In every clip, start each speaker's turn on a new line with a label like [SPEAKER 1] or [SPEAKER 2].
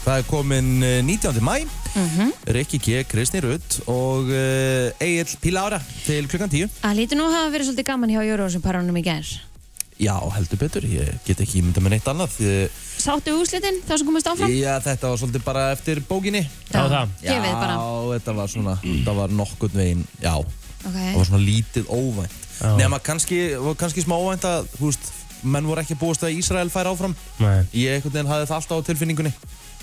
[SPEAKER 1] Það er komin eh, 19. mæ
[SPEAKER 2] Mhm.
[SPEAKER 1] Rikki G, Kristi Rutt og uh, Egil Pílára til klukkan 10
[SPEAKER 2] Það lítur nú að hafa verið svolítið gaman hjá Eurovision parunum í gerð.
[SPEAKER 1] Já, heldur betur, ég get ekki ímynda með neitt annað Eh,
[SPEAKER 2] Sáttu úslitin þá sem komast áfram?
[SPEAKER 1] Já, þetta var svolítið bara eftir bókinni
[SPEAKER 2] Já,
[SPEAKER 3] það.
[SPEAKER 2] Gefið bara.
[SPEAKER 1] Já, þetta var svona, þetta var nokkurn veginn, já Það var
[SPEAKER 2] Ok.
[SPEAKER 1] svona lítið óvænt Nefna kannski, var kannski smá óvænt að, þú veist, menn voru ekki búist að Ísrael fær áfram
[SPEAKER 3] Nei.
[SPEAKER 1] Ég einhvern veginn hafði það alltaf á tilfinningunni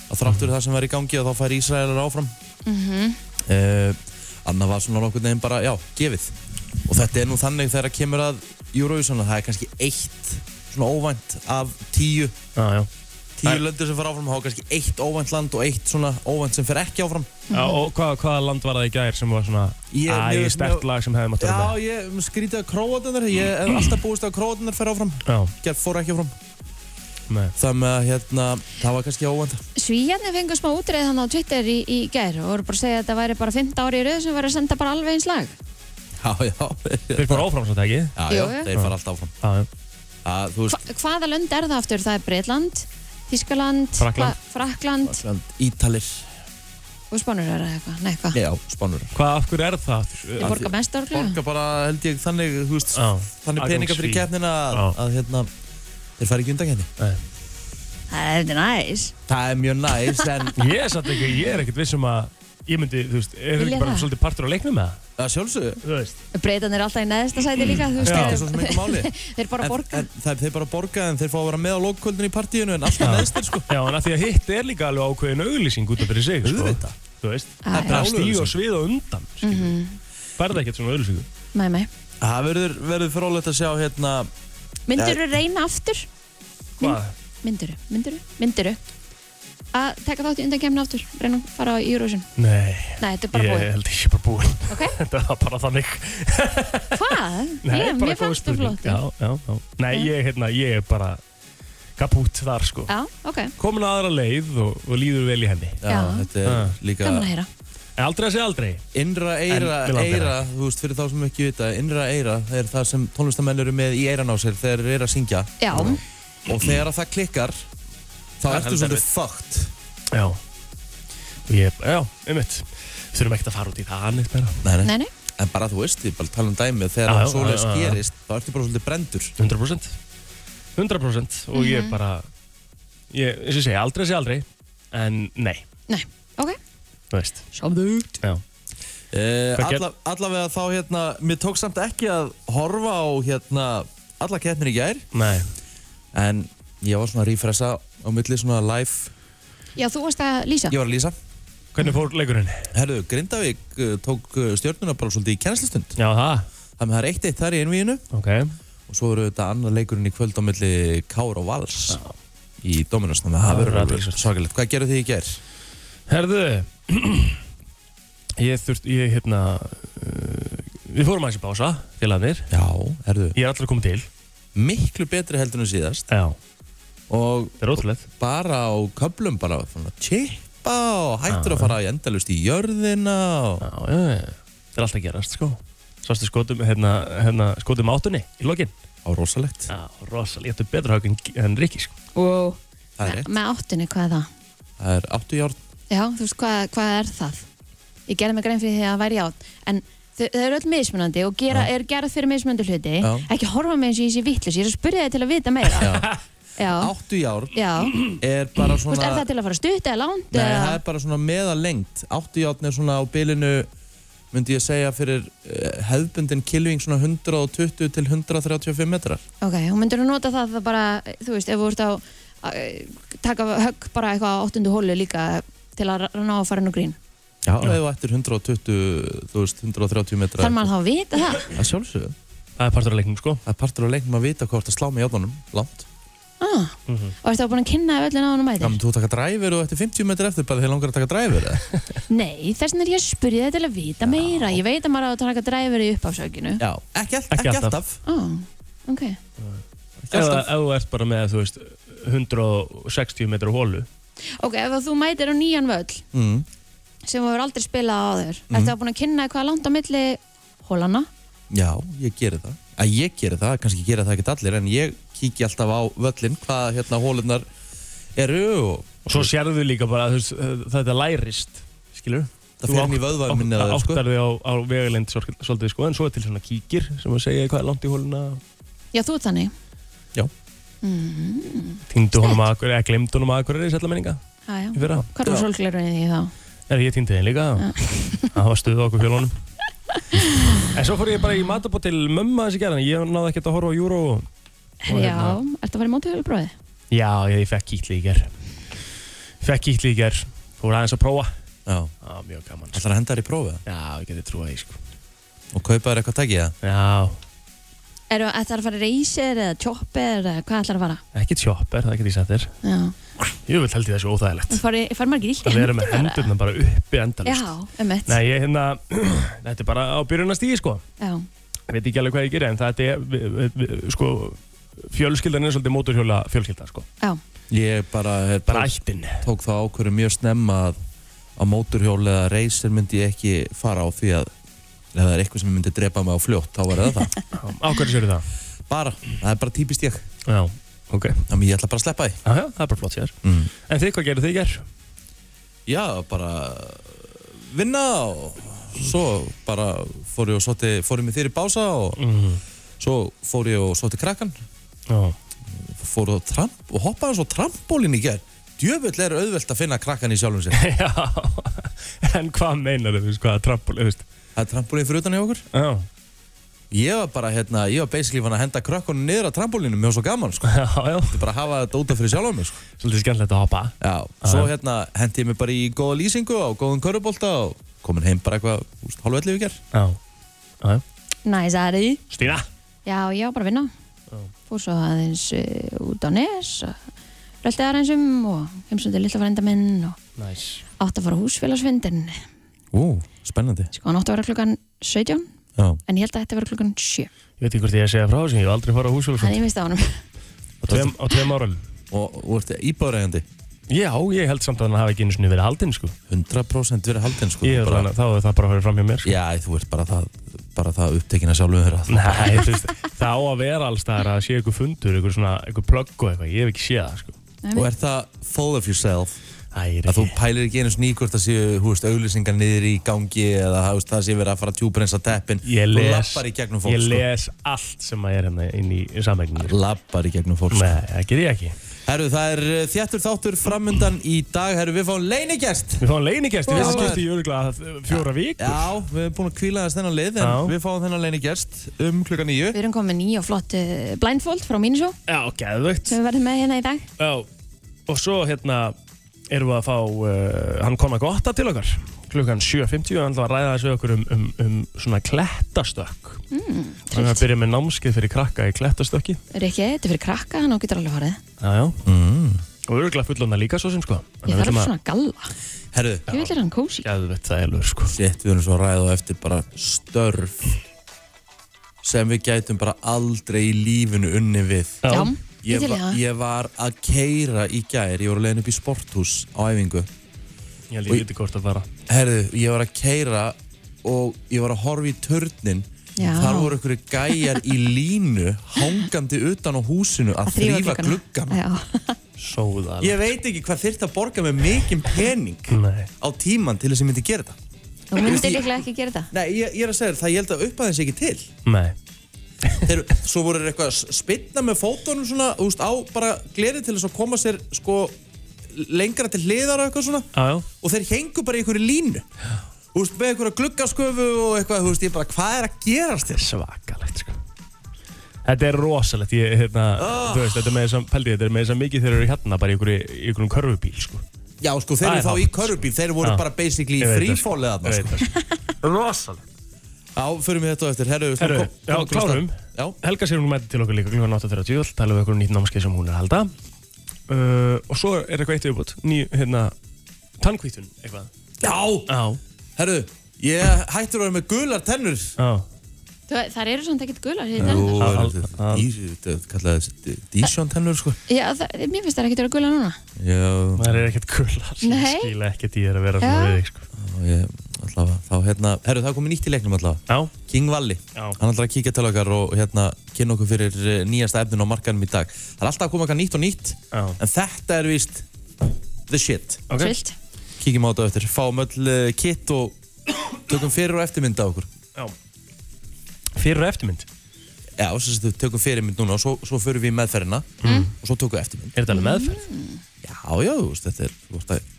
[SPEAKER 1] að þráttur það sem var í gangi að þá fær Ísraelar áfram
[SPEAKER 4] Mhm.
[SPEAKER 1] mm Anna var svona nokkur nefn bara, já, gefið og þetta er nú þannig þegar kemur að Eurovision að það er kannski eitt svona óvænt af tíu
[SPEAKER 3] Já, já.
[SPEAKER 1] tíu
[SPEAKER 3] Það-
[SPEAKER 1] löndur sem fara áfram, þá er kannski eitt óvænt land og eitt svona óvænt sem fer ekki áfram
[SPEAKER 3] já og hvað, hvaða land var það í gær sem var svona
[SPEAKER 1] Ég- mér
[SPEAKER 3] æg
[SPEAKER 1] veist-
[SPEAKER 3] stert lag sem hefði mátt vera
[SPEAKER 1] Já, ég skrítið að króatunnar ég hef alltaf búist að króatunnar fer áfram
[SPEAKER 3] þetta? Já,
[SPEAKER 1] gerð fór ekki áfram
[SPEAKER 3] nei.
[SPEAKER 1] það með að hérna, það var kannski óvænt
[SPEAKER 2] Svíjarnir fengur smá útreið þannig á Twitter í, í gerð og voru bara að segja að þetta væri bara 15 ári í röð sem væri að senda bara alveg eins lag.
[SPEAKER 1] Já, já,
[SPEAKER 3] Þeir fór áfram svo ekki?
[SPEAKER 1] já,
[SPEAKER 2] Jú,
[SPEAKER 1] já,
[SPEAKER 2] jú.
[SPEAKER 1] þeir fara alltaf áfram
[SPEAKER 3] Já, já.
[SPEAKER 1] að, Þú
[SPEAKER 2] Hva,
[SPEAKER 1] veist,
[SPEAKER 2] hvaða lönd er það aftur? Það er Breitland, Þískaland,
[SPEAKER 3] Frakkland.
[SPEAKER 2] hva- Frakkland
[SPEAKER 1] Ísland, Ítalir
[SPEAKER 2] og Spánur er það eitthvað. Nei, hvað?
[SPEAKER 1] Já, spánur
[SPEAKER 3] Hvað, af hverju er það? aftur?
[SPEAKER 2] Ég borga mest árglega.
[SPEAKER 1] Borga bara, held ég, þannig, þú veist
[SPEAKER 3] Já.
[SPEAKER 1] þannig peninga
[SPEAKER 3] Agnús
[SPEAKER 1] fyrir
[SPEAKER 3] í-
[SPEAKER 1] keppnina að,
[SPEAKER 3] Já.
[SPEAKER 1] að hérna, þeir fara ekki undan keppni
[SPEAKER 3] Nei.
[SPEAKER 2] Það er þetta næs.
[SPEAKER 1] Það er mjög næs, en
[SPEAKER 3] Ég er satt ekki, ég er ekkert viss um að ég myndi, þú veist, er
[SPEAKER 2] Vilja
[SPEAKER 3] ekki bara
[SPEAKER 2] það?
[SPEAKER 3] svolítið partur á leiknum með það?
[SPEAKER 1] að sjálfsögðu
[SPEAKER 3] Þú veist?
[SPEAKER 2] Breitarnir er alltaf í neðsta sæti líka, þú veist.
[SPEAKER 3] Já.
[SPEAKER 1] Það er svo sem engu máli.
[SPEAKER 2] Þeir bara
[SPEAKER 1] en,
[SPEAKER 2] borga.
[SPEAKER 1] en, það, Þeir bara borga, en þeir fá að vera með á lókkvöldinu í partíinu en alltaf neðstir, sko
[SPEAKER 3] Já, en að því að hitt er líka alveg ákveðin auglýsing út af fyrir sig, sko.
[SPEAKER 1] Auðvitað.
[SPEAKER 3] Þú veist,
[SPEAKER 2] Ah, Já,
[SPEAKER 3] það er bara
[SPEAKER 1] já.
[SPEAKER 3] stíð og svið og undan, skilur. Mm Færði ekkert svona auglýsingu.
[SPEAKER 2] Mhm. Mæ, mæ.
[SPEAKER 1] Mhm. Það verður, verður frálegt að sjá, hérna
[SPEAKER 2] Myndirðu reyna aftur?
[SPEAKER 3] Hvað?
[SPEAKER 2] Myndirðu, myndirðu, myndirðu að taka þátt í undan kemna aftur reyna að fara á Eurovision
[SPEAKER 3] Nei,
[SPEAKER 2] Nei, þetta er bara
[SPEAKER 3] ég
[SPEAKER 2] búið
[SPEAKER 3] held ekki bara búin.
[SPEAKER 2] Ok,
[SPEAKER 3] Þetta var bara þannig.
[SPEAKER 2] hvað?
[SPEAKER 3] Nei,
[SPEAKER 2] ég,
[SPEAKER 3] bara
[SPEAKER 2] mér
[SPEAKER 3] góð
[SPEAKER 2] fannst þú
[SPEAKER 3] spurning.
[SPEAKER 2] flott
[SPEAKER 3] Já, já, já. Nei, ég, hérna, ég er bara kapút þar, sko.
[SPEAKER 2] Já, ok,
[SPEAKER 3] Komin að aðra leið og, og líður vel í henni.
[SPEAKER 1] Já,
[SPEAKER 2] Já.
[SPEAKER 1] þetta er
[SPEAKER 3] Ah.
[SPEAKER 1] líka
[SPEAKER 2] gaman að heyra
[SPEAKER 3] En aldrei að segja aldrei.
[SPEAKER 1] Innra eira,
[SPEAKER 3] En mig langar
[SPEAKER 1] eira, þú veist, fyrir þá sem ekki vita, innra eira er það sem tónlistamenn eru með í eiran á sér þegar þeir eru að syngja
[SPEAKER 2] Já,
[SPEAKER 1] og þegar að það klikkar, þá
[SPEAKER 3] Það er
[SPEAKER 1] ertu
[SPEAKER 3] heldur
[SPEAKER 1] svolítið
[SPEAKER 3] erfitt.
[SPEAKER 1] fucked.
[SPEAKER 3] Já. Og ég, já, einmitt. Þurfum ekkert að fara út í það neitt meira.
[SPEAKER 1] Nei, nei.
[SPEAKER 2] nei, nei,
[SPEAKER 1] En bara þú veist, ég bara tala um dæmið,
[SPEAKER 3] Já,
[SPEAKER 1] þegar
[SPEAKER 3] já,
[SPEAKER 1] svoleiðis
[SPEAKER 3] já, já, já.
[SPEAKER 1] gerist, þá ertu bara svolítið brendur.
[SPEAKER 3] 100%. 100%. Og ég bara, ég, eins og ég segja, aldrei að segja aldrei. En nei,
[SPEAKER 2] nei, ok
[SPEAKER 3] þú veist.
[SPEAKER 2] Samdugt
[SPEAKER 3] Já.
[SPEAKER 1] Uh,
[SPEAKER 3] Hvað ger-
[SPEAKER 1] alla, allavega þá, hérna, mér tók samt ekki að horfa á, hérna, alla keppnir í gær,
[SPEAKER 3] Nei.
[SPEAKER 1] en ég var svona að refresa á milli svona live,
[SPEAKER 2] Já, þú varst að lýsa
[SPEAKER 1] ég var að lýsa.
[SPEAKER 3] Hvernig fór leikurinn?
[SPEAKER 1] Herðu, Grindavík uh, tók uh, stjörnuna bara svolítið í kennslistund.
[SPEAKER 3] Já, það.
[SPEAKER 1] Þannig að það er eitt eitt þar í einvíinu.
[SPEAKER 3] Ok.
[SPEAKER 1] og svo eru þetta annar leikurinn í kvöld á milli Kár og Vals í Dominos, þannig að
[SPEAKER 3] Já,
[SPEAKER 1] það verður
[SPEAKER 3] það er
[SPEAKER 1] alveg
[SPEAKER 3] athyglisvert.
[SPEAKER 1] svakalegt. Hvað gerðu þið í ger?
[SPEAKER 3] Herðu Ég þurft, ég hérna uh, Við fórum aðeins í bása Félagarnir,
[SPEAKER 1] Já, herðu,
[SPEAKER 3] ég er allra komið til
[SPEAKER 1] miklu betri heldur en síðast
[SPEAKER 3] Já,
[SPEAKER 1] og
[SPEAKER 3] það er ótrúlega
[SPEAKER 1] bara á köplum bara fann að chippa og
[SPEAKER 3] Ah.
[SPEAKER 1] hættur að fara í endalust í jörðina og...
[SPEAKER 3] Já, já, já, það er alltaf að gerast sko Svastu skotum, hérna, hérna skotum áttunni í lokin
[SPEAKER 1] á rosalegt.
[SPEAKER 3] Já, rosalega, þetta er betra hög en, en Rikki sko
[SPEAKER 2] wow.
[SPEAKER 1] Það er rétt.
[SPEAKER 2] Með áttunni, hvað er það?
[SPEAKER 1] Það er áttu járn.
[SPEAKER 2] Já, þú veist, hvað, hvað er það? Ég gerði mig grein fyrir því að það væri játn En þau, þau eru öll mismunandi og gera, er gerð fyrir mismunandi hluti
[SPEAKER 1] Já.
[SPEAKER 2] Ekki horfa með eins og ég sé vittlis Ég er að spyrja þig til að vita meira
[SPEAKER 1] Já.
[SPEAKER 2] Já,
[SPEAKER 1] Áttu járn
[SPEAKER 2] já.
[SPEAKER 1] er bara
[SPEAKER 2] Þú veist, er það
[SPEAKER 1] svona...
[SPEAKER 2] til að fara stutt eða langt?
[SPEAKER 1] Nei,
[SPEAKER 2] eða-
[SPEAKER 1] það er bara svona meðalengt. Áttu járn er svona á bilinu myndi ég segja fyrir eh, hefðbundin kilving svona 120 til 135 metrar.
[SPEAKER 2] Ok, og myndur þú nota það, það bara, þú veist, ef þú ert á að taka högg bara eitthvað á áttundu hólu líka til að ra- ná að fara inn á grín.
[SPEAKER 1] Já, ef þú ættir 120, þú veist, 130 metra
[SPEAKER 2] Þarf maður þá að vita það?
[SPEAKER 1] Það sjálfsögðu
[SPEAKER 3] Það er partur af leiknum sko
[SPEAKER 1] Það er partur á leiknum að vita hvort að slá með játnunum Langt
[SPEAKER 2] Ah. Og ertu þá búin að kynna öllin á hann og
[SPEAKER 1] Já,
[SPEAKER 2] mætir?
[SPEAKER 1] menn þú taka dræfur og eftir 50 metra eftir bara þegar langar að taka dræfur eða?
[SPEAKER 2] Nei, þess vegna er ég að spyrja þetta til að vita meira. Ég veit að maður á að taka dræfur í uppafsökinu.
[SPEAKER 1] Já, ekki, all,
[SPEAKER 3] Ekki
[SPEAKER 1] ekki
[SPEAKER 3] alltaf.
[SPEAKER 1] alltaf
[SPEAKER 2] Ah, ok.
[SPEAKER 1] Ekki
[SPEAKER 3] Ef
[SPEAKER 1] alltaf
[SPEAKER 3] ef þú ert bara með, þú veist 160 metra hólu
[SPEAKER 2] Ok, ef þú mætir á nýjan völl
[SPEAKER 1] mm.
[SPEAKER 2] sem þú hefur aldrei spilað á þér,
[SPEAKER 3] Mhm.
[SPEAKER 2] mm. ertu þá búin að kynna eitthvað langt á milli hólana?
[SPEAKER 1] Já, ég geri það að Ég geri það, kannski gera það ekki allir En ég kíki alltaf á völlin Hvað hérna hólunar eru og
[SPEAKER 3] Og svo sérðu líka bara, þú veist, eh, þetta lærist, skilur
[SPEAKER 1] Það fer inn í vöðvann minni að
[SPEAKER 3] það,
[SPEAKER 1] þér,
[SPEAKER 3] sko.
[SPEAKER 1] sko.
[SPEAKER 3] Áttar þig á, á vegalengd sorg- svolítið, sko, en svo er til svona kíkir sem að segja hvað er langt í hóluna.
[SPEAKER 2] Já, þú ert þannig
[SPEAKER 1] Já.
[SPEAKER 2] mm,
[SPEAKER 3] Týndu honum að akkur, eða glemdu honum að akkur er í sætla menninga
[SPEAKER 2] já, já.
[SPEAKER 3] í fyrra.
[SPEAKER 2] Hvað er
[SPEAKER 1] Já.
[SPEAKER 2] svolglerunni í því þá?
[SPEAKER 3] Er ég týndi þeim líka? Það var stuð á okkur fjölunum. en svo fór ég bara í matabót til mömmu þessi gerðan, ég náði ekkert að horfa á júró. Og
[SPEAKER 2] Já,
[SPEAKER 3] hérna-
[SPEAKER 2] ertu að fara í mótuhjálfbróði?
[SPEAKER 3] Já, ég fekk kýtli í ger. Fekk kýtli í ger, fór aðeins að prófa.
[SPEAKER 1] Já,
[SPEAKER 3] Já, mjög gaman. sko.
[SPEAKER 1] ætlar að henda þér í prófið
[SPEAKER 3] Já, ég geti trúið því, sko.
[SPEAKER 1] og kaupa þér eitthvað tækið það?
[SPEAKER 3] Já,
[SPEAKER 2] Eru ættu að fara í reysir eða tjóppir eða hvað ætlar að fara?
[SPEAKER 3] ekki tjópper, það geti ég sagt þér.
[SPEAKER 2] Já,
[SPEAKER 3] Ég vil held ég þessu óþægilegt.
[SPEAKER 2] þú fari, fari margir illt í
[SPEAKER 3] að vera með
[SPEAKER 2] hendurnar, eða?
[SPEAKER 3] hendurna bara uppi endalust
[SPEAKER 2] Já, um eitt
[SPEAKER 3] Nei, ég hérna, þetta er bara á byrjunastíði sko
[SPEAKER 2] Já,
[SPEAKER 3] Ég veit ekki alveg hvað ég gerir en þetta er, vi, vi, vi, sko, fjölskyldan er svolítið mótorhjóla fjölskylda sko
[SPEAKER 2] já,
[SPEAKER 1] Ég bara, er
[SPEAKER 3] Bara ættin
[SPEAKER 1] tók þá ákvörðu mjög snemma að á móturhjól eða reysir myndi ég ekki fara á því að ef það er eitthvað sem myndi drepa mig á fljótt þá var það það
[SPEAKER 3] Á hverju sér það?
[SPEAKER 1] bara, það er bara típist ég
[SPEAKER 3] Já, ok
[SPEAKER 1] þannig að ég ætla bara að sleppa því
[SPEAKER 3] Aha, Það er bara flott sér
[SPEAKER 1] mm.
[SPEAKER 3] En þið, hvað gerir þið í ger?
[SPEAKER 1] já, bara eh, vinna og svo bara fór ég og svotti fór ég með þér í bása og
[SPEAKER 3] Mm.
[SPEAKER 1] svo fór ég og svotti krakkan
[SPEAKER 3] Já,
[SPEAKER 1] fór og tramp og hoppaði svo trampólin í ger djöfull er auðvelt að finna krakkan í sjálfum sér
[SPEAKER 3] já En hvað meinar þau, sko, að trampol, þú veist
[SPEAKER 1] það er trampólin fyrir utan hjá okkur
[SPEAKER 3] Já,
[SPEAKER 1] ég var bara hérna, ég var basically fann að henda krakkanum niður að trampólinu, mér var svo gaman sko.
[SPEAKER 3] já, já
[SPEAKER 1] Ég bara hafa þetta út af fyrir sjálf á mig sko.
[SPEAKER 3] Svolítið skemmtilegt að hoppa
[SPEAKER 1] Já, svo hérna hendi ég mig bara í góða lýsingu á góðum körubólta og komin heim bara eitthvað úst, hálf ellið við ger
[SPEAKER 3] Já, já, já
[SPEAKER 2] næsari
[SPEAKER 3] Stína
[SPEAKER 2] Já, já, bara vinna
[SPEAKER 3] Já.
[SPEAKER 2] Fór svo aðeins uh, út á nes Röldi aðeins um og heimsundi lilla frænda minn og
[SPEAKER 3] Næs
[SPEAKER 2] átti að fara á húsfélagsfundin
[SPEAKER 1] Ú, spennandi
[SPEAKER 2] Sko, hann átti að vera klukkan 17
[SPEAKER 1] Já,
[SPEAKER 2] en ég held að þetta vera klukkan 7
[SPEAKER 3] Ég veit ekki hvort ég að segja frá þessu, ég hef aldrei farið á
[SPEAKER 2] Það
[SPEAKER 3] húsfjölsund
[SPEAKER 2] er mist á honum
[SPEAKER 3] Á tveim, á tveim árum
[SPEAKER 1] og þú ert íbáðrægandi
[SPEAKER 3] Já, ég held samt að hann hafi ekki einu sinni verið haldinn sko.
[SPEAKER 1] 100% verið haldinn sko
[SPEAKER 3] Ég
[SPEAKER 1] Þú
[SPEAKER 3] held
[SPEAKER 1] bara,
[SPEAKER 3] að þá er það bara að fara fram hjá mér sko.
[SPEAKER 1] Já, þú ert bara það, bara það upptekina sjálfum þér að
[SPEAKER 3] Nei, þú veist, það á að vera alls staðar að sé einhver fundur, einhver svona, einhver plögg og eitthvað, ég hef ekki séð það sko.
[SPEAKER 1] Og ert það full of yourself
[SPEAKER 3] Æ, ég er
[SPEAKER 1] að þú
[SPEAKER 3] ekki
[SPEAKER 1] pælir ekki einu sník hvort það séu, hú veist, auglýsingar niður í gangi eða þú veist, það sé verið að fara að tjúbrensa teppin
[SPEAKER 3] Ég
[SPEAKER 1] Þú
[SPEAKER 3] les,
[SPEAKER 1] lappar í gegnum fólk
[SPEAKER 3] ég les allt sem að er hérna inn í, í sameigninni
[SPEAKER 1] sko.
[SPEAKER 3] sko.
[SPEAKER 1] Lappar í gegnum fólk sko.
[SPEAKER 3] Nei, það ger ég ekki
[SPEAKER 1] Herru, það er uh, þjættur þáttur framundan í dag, herru, við fáum leinigjast.
[SPEAKER 3] Við fáum leinigest, við
[SPEAKER 1] Ó.
[SPEAKER 3] þessum skipti í örgulega fjóra vikur
[SPEAKER 1] Já, við erum búin að kvíla þess þennan lið, en
[SPEAKER 3] Já.
[SPEAKER 1] við fáum þennan leinigjast um klukka nýju.
[SPEAKER 2] Við erum komin með nýja og flott eh, blindfold frá Mínisjó
[SPEAKER 3] Já, geðvögt
[SPEAKER 2] sem við verðum með hérna í dag
[SPEAKER 3] Já, og svo hérna erum við að fá uh, hann kona gotta til okkar klukkan 7.50 og hann ætlar að ræða þessu okkur um, um, um svona klettastökk mm, hann er að byrja með námskeið fyrir krakka í klettastökki
[SPEAKER 2] Rikki, þetta er fyrir krakka, hann á getur alveg farið
[SPEAKER 3] já, já. Mm. og örgulega fullona líka svo sem sko
[SPEAKER 2] Ég þarf svona galla,
[SPEAKER 1] Herru,
[SPEAKER 2] ég vil er hann kósi
[SPEAKER 3] Gæðvett það er lögur sko
[SPEAKER 1] sétt, við erum svo að ræða á eftir bara störf sem við gætum bara aldrei í lífinu unni við.
[SPEAKER 2] Já, ég
[SPEAKER 1] Ég,
[SPEAKER 2] til í
[SPEAKER 1] va
[SPEAKER 2] það
[SPEAKER 1] ég var að keira í gær, ég voru leiðin upp í sporthús á æfingu.
[SPEAKER 3] Ég held ég viti hvort að fara
[SPEAKER 1] Herru, ég var að keira og ég var að horfa í törnin
[SPEAKER 2] Já.
[SPEAKER 1] Þar voru ykkur gæjar í línu hangandi utan á húsinu að, þrýfa gluggan
[SPEAKER 2] Já,
[SPEAKER 3] Sóða
[SPEAKER 1] Ég veit ekki hvað þyrfti að borga með mikinn pening
[SPEAKER 3] Nei
[SPEAKER 1] á tíman til þess að ég myndi gera þetta
[SPEAKER 2] þú myndir líklega ekki gera þetta
[SPEAKER 1] Nei, ég, ég er að segja þér það, ég held að uppaðins ekki til
[SPEAKER 3] Nei
[SPEAKER 1] Þeir, Svo voru þeir eitthvað að spilna með fótunum svona, úst, á bara gleri til þess að koma sér sko lengra til hliðar og eitthvað svona
[SPEAKER 3] Já, já
[SPEAKER 1] og þeir hengu bara í einhverju línu Þú veist, með einhverja gluggasköfu og eitthvað, þú veist, ég bara, hvað er að gerast hérna? þér?
[SPEAKER 3] Svakalegt sko Þetta er rosalegt, ég, hérna,
[SPEAKER 1] Ah.
[SPEAKER 3] þú veist, þetta er með þess að, pældi, þetta er með þess að mikið þeir eru hérna bara í einhverju- í einhverjum körfubíl, sko.
[SPEAKER 1] Já, sko, þeir
[SPEAKER 3] Það
[SPEAKER 1] eru
[SPEAKER 3] er
[SPEAKER 1] þá í
[SPEAKER 3] hátt, sko.
[SPEAKER 1] körubíl, þeir voru
[SPEAKER 3] Já.
[SPEAKER 1] bara basically í
[SPEAKER 3] Ég veit það, sko.
[SPEAKER 1] frífólið aðna,
[SPEAKER 3] Ég
[SPEAKER 1] sko.
[SPEAKER 3] veit það, sko. Rosalega
[SPEAKER 1] Já, förum við þetta á eftir, herru, við
[SPEAKER 3] Herru,
[SPEAKER 1] skulum kom-
[SPEAKER 3] já,
[SPEAKER 1] komum til
[SPEAKER 3] klárum.
[SPEAKER 1] stað. Já,
[SPEAKER 3] Helga sér hún mæti til okkur líka klukkan 8.30 öll, tala við okkur um nýtt námskeið sem hún er að halda uh, og svo er eitthvað eitt yfirbútt ný, hérna, tannkvítun eitthvað
[SPEAKER 1] já,
[SPEAKER 3] Já,
[SPEAKER 1] herru, ég hættur að vera með gular tennur.
[SPEAKER 3] já,
[SPEAKER 2] Þú- Þar eru samt ekkert gular um hér í
[SPEAKER 1] Jú,
[SPEAKER 2] tennurnar.
[SPEAKER 1] er
[SPEAKER 3] Al-
[SPEAKER 1] þetta
[SPEAKER 3] al-
[SPEAKER 1] dís- þetta kallaði þess dísjón tennur, sko.
[SPEAKER 2] Já, það- mér finnst það ekkert vera gular núna
[SPEAKER 1] Já,
[SPEAKER 3] það er ekkert kullar sem
[SPEAKER 2] Nei.
[SPEAKER 3] skila ekkert í þér að vera
[SPEAKER 2] Já.
[SPEAKER 3] svona við þig sko.
[SPEAKER 1] og ég, allavega, þá, hérna, herru, það er komið nýtt í leiknum allavega.
[SPEAKER 3] Já,
[SPEAKER 1] King Valli,
[SPEAKER 3] Já.
[SPEAKER 1] hann ætlar að kíkja til okkar og hérna, kynna okkur fyrir eh, nýjasta efnin á markanum í dag. Það er alltaf að koma eitthvað nýtt og nýtt,
[SPEAKER 3] já,
[SPEAKER 1] en þetta er víst the shit
[SPEAKER 3] Ok.
[SPEAKER 2] Trillt.
[SPEAKER 1] Kíkjum á þetta á eftir, fáum öll uh, kit og tökum fyrir og eftirmynd af okkur
[SPEAKER 3] Já. Fyrir og eftirmynd
[SPEAKER 1] Já, þess að tökum fyrirmynd núna og svo, svo förum við í meðferðina og svo tökum við eftirmynd Mm.
[SPEAKER 3] Er þetta alveg meðferð?
[SPEAKER 1] Já, já, þú veist, þetta er, þú veist að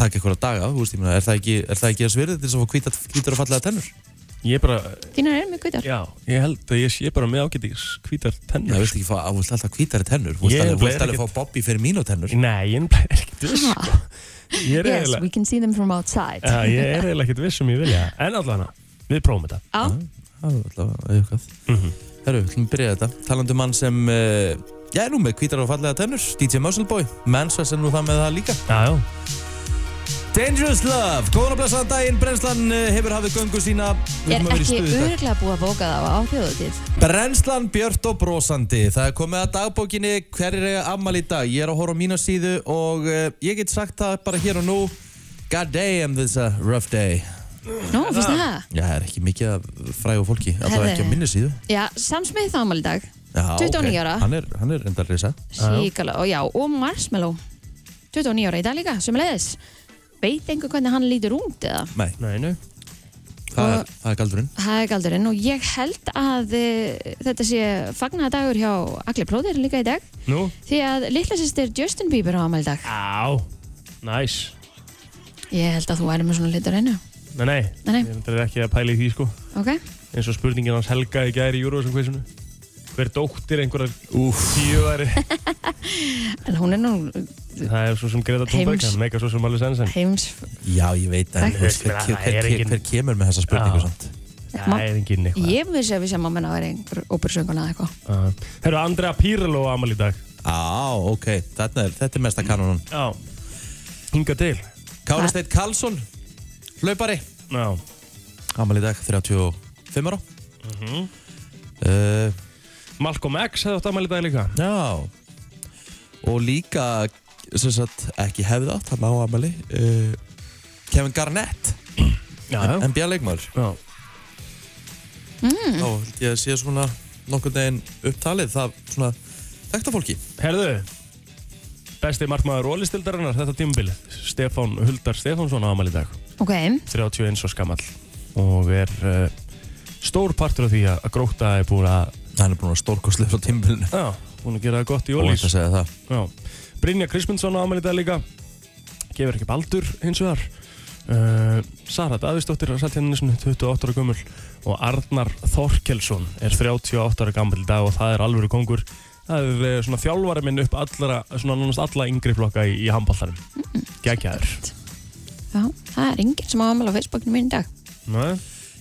[SPEAKER 1] taka einhverja daga, þú veist, ég meina, er það ekki, er það ekki að svirðið til þess að fá hvítar, hvítar og fallega tennur?
[SPEAKER 3] Ég bara,
[SPEAKER 2] Þínar er mjög guttar.
[SPEAKER 3] já, ég held að ég sé bara með ágætis hvítar
[SPEAKER 1] Já, þú
[SPEAKER 3] tennur
[SPEAKER 1] veist ekki, fá, þú veist alltaf hvítari tennur, þú veist
[SPEAKER 3] Ég
[SPEAKER 1] alveg, þú
[SPEAKER 3] er
[SPEAKER 1] veist alveg
[SPEAKER 3] ekkert-
[SPEAKER 1] fá Bobby fyrir mínu tennur
[SPEAKER 3] Nei, ég er ekkert viss sko. Ég er
[SPEAKER 2] Yes,
[SPEAKER 3] eiginlega
[SPEAKER 2] we can see them from outside.
[SPEAKER 3] Já, ég er eiginlega ekkert viss um ég vilja En allavega, við prófum þetta
[SPEAKER 2] Á,
[SPEAKER 1] Já, alltaf eitthvað
[SPEAKER 3] Mhm.
[SPEAKER 1] Herru, hlum byrja þetta Talandi um mann sem, uh, já, er nú með hvítar og fallega tennur DJ Muscleboy, Mansvess er nú það með það líka
[SPEAKER 3] Já, já,
[SPEAKER 1] Dangerous Love, góðan og blessaðan daginn Brennslan eh, hefur hafið göngu sína Við
[SPEAKER 2] er
[SPEAKER 1] erum að vera í
[SPEAKER 2] ekki
[SPEAKER 1] stuði í dag.
[SPEAKER 2] örglega búið að bóka það á þjóðutíð.
[SPEAKER 1] Brennslan Björt og Brósandi Það er komið að dagbókinni hverjir eiga afmæli í dag Ég er að horfa á mína síðu og uh, ég get sagt það bara hér og nú God damn, this is a rough day
[SPEAKER 2] Nú,
[SPEAKER 1] Ah.
[SPEAKER 2] finnst þið það?
[SPEAKER 1] Já, það er ekki mikið af frægu fólki Alltaf
[SPEAKER 2] Herðu.
[SPEAKER 1] ekki á minni síðu
[SPEAKER 2] Já, Sam Smith ámæli dag.
[SPEAKER 1] Já, ok.
[SPEAKER 2] 29 ára.
[SPEAKER 1] Hann er, hann er enda risa
[SPEAKER 2] Sýkala, og já, og Marshmallow. 29 ára í dag líka, sem leiðis. Veit einhver hvernig hann lítur út eða?
[SPEAKER 1] Nei,
[SPEAKER 3] nei, nei
[SPEAKER 1] það
[SPEAKER 2] Og-
[SPEAKER 1] er, það er galdurinn
[SPEAKER 2] Það er galdurinn og ég held að e, þetta sé fagnadagur hjá allir plóðir líka í dag
[SPEAKER 3] Nú,
[SPEAKER 2] því að litla sýstir Justin Bieber á afmæli í dag.
[SPEAKER 3] já, næs
[SPEAKER 2] Ah. Ég held að þú væri með svona litur einu.
[SPEAKER 3] Nei, nei,
[SPEAKER 2] Nei, nei.
[SPEAKER 3] ég er reyndar ekki að pæla í því sko
[SPEAKER 2] Ok?
[SPEAKER 3] eins og spurningin hans Helga í gæri í Eurovision quizinu hver dóttir einhverjar tíuari
[SPEAKER 2] En hún er nú
[SPEAKER 3] það er svo sem Greta Thunberg
[SPEAKER 2] Heims.
[SPEAKER 3] hann meika svo sem alveg sensen
[SPEAKER 2] heims...
[SPEAKER 1] Já, ég veit en
[SPEAKER 2] Takk.
[SPEAKER 1] þú veist,
[SPEAKER 3] Ég meina,
[SPEAKER 1] hver, hver,
[SPEAKER 3] það er
[SPEAKER 1] hver,
[SPEAKER 3] engin-
[SPEAKER 1] hver kemur með þessa spurningu
[SPEAKER 3] Já.
[SPEAKER 1] samt
[SPEAKER 3] það er enginn eitthvað
[SPEAKER 2] Ég vissi að við sem á menna væri einhver ópersönguna eða eitthvað.
[SPEAKER 3] yeah. Herru, Andrea Pirlo á amal í dag
[SPEAKER 1] Á, ok, þetta er, þetta er mesta kanonan
[SPEAKER 3] Já Hinga til
[SPEAKER 1] Kári
[SPEAKER 2] Hva?
[SPEAKER 1] Steinn Karlsson, hlaupari
[SPEAKER 3] Já
[SPEAKER 1] Amal í dag, 35 ára uh,
[SPEAKER 3] Mhm. Malcolm X hefði átt amal í dag líka
[SPEAKER 1] Já Og líka sem sagt, ekki hefði átt, hann á Amali uh, Kevin Garnett
[SPEAKER 3] Já
[SPEAKER 1] NBA-leikmaður
[SPEAKER 3] Já
[SPEAKER 1] mm. Þá held ég að sé svona nokkurn veginn upptalið það svona þekkta fólki
[SPEAKER 3] Herðu Besti markmaður ólistildarinnar þetta tímubili Stefán Huldar Stefánsson á amal í dag
[SPEAKER 2] Ok,
[SPEAKER 3] 31 og skamall Og er uh, stór partur af því að að gróta er búin að
[SPEAKER 1] Hann er búin að stórkoslega frá tímbilinu
[SPEAKER 3] Já Búin að gera það gott í
[SPEAKER 1] Og
[SPEAKER 3] ólís
[SPEAKER 1] þetta segja það
[SPEAKER 3] Já. Brynja Kristmundsson á afmæli í dag líka gefur ekki baldur hins vegar uh, Sara Davíðsdóttir satt henni 28 ára gömul og Arnar Þorkelsson er 38 ára gammal í dag og það er alvöru kongur það er eh, svona þjálfari minn upp allra, svona nánast alla yngri flokka í, í handballarum geggjaður
[SPEAKER 2] já, það er enginn sem á afmæli á Facebookinu mín í dag.
[SPEAKER 3] Nei.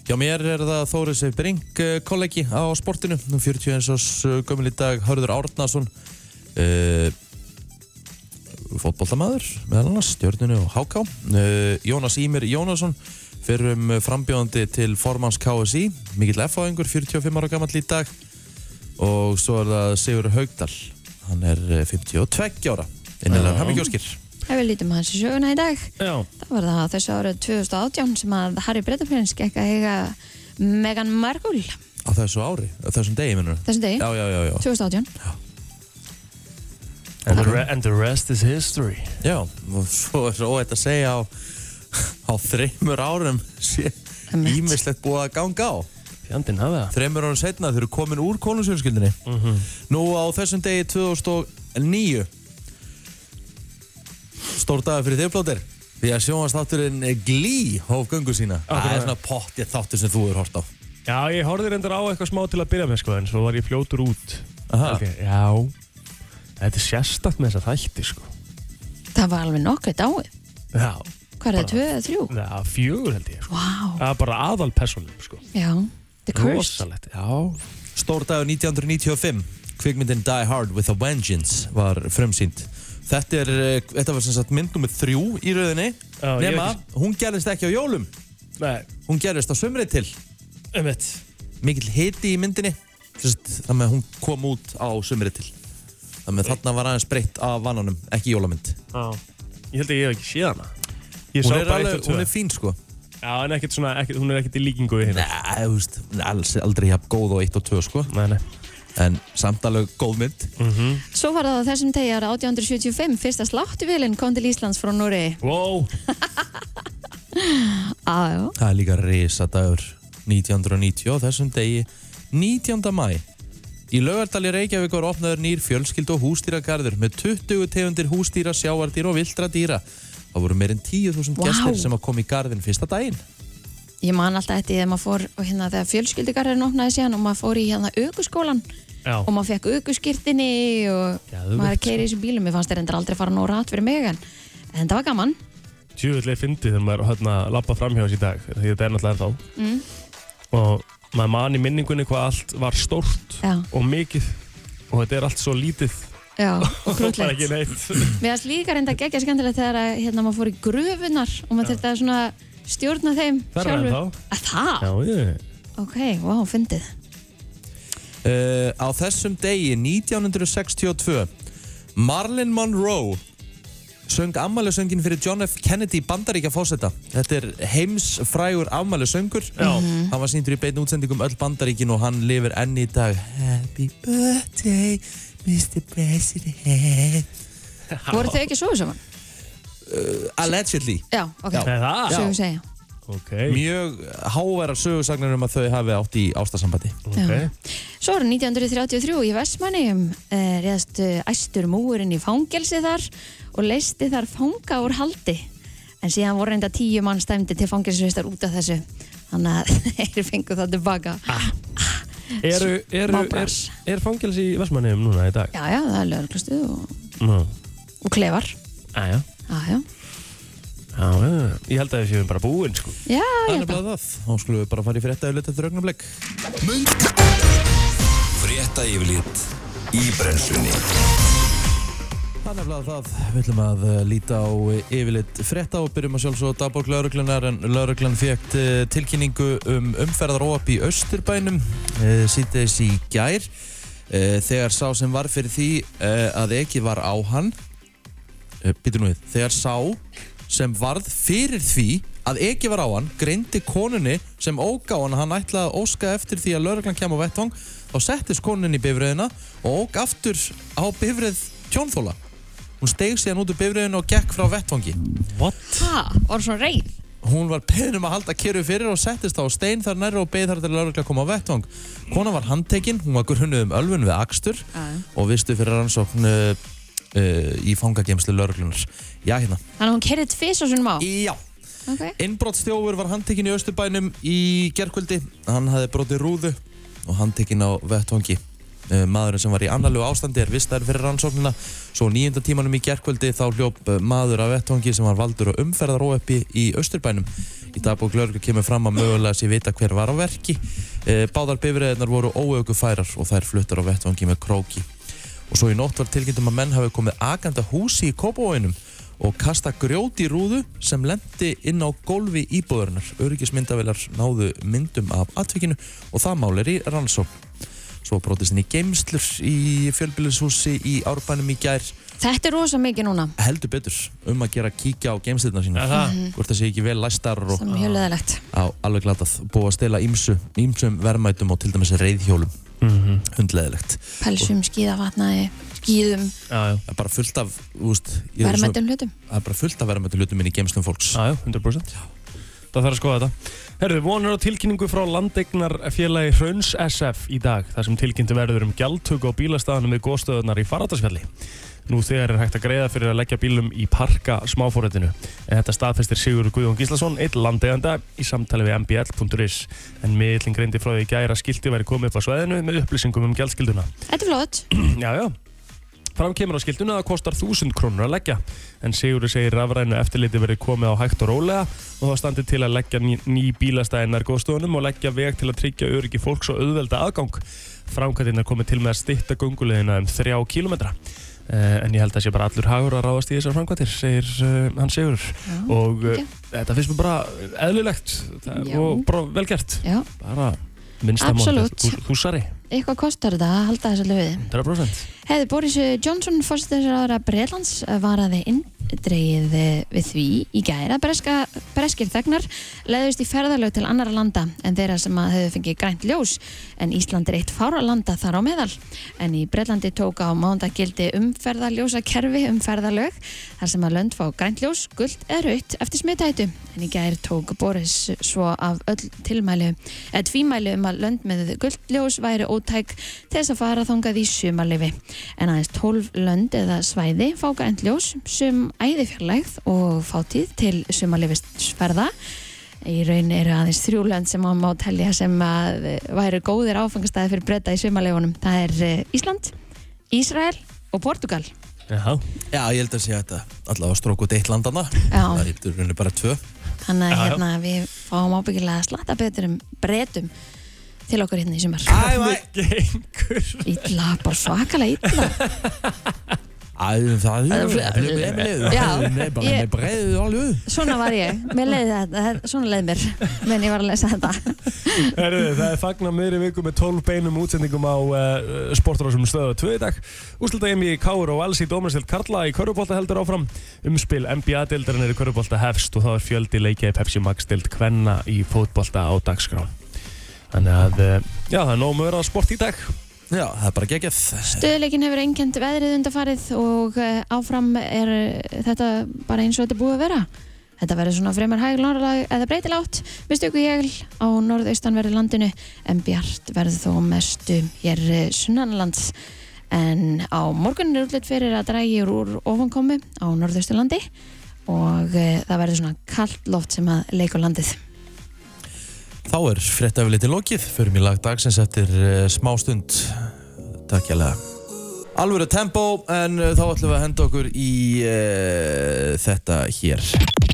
[SPEAKER 1] Já, mér er það Þórið Seif Brink, eh, kollegi á sportinu, nú 41 árs eh, gömul í dag, Hörður Árnason, uh, fótboltamaður, meðal annars, stjörnunu og háká, uh, Jónas Ímir Jónasson, fyrrum frambjóðandi til formans KSI, mikill F-áðingur, 45 ára gammal í dag, og svo er það Sigur Haugdal, hann er eh, 52 ára, innilega
[SPEAKER 3] Já.
[SPEAKER 1] hann ekki óskir.
[SPEAKER 2] Ef við lítum hans í söguna í dag,
[SPEAKER 3] Já,
[SPEAKER 2] það var það á þessu árið 2018 sem að Harry Breitafjörns gekk að eiga Meghan Markle
[SPEAKER 1] Á þessu ári, á þessum degi minnur.
[SPEAKER 2] þessum degi,
[SPEAKER 1] Já, já, já, já.
[SPEAKER 2] 2018.
[SPEAKER 3] and the, re and the rest is history
[SPEAKER 1] Já, og svo er óætt að segja á, á þreymur árum sé
[SPEAKER 2] Einmitt.
[SPEAKER 1] ímislegt búið að ganga á.
[SPEAKER 3] fjandinn hafa það
[SPEAKER 1] Þreymur árum setna þau eru komin úr konungsfjölskyldinni.
[SPEAKER 3] Mhm.
[SPEAKER 1] Nú á þessum degi 2009, stór dagar fyrir þig blóttir, því að sjónastátturinn Glee hóf göngu sína. Það er
[SPEAKER 3] Akkurat.
[SPEAKER 1] svona pottið þáttur sem þú er hort á.
[SPEAKER 3] Já, ég horfði reyndar á eitthvað smá til að byrja með sko, en svo var ég fljótur út
[SPEAKER 1] Aha.
[SPEAKER 3] Held ég, Já, þetta er sérstakt með þessa þætti sko.
[SPEAKER 2] Það var alveg nokkuð dáið.
[SPEAKER 3] Já,
[SPEAKER 2] Hvað er það, tvö eða þrjú?
[SPEAKER 3] það er fjögur held ég sko.
[SPEAKER 2] Vá,
[SPEAKER 3] Það er bara aðal personum sko.
[SPEAKER 2] já, The Cursed.
[SPEAKER 3] Rosalegt, já
[SPEAKER 1] Stór dagur 1995, kvikmyndin Die Hard with a Vengeance var frumsýnd. Þetta, er, eh, þetta var sem sagt mynd nummið þrjú í rauðinni,
[SPEAKER 3] Já, ég
[SPEAKER 1] nema
[SPEAKER 3] er
[SPEAKER 1] hún gerðist ekki á jólum,
[SPEAKER 3] Nei,
[SPEAKER 1] hún gerðist á sömri til.
[SPEAKER 3] um eitt
[SPEAKER 1] Mikill hiti í myndinni, sem sagt, þannig að hún kom út á sömri til. Þannig að þarna var aðeins breytt af vananum, ekki jólamynd.
[SPEAKER 3] Ég held að ég hef ekki séð hana Ég
[SPEAKER 1] Hún
[SPEAKER 3] sá
[SPEAKER 1] er,
[SPEAKER 3] bara
[SPEAKER 1] alveg,
[SPEAKER 3] eitt og
[SPEAKER 1] hún
[SPEAKER 3] tvö
[SPEAKER 1] er fín sko.
[SPEAKER 3] Já, en ekkert svona, ekkert, hún er ekkert í líkingu við hérna
[SPEAKER 1] Nei, þú veist, hún er alls, aldrei jafn góð og eitt og tvö sko.
[SPEAKER 3] Nei, nei
[SPEAKER 1] en Mhm. samt alveg góð mynd
[SPEAKER 2] Svo var það á þessum degi ára 1875 fyrsta sláttuvélinn kom til Íslands frá Núri.
[SPEAKER 3] Wow,
[SPEAKER 2] Aðjó.
[SPEAKER 1] það er líka risadagur 1990 og þessum degi 19. mæ í Laugardal í Reykjavík var opnaður nýr fjölskyld og hústýragarður með 20 tegundir hústýra, sjávardýra og vildra dýra það voru meirinn 10.000
[SPEAKER 2] Vá.
[SPEAKER 1] gestir sem að koma í garðin fyrsta daginn
[SPEAKER 2] Ég man alltaf eftir þegar maður fór og hérna þegar fjölskyldigarðurinn opnaði síðan og maður fór í hérna aukuskólan
[SPEAKER 3] já,
[SPEAKER 2] og maður fekk aukuskirtinni og
[SPEAKER 3] Geðveikt,
[SPEAKER 2] maður er keiri í þessum bílum. Mér fannst þeir endur aldrei fara nóg rætt fyrir mig en, en það var gaman.
[SPEAKER 3] tjúvillig fyndið þegar maður hérna lappa framhjá þessi í dag því þetta er náttúrulega þá
[SPEAKER 2] Mm.
[SPEAKER 3] og maður man í minningunni hvað allt var stórt
[SPEAKER 2] Já,
[SPEAKER 3] og mikið og þetta er allt svo lítið
[SPEAKER 2] já,
[SPEAKER 3] og
[SPEAKER 2] og
[SPEAKER 3] bara
[SPEAKER 2] krútlegt.
[SPEAKER 3] ekki neitt
[SPEAKER 2] Mér fannst líka reynda að gegja skemmtilegt þegar að, hérna, maður fór í gröfunar og maður þurfti að svona stjórna þeim
[SPEAKER 3] Það er
[SPEAKER 2] sjálfur.
[SPEAKER 3] hann
[SPEAKER 2] Að það?
[SPEAKER 3] þá Já, ég
[SPEAKER 2] Ok, vá, fyndið.
[SPEAKER 1] uh, á þessum degi 1962 Marlon Monroe söng afmælusöngin fyrir John F. Kennedy bandaríkja fósetta þetta er heimsfrægur afmælusöngur
[SPEAKER 3] Já, Mhm.
[SPEAKER 1] Hann var síndur í beinu útsendingum öll bandaríkin og hann lifir enn í dag Happy birthday Mr. President
[SPEAKER 2] Voru þau ekki svo saman?
[SPEAKER 1] Allegedly
[SPEAKER 2] Já, ok.
[SPEAKER 1] Já.
[SPEAKER 3] er það?
[SPEAKER 2] Svo ég segja.
[SPEAKER 3] Ok,
[SPEAKER 1] Mjög háværar sögursagnar um að þau hafi átt í ástasambandi
[SPEAKER 3] ok
[SPEAKER 2] Já. Svo ára 1933 í Vestmannum eh, reðast eh, æstur múurinn í fangelsi þar og leisti þar fanga úr haldi en síðan voru reynda tíu mann stæmdi til fangelsisvistar út af þessu þannig að þeir fengu það tilbaka
[SPEAKER 1] Ah.
[SPEAKER 3] Eru, eru,
[SPEAKER 2] Smá
[SPEAKER 3] er,
[SPEAKER 2] bras.
[SPEAKER 3] er fangils í Vestmanniðum núna í dag?
[SPEAKER 2] Já, já, það er lögurklustu og,
[SPEAKER 3] Nú,
[SPEAKER 2] og klefar
[SPEAKER 3] aðja
[SPEAKER 2] Já, já,
[SPEAKER 3] Já, já, já. ég held að við séum bara búin sko.
[SPEAKER 2] já,
[SPEAKER 1] Það
[SPEAKER 2] já
[SPEAKER 1] er bara það Þá skulum við bara fara í frétta yfirlit eftir augnablik
[SPEAKER 5] Frétta yfirlit í brenslunni
[SPEAKER 1] Það er nefnilega það, við ætlum að eh, líta á eh, yfirlit frétta og byrjum að sjálfsögða dagbók lauruglunar en lauruglan fekk tilkynningu um umferðaróap í Östurbænum síðdeis í gær eh, þegar sá sem var fyrir því eh, að ekki var á hann býtur Eh, nú við, þegar sá sem varð fyrir því að ekki var á hann, greindi konunni sem óg á hann, hann ætlaði að óska eftir því að lauruglan kem á vettvang þá settist konunni í bifröðina og óg aftur á bifröð tjónþóla hún steig síðan út úr bifröðinu og gekk frá vettvangi
[SPEAKER 3] What?
[SPEAKER 2] Ha, voru svona reyð
[SPEAKER 1] hún var beðin um að halda kyrru fyrir og settist á stein þar nærra og beð þar til laurugla kom á vettvang konan var handtekinn, hún var grunnuð um ölfun við akstur
[SPEAKER 2] Þannig
[SPEAKER 1] og vistu fyrir rannsókn uh, uh, í fangagemslu lauruglunar já hérna,
[SPEAKER 2] að hún kerði tvis og svona má
[SPEAKER 1] já
[SPEAKER 2] okay.
[SPEAKER 1] Innbrottsþjófur var handtekinn í Östurbænum í gerkvöldi. Hann hafði brotið rúðu og handtekinn á vettvangi. Eh, Maðurinn sem var í annarlegu ástandi er vistaður fyrir rannsóknina. Svo á níunda tímanum í gerkvöldi þá hljóp eh, maður af vettvangi sem var valdur og umferðaróöppi í Östurbænum. Í dagbók lauruglu kemur fram að mögulega sé vita hver var á verki. Eh, Báðar bifræðinar voru óögu færar og þær fluttar á vettvangi með króki. Og svo í nótt var tilkynntum að menn hafi komið aganda húsi í Kópavóinum og kasta grjóti í rúðu sem lendi inn á gólfi íbúðurinnar. Öryggismyndavilar náðu myndum af atvikinu og það mál er í rannsókn. Svo brotist inn í geimslur í fjölbýlishúsi í árbænum í gær
[SPEAKER 2] Þetta er rosa mikið núna
[SPEAKER 1] heldur betur um að gera kíkja á geimslirna sína.
[SPEAKER 3] Er það?
[SPEAKER 1] Hvort það sé ekki vel læstar og
[SPEAKER 2] Það er mjög leðilegt
[SPEAKER 1] á alveg glatað búið að stela ímsu, ímsum verðmætum og til dæmis reyðhjólum.
[SPEAKER 3] Mm -hmm.
[SPEAKER 1] Hundleðilegt.
[SPEAKER 2] Pelsum, skíðavatnaði, skíðum,
[SPEAKER 3] Já, já,
[SPEAKER 1] Það er bara fullt af, úst,
[SPEAKER 2] verðmöndum hlutum
[SPEAKER 1] það er bara fullt af verðmættu hlutum inn í geimslum fólks.
[SPEAKER 3] já, já, 100% Það þarf að skoða þetta Herðu, vonur á tilkynningu frá landegnarfélagi Hrauns SF í dag þar sem tilkynntu verður um gjaldtöku á bílastæðanum við góðstöðunar í Faradalsfjalli Nú þegar er hægt að greiða fyrir að leggja bílum í parka smáfórættinu en þetta staðfestir Sigur Guðjón Gíslason eitt landeganda í samtali við mbl.is en miðlinn greindi frá því í gær að skilti væri komið upp á sveðinu með upplýsingum um gjaldskylduna
[SPEAKER 2] Þetta er flott
[SPEAKER 3] Já, já. Fram kemur á skildunni að það kostar 1000 krónur að leggja en Sigurður segir rafrænu eftirliti verið komið á hægt og rólega og það standi til að leggja ný, ný bílastæðinar góðstofunum og leggja veg til að tryggja öryggi fólks og auðvelda aðgang. Framkvæmdinnar komið til með að stitta gungulegina um 3 kilometra. Uh, en ég held að sé bara allur hagur að ráðast í þessar framkvæmdir, segir uh, hann Sigurður.
[SPEAKER 2] Já,
[SPEAKER 3] Og uh,
[SPEAKER 2] ok.
[SPEAKER 3] þetta finnst mér bara eðlilegt það,
[SPEAKER 2] Já.
[SPEAKER 3] og bara velgert.
[SPEAKER 2] Já,
[SPEAKER 3] Bara minnsta
[SPEAKER 2] Absolutt.
[SPEAKER 3] Þú, þú sari.
[SPEAKER 2] eitthvað kostar þetta að halda þessu alveg við.
[SPEAKER 3] 100%
[SPEAKER 2] Hefði Boris Johnson, fórstæðisraðara Breitlands, varaði inndreið við því í gæra. Breska, breskir þegnar leiðist í ferðalög til annara landa en þeirra sem að hefðu fengið grænt ljós en Ísland er eitt fára landa þar á meðal. En í Breitlandi tók á um mándagildi umferðaljósakerfi umferðalög þar sem að lönd fá grænt ljós, guld eða raut eftir smittætu. En í gær tók Boris svo af öll tilmæli eða tvímæli um að lönd með guld ljós væri ótæk til þess að fara þangað í sumarlifi. En aðeins 12 lönd eða svæði fá grænt ljós sem æði fjarlægð og fátíð til sumarlifisferða. Í raun eru aðeins þrjú lönd sem maður má telja sem að eh, væru góðir áfangastæði fyrir breyta í sumarlifunum. Það er eh, Ísland, Ísrael og Portugal.
[SPEAKER 3] Jaha,
[SPEAKER 1] Já, ég held að segja þetta allavega strókut eitt landana Það
[SPEAKER 2] Já,
[SPEAKER 1] er í rauninni bara tvö
[SPEAKER 2] þannig að
[SPEAKER 3] Já, já.
[SPEAKER 2] hérna, við fáum ábyggilega að slatta betur um breytum til okkur hérna í sumar.
[SPEAKER 1] æ
[SPEAKER 3] gengur
[SPEAKER 2] Ítla, bara svakalega ítla.
[SPEAKER 1] Æ, það
[SPEAKER 2] Það er
[SPEAKER 1] er
[SPEAKER 2] Já,
[SPEAKER 1] Ég
[SPEAKER 2] ég-
[SPEAKER 1] er breiðið alveg
[SPEAKER 2] Svona var ég, mér leiði þetta, þetta- svona leiði mér, menn ég var að lesa þetta.
[SPEAKER 3] Herðu, það er fagnar miðri viku með 12 beinum útsendingum á uh, sportrásum stöðu 2 í dag. Úslitaðum í Káur og Alls í Dómarstild Karla í Körubólta heldur áfram. Umspil NBA-dildarinn er í Körubólta hefst og þá er fjöldi leikja í Pepsi Max-dild Kvenna í fótbolta á dagskrá. Þannig að, uh, já, það er nóg mögur á sport í dag.
[SPEAKER 1] Já, það er bara geggjað
[SPEAKER 2] Stöðleikin hefur engjönd veðrið undarfarið og eh, áfram er eh, þetta bara eins og þetta er búið að vera. Þetta verður svona fremur hæg norðlag eða breytilátt með stöku jægl á norðaustanverðu landinu en bjart verður þó mestu hér eh, sunnanlands. En á morgun er útlitt fyrir að drægi úr ofankomi á norðausturlandi og eh, það verður svona kallt loft sem að leikur landið.
[SPEAKER 1] Þá er fréttafiliti lokið, förum í lag dagsins eftir uh, smá stund. Takk jæglega. Alvöru tempo, en uh, þá ætlum við að henda okkur í uh, þetta hér.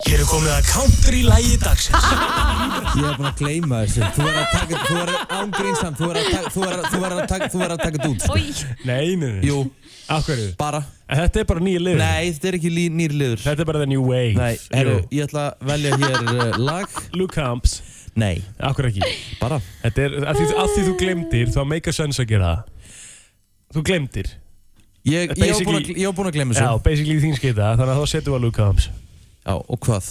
[SPEAKER 5] Hér er komið að country lægi dagsins
[SPEAKER 1] Ég er búin að gleyma þessu. Þú er að taka, þú er ángrinsam, þú er að taka, þú er að, þú er að taka, þú er að taka þetta út. sko.
[SPEAKER 2] Oj,
[SPEAKER 3] Nei, nei, nei.
[SPEAKER 1] Jú,
[SPEAKER 3] Af hverju?
[SPEAKER 1] bara.
[SPEAKER 3] En Þetta er bara nýja liður.
[SPEAKER 1] Nei, þetta er ekki lí, nýr liður.
[SPEAKER 3] Þetta er bara the new wave.
[SPEAKER 1] Nei, herru,
[SPEAKER 3] Jú.
[SPEAKER 1] ég ætla að velja hér uh, lag.
[SPEAKER 3] Luke Camps.
[SPEAKER 1] Nei,
[SPEAKER 3] Af hverju ekki?
[SPEAKER 1] bara.
[SPEAKER 3] Þetta er, af því, af því þú glemdir, þá make a sense að gera það. Þú glemdir.
[SPEAKER 1] Ég, ég var búin að,
[SPEAKER 3] Basically-
[SPEAKER 1] ég var búin að gleyma
[SPEAKER 3] Já,
[SPEAKER 1] þessu.
[SPEAKER 3] basically þín skita, þannig að þá setjum við að Luke Combs.
[SPEAKER 1] Já, og hvað?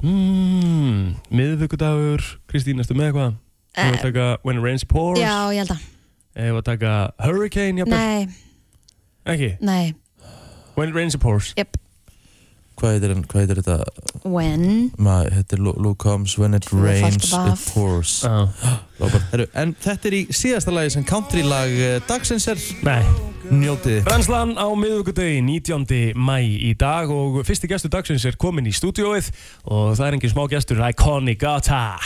[SPEAKER 3] Mmm, miðvöggudagur, Kristín, erstu með eitthvað? Ég var að taka When It Rains Pours,
[SPEAKER 2] Eh, já, ég held að.
[SPEAKER 3] ég var að taka Hurricane, jafnvel,
[SPEAKER 2] Nei,
[SPEAKER 3] ekki?
[SPEAKER 2] nei,
[SPEAKER 3] When It Rains Pours.
[SPEAKER 2] jöp.
[SPEAKER 1] Hvað heitir, hann- hvað heitir þetta?
[SPEAKER 2] When?
[SPEAKER 1] Ma, þetta er Lu- Luke Combs When It
[SPEAKER 2] Tvöfalt
[SPEAKER 1] Rains It
[SPEAKER 2] vaf.
[SPEAKER 1] Pours
[SPEAKER 3] Já.
[SPEAKER 1] Frábært. Herru, En þetta er í síðasta lagi sem country lag dagsins er
[SPEAKER 3] Nei.
[SPEAKER 1] Njótið þið.
[SPEAKER 3] Brennslan á miðvöggudagi 19. mæ í dag og fyrsti gestur dagsins er komin í stúdióið og það er engin smá gestur, Iconic Gata.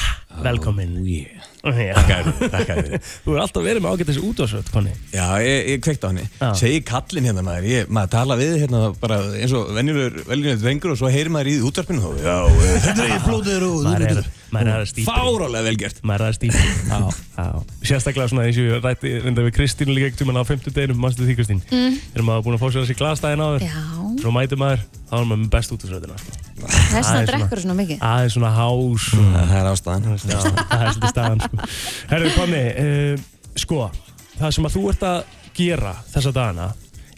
[SPEAKER 3] Velkomin. Oh, yeah.
[SPEAKER 6] Þakka þér, þakka þér.
[SPEAKER 3] Þú er alltaf verið með ágættis útvarsvöld, Conny.
[SPEAKER 6] Já, ég, ég kveikt á henni.
[SPEAKER 3] Já.
[SPEAKER 6] Segir kallinn hérna maður, ég, maður tala við hérna bara eins og venjulegur, venjulegur drengur og svo heyrir maður í því útvarpinu þá. Já, eh, þetta er ég blóður og
[SPEAKER 3] Ah, maður er, maður er að stípa
[SPEAKER 6] Fárálega vel gert.
[SPEAKER 3] maður er að stípa Já. sérstaklega svona eins og ég rætti reynda við Kristínu líka ekkert um hann á 50 deginum mannstu því Kristín mm. er maður búin að fá sér þessi glasdægin áður
[SPEAKER 2] Já,
[SPEAKER 3] svo mæti maður þá er maður með best útvarsvöldina
[SPEAKER 2] þess
[SPEAKER 3] Það
[SPEAKER 2] að
[SPEAKER 3] er
[SPEAKER 2] drekkur svona mikið
[SPEAKER 3] aðeins svona hás og
[SPEAKER 6] Það er ástæðan.
[SPEAKER 3] Já, það er svolítið staðan sko. Herru, Conny, uh, sko það sem að þú ert að gera þessa dagana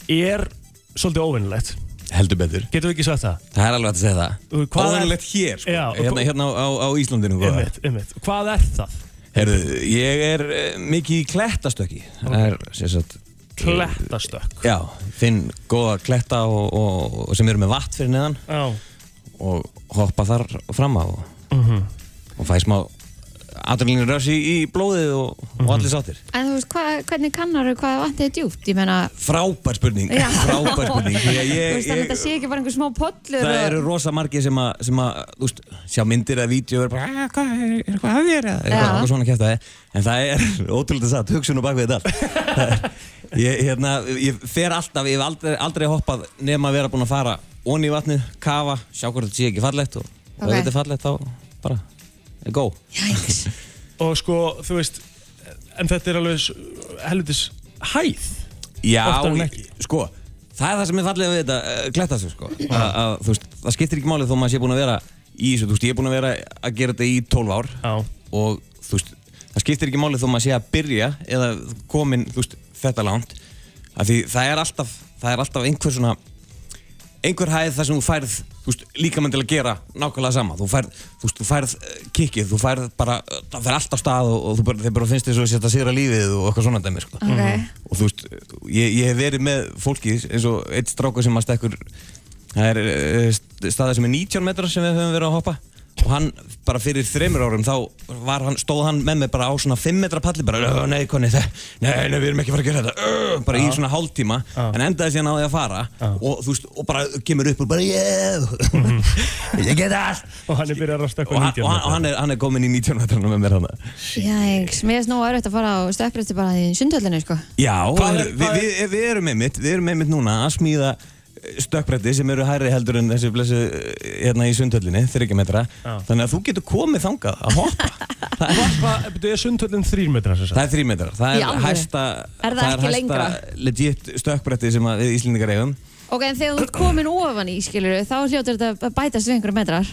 [SPEAKER 3] er svolítið óvinnilegt
[SPEAKER 6] Heldur betur.
[SPEAKER 3] getum við ekki sagt það?
[SPEAKER 6] Það er alveg hægt að segja það.
[SPEAKER 3] Og hvað er-
[SPEAKER 6] Óvanlegt hér, sko.
[SPEAKER 3] Já, og-
[SPEAKER 6] hérna, hérna á, á, á Íslandinu. góða.
[SPEAKER 3] Einmitt, einmitt. hvað er það?
[SPEAKER 6] Herðu, ég er eh, mikið í klettastökki. Það er, sem sagt,
[SPEAKER 3] klettastökk
[SPEAKER 6] já, finn góða kletta og, og, og sem eru með vatt fyrir neðan.
[SPEAKER 3] Já.
[SPEAKER 6] og hoppa þar fram á og, Mhm. og fæ smá adrenalin rösi í, í blóðið og, og
[SPEAKER 2] Mhm.
[SPEAKER 6] allir sáttir
[SPEAKER 2] En þú veist, hva, hvernig kannar þú hvað vatnið er djúpt? Ég meina,
[SPEAKER 6] frábær spurning
[SPEAKER 2] Já.
[SPEAKER 6] frábær spurning því að
[SPEAKER 2] þú
[SPEAKER 6] ég,
[SPEAKER 2] veist, þannig að
[SPEAKER 6] ég,
[SPEAKER 2] þetta sé ekki bara einhver smá pollur
[SPEAKER 6] það
[SPEAKER 2] og-
[SPEAKER 6] eru rosa margir sem að, sem að þú veist, sjá myndir eða vídeo og er bara, "Ah, hvað er er eitthvað að vera eitthvað,
[SPEAKER 2] Já.
[SPEAKER 6] eitthvað svona kæft en það er ótrúlega satt, hugsun og bakvið þetta allt. Það er- ég, hérna, ég fer alltaf, ég hef aldrei, aldrei hoppað nema að vera búin að fara onni í vatnið, kafa, sjá hvort þetta sé ekki fallegt og okay. ef
[SPEAKER 2] Ok.
[SPEAKER 6] þetta er fallegt þá bara, go
[SPEAKER 2] Jæks,
[SPEAKER 3] og sko, þú veist en þetta er alveg s- helvitis hæð
[SPEAKER 6] Já,
[SPEAKER 3] Oftar en
[SPEAKER 6] ég-
[SPEAKER 3] ekki.
[SPEAKER 6] sko, það er það sem er fallið við þetta uh, kletta sig, sko að, að, þú veist, það skiptir ekki málið þó maður sé búin að vera í þessu, þú veist, ég er búin að vera að gera þetta í 12 ár
[SPEAKER 3] Já.
[SPEAKER 6] og þú veist, það skiptir ekki máli þó maður sé að byrja eða komin, þú veist, þetta langt af því það er alltaf, það er alltaf einhver svona einhver hæð þar sem þú færð þú veist, líkamann til að gera nákvæmlega sama þú færð, þú veist, þú færð eh, kikkið þú færð bara, eh, það fer allt á stað og, og þú bara, þeir bara finnst þess að setja sér að lífið og eitthvað svona dæmi sko.
[SPEAKER 2] Ok.
[SPEAKER 6] og þú veist, ég, ég hef verið með fólki eins og eitt stráka sem að stekkur það er eh, st- staða sem er 19 metrar sem við höfum verið að hoppa og hann bara fyrir þreymur árum þá var hann, stóð hann með mig bara á svona 5 metra palli bara, "Ö, nei, konni, það, nei, nei, við erum ekki að fara að gera þetta Ö, bara í svona hálftíma en endaði síðan á því að fara og, þú veist, og bara kemur upp og bara yeah, ég get allt
[SPEAKER 3] Mhm. Og hann er byrjað að stökkva
[SPEAKER 6] og, hann,
[SPEAKER 3] 19
[SPEAKER 6] og hann, og hann, er, hann er komin í 19 metrana með mér hann
[SPEAKER 2] Jæks, mér er snú erfitt að fara á stöpbreytti bara í sundhöllinu, sko.
[SPEAKER 6] Já,
[SPEAKER 3] Hvað er-
[SPEAKER 6] við,
[SPEAKER 3] hvað er-
[SPEAKER 6] við, við erum einmitt við erum einmitt núna að smíða eh, stökkbretti sem eru hærri heldur en þessi blessu eh, hérna í sundhöllinni, 30 metra
[SPEAKER 3] Já.
[SPEAKER 6] þannig að þú getur komið þangað að hoppa það, er,
[SPEAKER 3] Hvað, betur ég eh, sundhöllin þrír metrar sem
[SPEAKER 6] það
[SPEAKER 3] sagt?
[SPEAKER 6] er 3 metrar,
[SPEAKER 2] Í
[SPEAKER 6] það er
[SPEAKER 2] alvöru?
[SPEAKER 6] hæsta
[SPEAKER 2] Er það
[SPEAKER 6] er
[SPEAKER 2] ekki
[SPEAKER 6] hæsta
[SPEAKER 2] lengra?
[SPEAKER 6] legit stökkbretti sem að við Íslendingar eigum
[SPEAKER 2] Ok, en þegar þú ert komin ofan í, skilur, þá hljótur þetta að bætast við einhverjum metrar.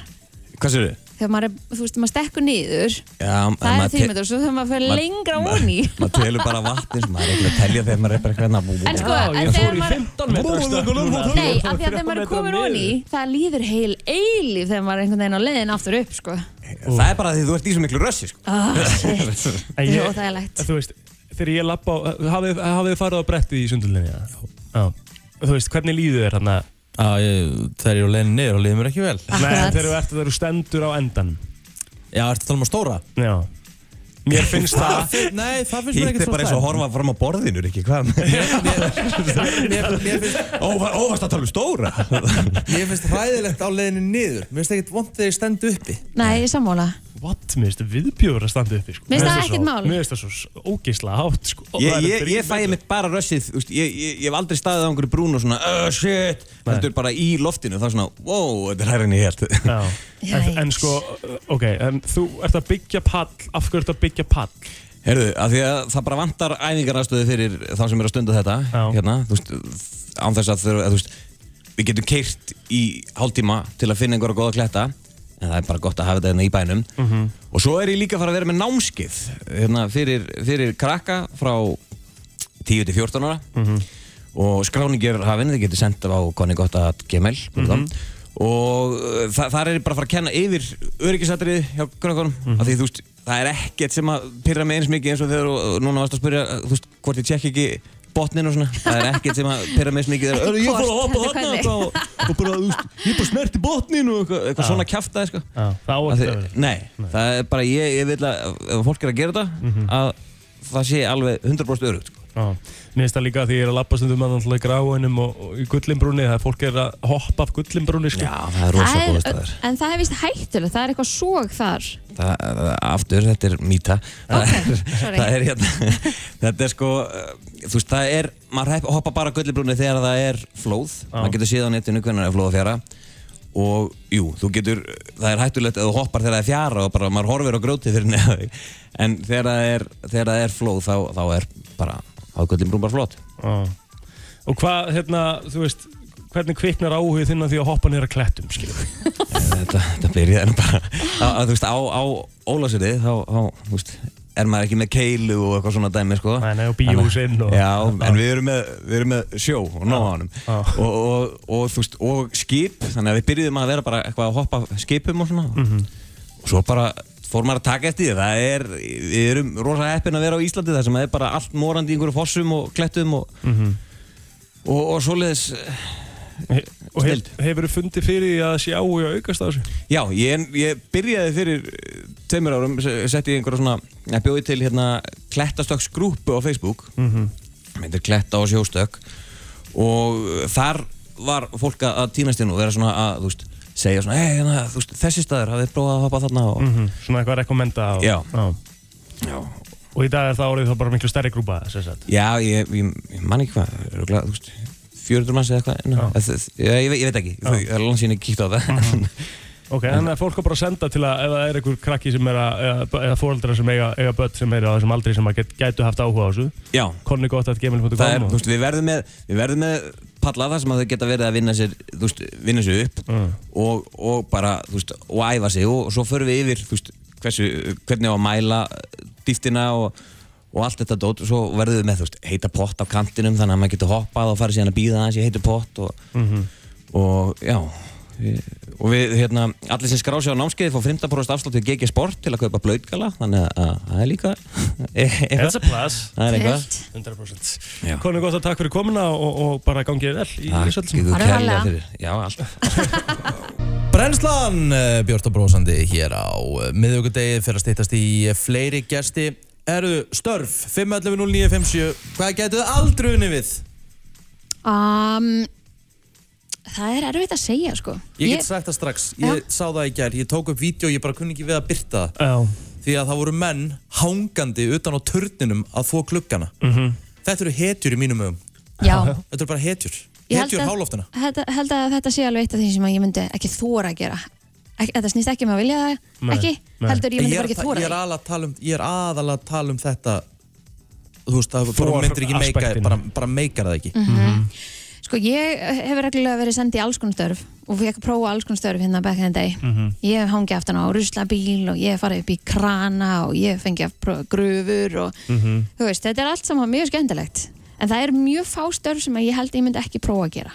[SPEAKER 6] Hvað sér þau?
[SPEAKER 2] Þegar maður, er, þú veist, maður stekkur niður, það er
[SPEAKER 6] Það
[SPEAKER 2] þrjum metrar, svo þurfum maður að fara lengra ofan í.
[SPEAKER 6] Maður telur bara vatnins, maður er ekki að telja þegar maður er bara hvernig
[SPEAKER 2] En
[SPEAKER 6] að
[SPEAKER 2] sko, en
[SPEAKER 3] ég
[SPEAKER 2] þegar
[SPEAKER 3] fór í
[SPEAKER 2] maður...
[SPEAKER 3] 15 metra stökk núna.
[SPEAKER 2] Nei, af því að þegar maður er
[SPEAKER 3] 13
[SPEAKER 2] komin
[SPEAKER 3] metra
[SPEAKER 2] ofan í, það líður heil eilíf þegar maður er einhvern veginn á leiðin aftur upp, sko.
[SPEAKER 6] Það er bara því þú ert í svo miklu rössi sko.
[SPEAKER 2] Ah, shit.
[SPEAKER 3] En
[SPEAKER 2] Þetta er
[SPEAKER 3] ég-
[SPEAKER 2] óþægilegt.
[SPEAKER 3] Þú veist, þegar ég lappa á, eh, hafið hafið þið farið á brettið í sundhöllinni? Já. Já. Þú veist, hvernig líður þér þarna?
[SPEAKER 1] Já, ég- þegar ég er á leiðin niður og leiðin mér ekki vel
[SPEAKER 3] Nei,
[SPEAKER 2] Akkurat.
[SPEAKER 3] þegar þú ert þegar þú stendur á endan.
[SPEAKER 1] Já, ertu að tala um að stóra?
[SPEAKER 3] Já. Mér finnst það...
[SPEAKER 1] Nei, það finnst mér
[SPEAKER 6] Hitt
[SPEAKER 1] ekkert
[SPEAKER 6] er bara eins og að horfa fram á borðinu, ekki hvað
[SPEAKER 1] Mér finnst
[SPEAKER 6] Óvast að tala um stóra
[SPEAKER 1] Mér finnst hræðilegt á leiðinu niður Mér finnst ekkert vond þegar ég stend uppi
[SPEAKER 2] Nei, ég er sammála.
[SPEAKER 3] What? Mér finnst það viðbjóður að standa uppi, sko.
[SPEAKER 2] Mér finnst það
[SPEAKER 3] svo-
[SPEAKER 2] ekkert mál.
[SPEAKER 3] Mér finnst það svo ógeislega hátt, sko. Og
[SPEAKER 6] Ég,
[SPEAKER 3] það er
[SPEAKER 6] ég,
[SPEAKER 3] þrír
[SPEAKER 6] ég fæ
[SPEAKER 3] metrar.
[SPEAKER 6] mitt bara rössið úst, ég, ég, ég hef aldrei staðið á einhverju brún og svona Oh shit Þetta er bara í loftinu þá svona Wow, þetta er hærri en ég held
[SPEAKER 3] Já. En,
[SPEAKER 2] Yikes.
[SPEAKER 3] en sko, ok, en þú ert að byggja pall, af hverju ert að byggja pall?
[SPEAKER 6] Herðu, af því að það bara vantar æfingarastöðu fyrir þá sem eru að stunda þetta
[SPEAKER 3] Já.
[SPEAKER 6] hérna, þú veist, án þess að þau, þú veist, við getum keirt í hálftíma til að finna einhverja góða kletta en það er bara gott að hafa þetta hérna í bænum og svo er ég líka að fara að vera með námskið hérna, fyrir, fyrir krakka frá 10 til 14 ára og skráningi er hafinn, þið getur sendt á konnigott.gmail mm -hmm. og uh, þa þar er ég bara að fara að kenna yfir öryggisatrið hjá grökkunum af því þú veist, það er ekkert sem að pyrra mig eins mikið eins og þegar þú núna varst að spyrja uh, þú veist, hvort ég tjekk ekki botnin og svona, það er ekkert sem að pyrra mig eins mikið þegar
[SPEAKER 2] Ekki
[SPEAKER 6] "Ö, ég fór að
[SPEAKER 2] hvort,
[SPEAKER 6] hoppa
[SPEAKER 2] heldur
[SPEAKER 6] þarna
[SPEAKER 2] hvernig."
[SPEAKER 6] eitthvað og, og bara, þú veist, ég bara snerti botnin og eitthvað, eitthvað svona kjaftaði sko.
[SPEAKER 3] Já, það á
[SPEAKER 6] Af
[SPEAKER 3] ekki
[SPEAKER 6] því-
[SPEAKER 3] að vera.
[SPEAKER 6] Nei, það er bara ég, ég vil að ef fólk er að gera þetta
[SPEAKER 3] Mhm.
[SPEAKER 6] að það sé alveg 100% örugt sko.
[SPEAKER 3] Já, mér finnst það líka að því ég er að lappa stundum að náttúrulega gráinum og, og í gullinbrúni það er fólk er að hoppa af gullinbrúni sko.
[SPEAKER 6] Já, það er rosa góða
[SPEAKER 2] Það
[SPEAKER 6] staðar
[SPEAKER 2] er- En það er vist hættulegt, það er eitthvað sóg þar.
[SPEAKER 6] það, það- aftur, þetta er mýta það,
[SPEAKER 2] Ok,
[SPEAKER 6] er-
[SPEAKER 2] sorry.
[SPEAKER 6] það er hérna þetta er sko, uh, þú veist, það er maður hæpp- hoppar bara gullibrúni þegar það er flóð maður getur séð á netinu hvernig er flóð að fjara og jú, þú getur það er hættulegt að þú hoppar þegar það er fjara og bara maður horfir á grjótið fyrir neða þig. en þegar það er, þegar það er flóð þá, þá er bara, þá er gullibrún bara flót
[SPEAKER 3] Já. Og hvað, hérna, þú veist, hvernig kviknar áhugð þinn að því að hoppa nýra klettum, skiljum við?
[SPEAKER 6] þetta, þetta byrjaði nú bara að, að, þú veist, á, á Ólafsöri þá, þá, þú veist, er maður ekki með keilu og eitthvað svona dæmi, sko
[SPEAKER 3] Nei, nei, og bíóhúsinn og-
[SPEAKER 6] Já, en við erum með, við erum með sjó og nóg á honum
[SPEAKER 3] Já.
[SPEAKER 6] og, og, og, þú veist, og skip þannig að við byrjuðum að vera bara eitthvað að hoppa skipum og svona og svo bara fór maður að taka eftir því það er, við erum rosa heppin að vera á Íslandi þar sem það er bara allt morandi í einhverju fossum og klettum og,
[SPEAKER 3] Mhm.
[SPEAKER 6] og, og svoleiðis
[SPEAKER 3] Eh, Og hef,
[SPEAKER 6] Snilld.
[SPEAKER 3] hefur þú fundið fyrir því að þessi áhugð aukast á þessu?
[SPEAKER 6] Já, ég, ég byrjaði fyrir eh, tveimur árum, se- setti ég einhverja svona, ég bjóði til hérna klettastöksgrúpu á Facebook, mm
[SPEAKER 3] Mhm.
[SPEAKER 6] myndir kletta og sjóstök og eh, þar var fólk að- að týnast inn og vera svona að, þú veist, segja svona, hei, hérna, þú veist, þessi staður hafið þið prófað að hoppa þarna og,
[SPEAKER 3] Mhm, Svona eitthvað að rekommenda á...
[SPEAKER 6] Já. já,
[SPEAKER 3] Og í dag er það orðið þá bara miklu stærri grúpa, sem sagt.
[SPEAKER 6] já, ég, ég, ég man ekki hvað, örugglega, þú veist, 400 manns eða eitthvað, ná,
[SPEAKER 3] Já. Mhm.
[SPEAKER 6] ég, ég, ég, veit- ég veit ekki, þú, ég er langt síðan ég kíkt á það,
[SPEAKER 3] Ok, þannig að fólk er bara að senda til að ef það er einhver krakki sem er að, eða, eða fóreldrar sem eiga, eiga börn sem er á þessum aldri sem að get, gætu haft áhuga á þessu,
[SPEAKER 6] já,
[SPEAKER 3] konnigott.gmail.com
[SPEAKER 6] það er,
[SPEAKER 3] og-
[SPEAKER 6] þú veist, við verðum með, við verðum með palla þar sem að þau geta verið að vinna sér, þú veist, vinna sér upp
[SPEAKER 3] Mm.
[SPEAKER 6] og, og bara, þú veist, og æfa sig og, og svo förum við yfir, þú veist, hversu, hvernig á að mæla dýftina og, og allt þetta dót og svo verðum við með þú veist, heita pott á kantinum þannig að maður getur hoppað og farið síðan að býða aðeins í heitu pott og,
[SPEAKER 3] Mhm.
[SPEAKER 6] og já við- og við hérna, allir sem skrá sig á námskeiði fá 50% afslátt við GG Sport til að kaupa blautgala þannig að að Hérna, það er líka
[SPEAKER 3] That's a plus
[SPEAKER 6] það er eitthvað
[SPEAKER 3] 100% Konu gott að takk fyrir komuna og, og bara gangið vel í
[SPEAKER 6] Takk,
[SPEAKER 3] Ísöldsum
[SPEAKER 6] þú
[SPEAKER 2] Farðu
[SPEAKER 6] kærlega
[SPEAKER 2] varlega.
[SPEAKER 6] fyrir já, alltaf
[SPEAKER 1] Brennslan eh, Björt og brósandi hér á eh, miðvikudegi fyrir að stýttast í eh, fleiri gesti Eru störf 511-0957 Hvað gætu þið aldrei unni við?
[SPEAKER 2] Um, það er erfitt að segja sko
[SPEAKER 1] Ég get sagt það strax, ég sá það í gær Ég tók upp vídeo og ég bara kunni ekki við að byrta það
[SPEAKER 3] Já,
[SPEAKER 1] Því að það voru menn hangandi utan á turninum að þó klukkana -hmm. Þetta eru hetjur í mínum ögum
[SPEAKER 2] já,
[SPEAKER 1] Þetta eru bara hetjur
[SPEAKER 2] Ég held
[SPEAKER 1] Hetjur
[SPEAKER 2] að-
[SPEAKER 1] háloftuna
[SPEAKER 2] held, held að þetta sé alveg eitt af því sem að ég myndi ekki þóra að gera Ek, Þetta snýst ekki um að vilja það,
[SPEAKER 3] Nei,
[SPEAKER 2] ekki
[SPEAKER 3] nei.
[SPEAKER 2] heldur ég myndi
[SPEAKER 1] er
[SPEAKER 2] bara ekki
[SPEAKER 1] að-
[SPEAKER 2] þóra
[SPEAKER 1] ég er
[SPEAKER 2] því
[SPEAKER 1] aðalega að tala um, ég er aðalega að tala um þetta Þú veist, það bara
[SPEAKER 3] Þor-
[SPEAKER 1] myndir ekki meika,
[SPEAKER 3] aspektinu.
[SPEAKER 1] bara, bara meikar það ekki
[SPEAKER 2] Mhm. Sko ég hef reglulega verið sendið í alls konar störf og fekk að prófa alls konar störf hérna back in the day Ég hef hangið aftan á ruslabíl og ég hef farið upp í krana og ég hef fengið að prófa gröfur og þú veist, þetta er allt saman mjög skemmtilegt en það er mjög fá störf sem að ég held ég myndi ekki prófa að gera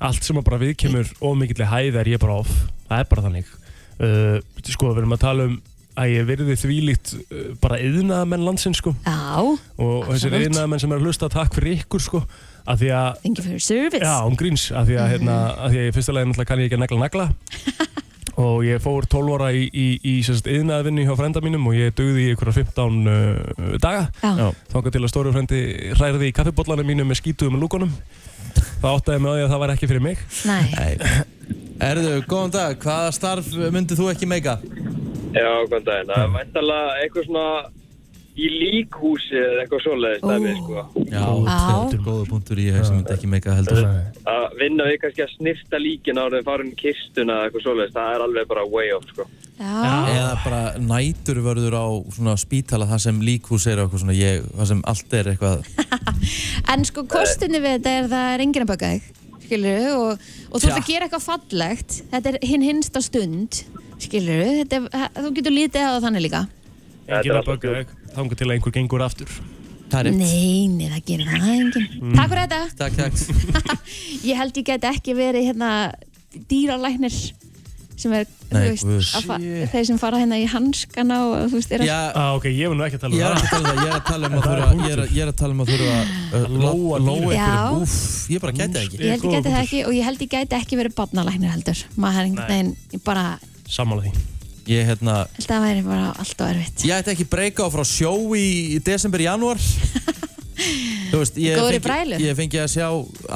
[SPEAKER 3] allt sem að bara viðkemur of mikill hæð er ég bara off það er bara þannig uh, sko við erum að tala um að ég verði þvílíkt uh, bara yðnaðamenn landsins sko
[SPEAKER 2] Já,
[SPEAKER 3] og þessir
[SPEAKER 2] Absolutt.
[SPEAKER 3] yðnaðamenn sem er að hlusta takk fyrir ykkur sko að því að
[SPEAKER 2] thank you for your service
[SPEAKER 3] Já, um gríns, af því að, hérna, af því að í fyrsta lagi náttúrulega kann ég ekki að negla nagla og ég fór 12 ára í, í, í yðnaðvinni hjá frenda mínum og ég dugði í einhverja 15 uh, daga
[SPEAKER 2] Já. Já.
[SPEAKER 3] þangað til að stóru frendi hræði í kaffibóllanum mínum með skítuðum og lúkunum þá áttaði ég mig á því að það var ekki fyrir mig
[SPEAKER 2] Nei,
[SPEAKER 1] Erðu, góðan dag, hvaða starf myndið þú ekki meika?
[SPEAKER 7] Já, góðan daginn. Það er væntalega eitthvað svona í líkhúsi eða eitthvað svoleiðist
[SPEAKER 2] Ó.
[SPEAKER 7] dæmi, sko.
[SPEAKER 1] Já,
[SPEAKER 2] Já.
[SPEAKER 1] þetta er góða punktur í þess að myndið ekki meika heldur
[SPEAKER 7] Að vinna við kannski að snirta líkin áður en farin kistuna eða eitthvað svoleiðist, það er alveg bara way off, sko.
[SPEAKER 2] já,
[SPEAKER 1] Eða bara nætur verður á svona spítala það sem líkhús er og eitthvað svona ég, það sem allt er eitthvað
[SPEAKER 2] en sko kostinni við þetta er það er enginn að baka þig skilur og, og þú ert að gera eitthvað fallegt þetta er hinn hinsta stund skilur þetta er, þú getur lítið á það þannig líka
[SPEAKER 7] Þetta
[SPEAKER 3] Engin
[SPEAKER 7] er
[SPEAKER 3] að bögga þig, þangu til að einhver gengur aftur
[SPEAKER 1] Það er rétt. Mm.
[SPEAKER 2] nei, nei, það gerir það enginn takk fyrir þetta,
[SPEAKER 1] Takk, takk
[SPEAKER 2] ég held ég get ekki verið hérna dýralæknir sem er,
[SPEAKER 1] Nei,
[SPEAKER 2] þú
[SPEAKER 1] guð.
[SPEAKER 2] veist, að fa- þeir sem fara hérna í hanskana og þú veist, er
[SPEAKER 1] Já,
[SPEAKER 3] ah, Ok, ég var nú ekki að tala
[SPEAKER 1] ég er
[SPEAKER 3] um
[SPEAKER 1] ekki
[SPEAKER 3] það
[SPEAKER 1] að tala um það, ég er að tala um að
[SPEAKER 3] Það er punktur.
[SPEAKER 1] þurfa ég er, ég er að tala um að þurfa uh,
[SPEAKER 3] Lóa
[SPEAKER 1] lóa
[SPEAKER 3] dýrin.
[SPEAKER 2] Já.
[SPEAKER 1] einhverjum, úff, ég bara gæti það ekki
[SPEAKER 2] Ég held ég gæti það ekki og ég held ég gæti ekki verið barnalæknir heldur. Maður er einhvern veginn, ég bara,
[SPEAKER 3] Sammála því
[SPEAKER 1] Ég, hérna,
[SPEAKER 2] held að það væri bara allt og erfitt.
[SPEAKER 1] ég ætti ekki breyka á frá sjó í, í desember, janúar Þú veist, ég
[SPEAKER 2] Góðri
[SPEAKER 1] fengi,
[SPEAKER 2] brælu.
[SPEAKER 1] ég fengi að sjá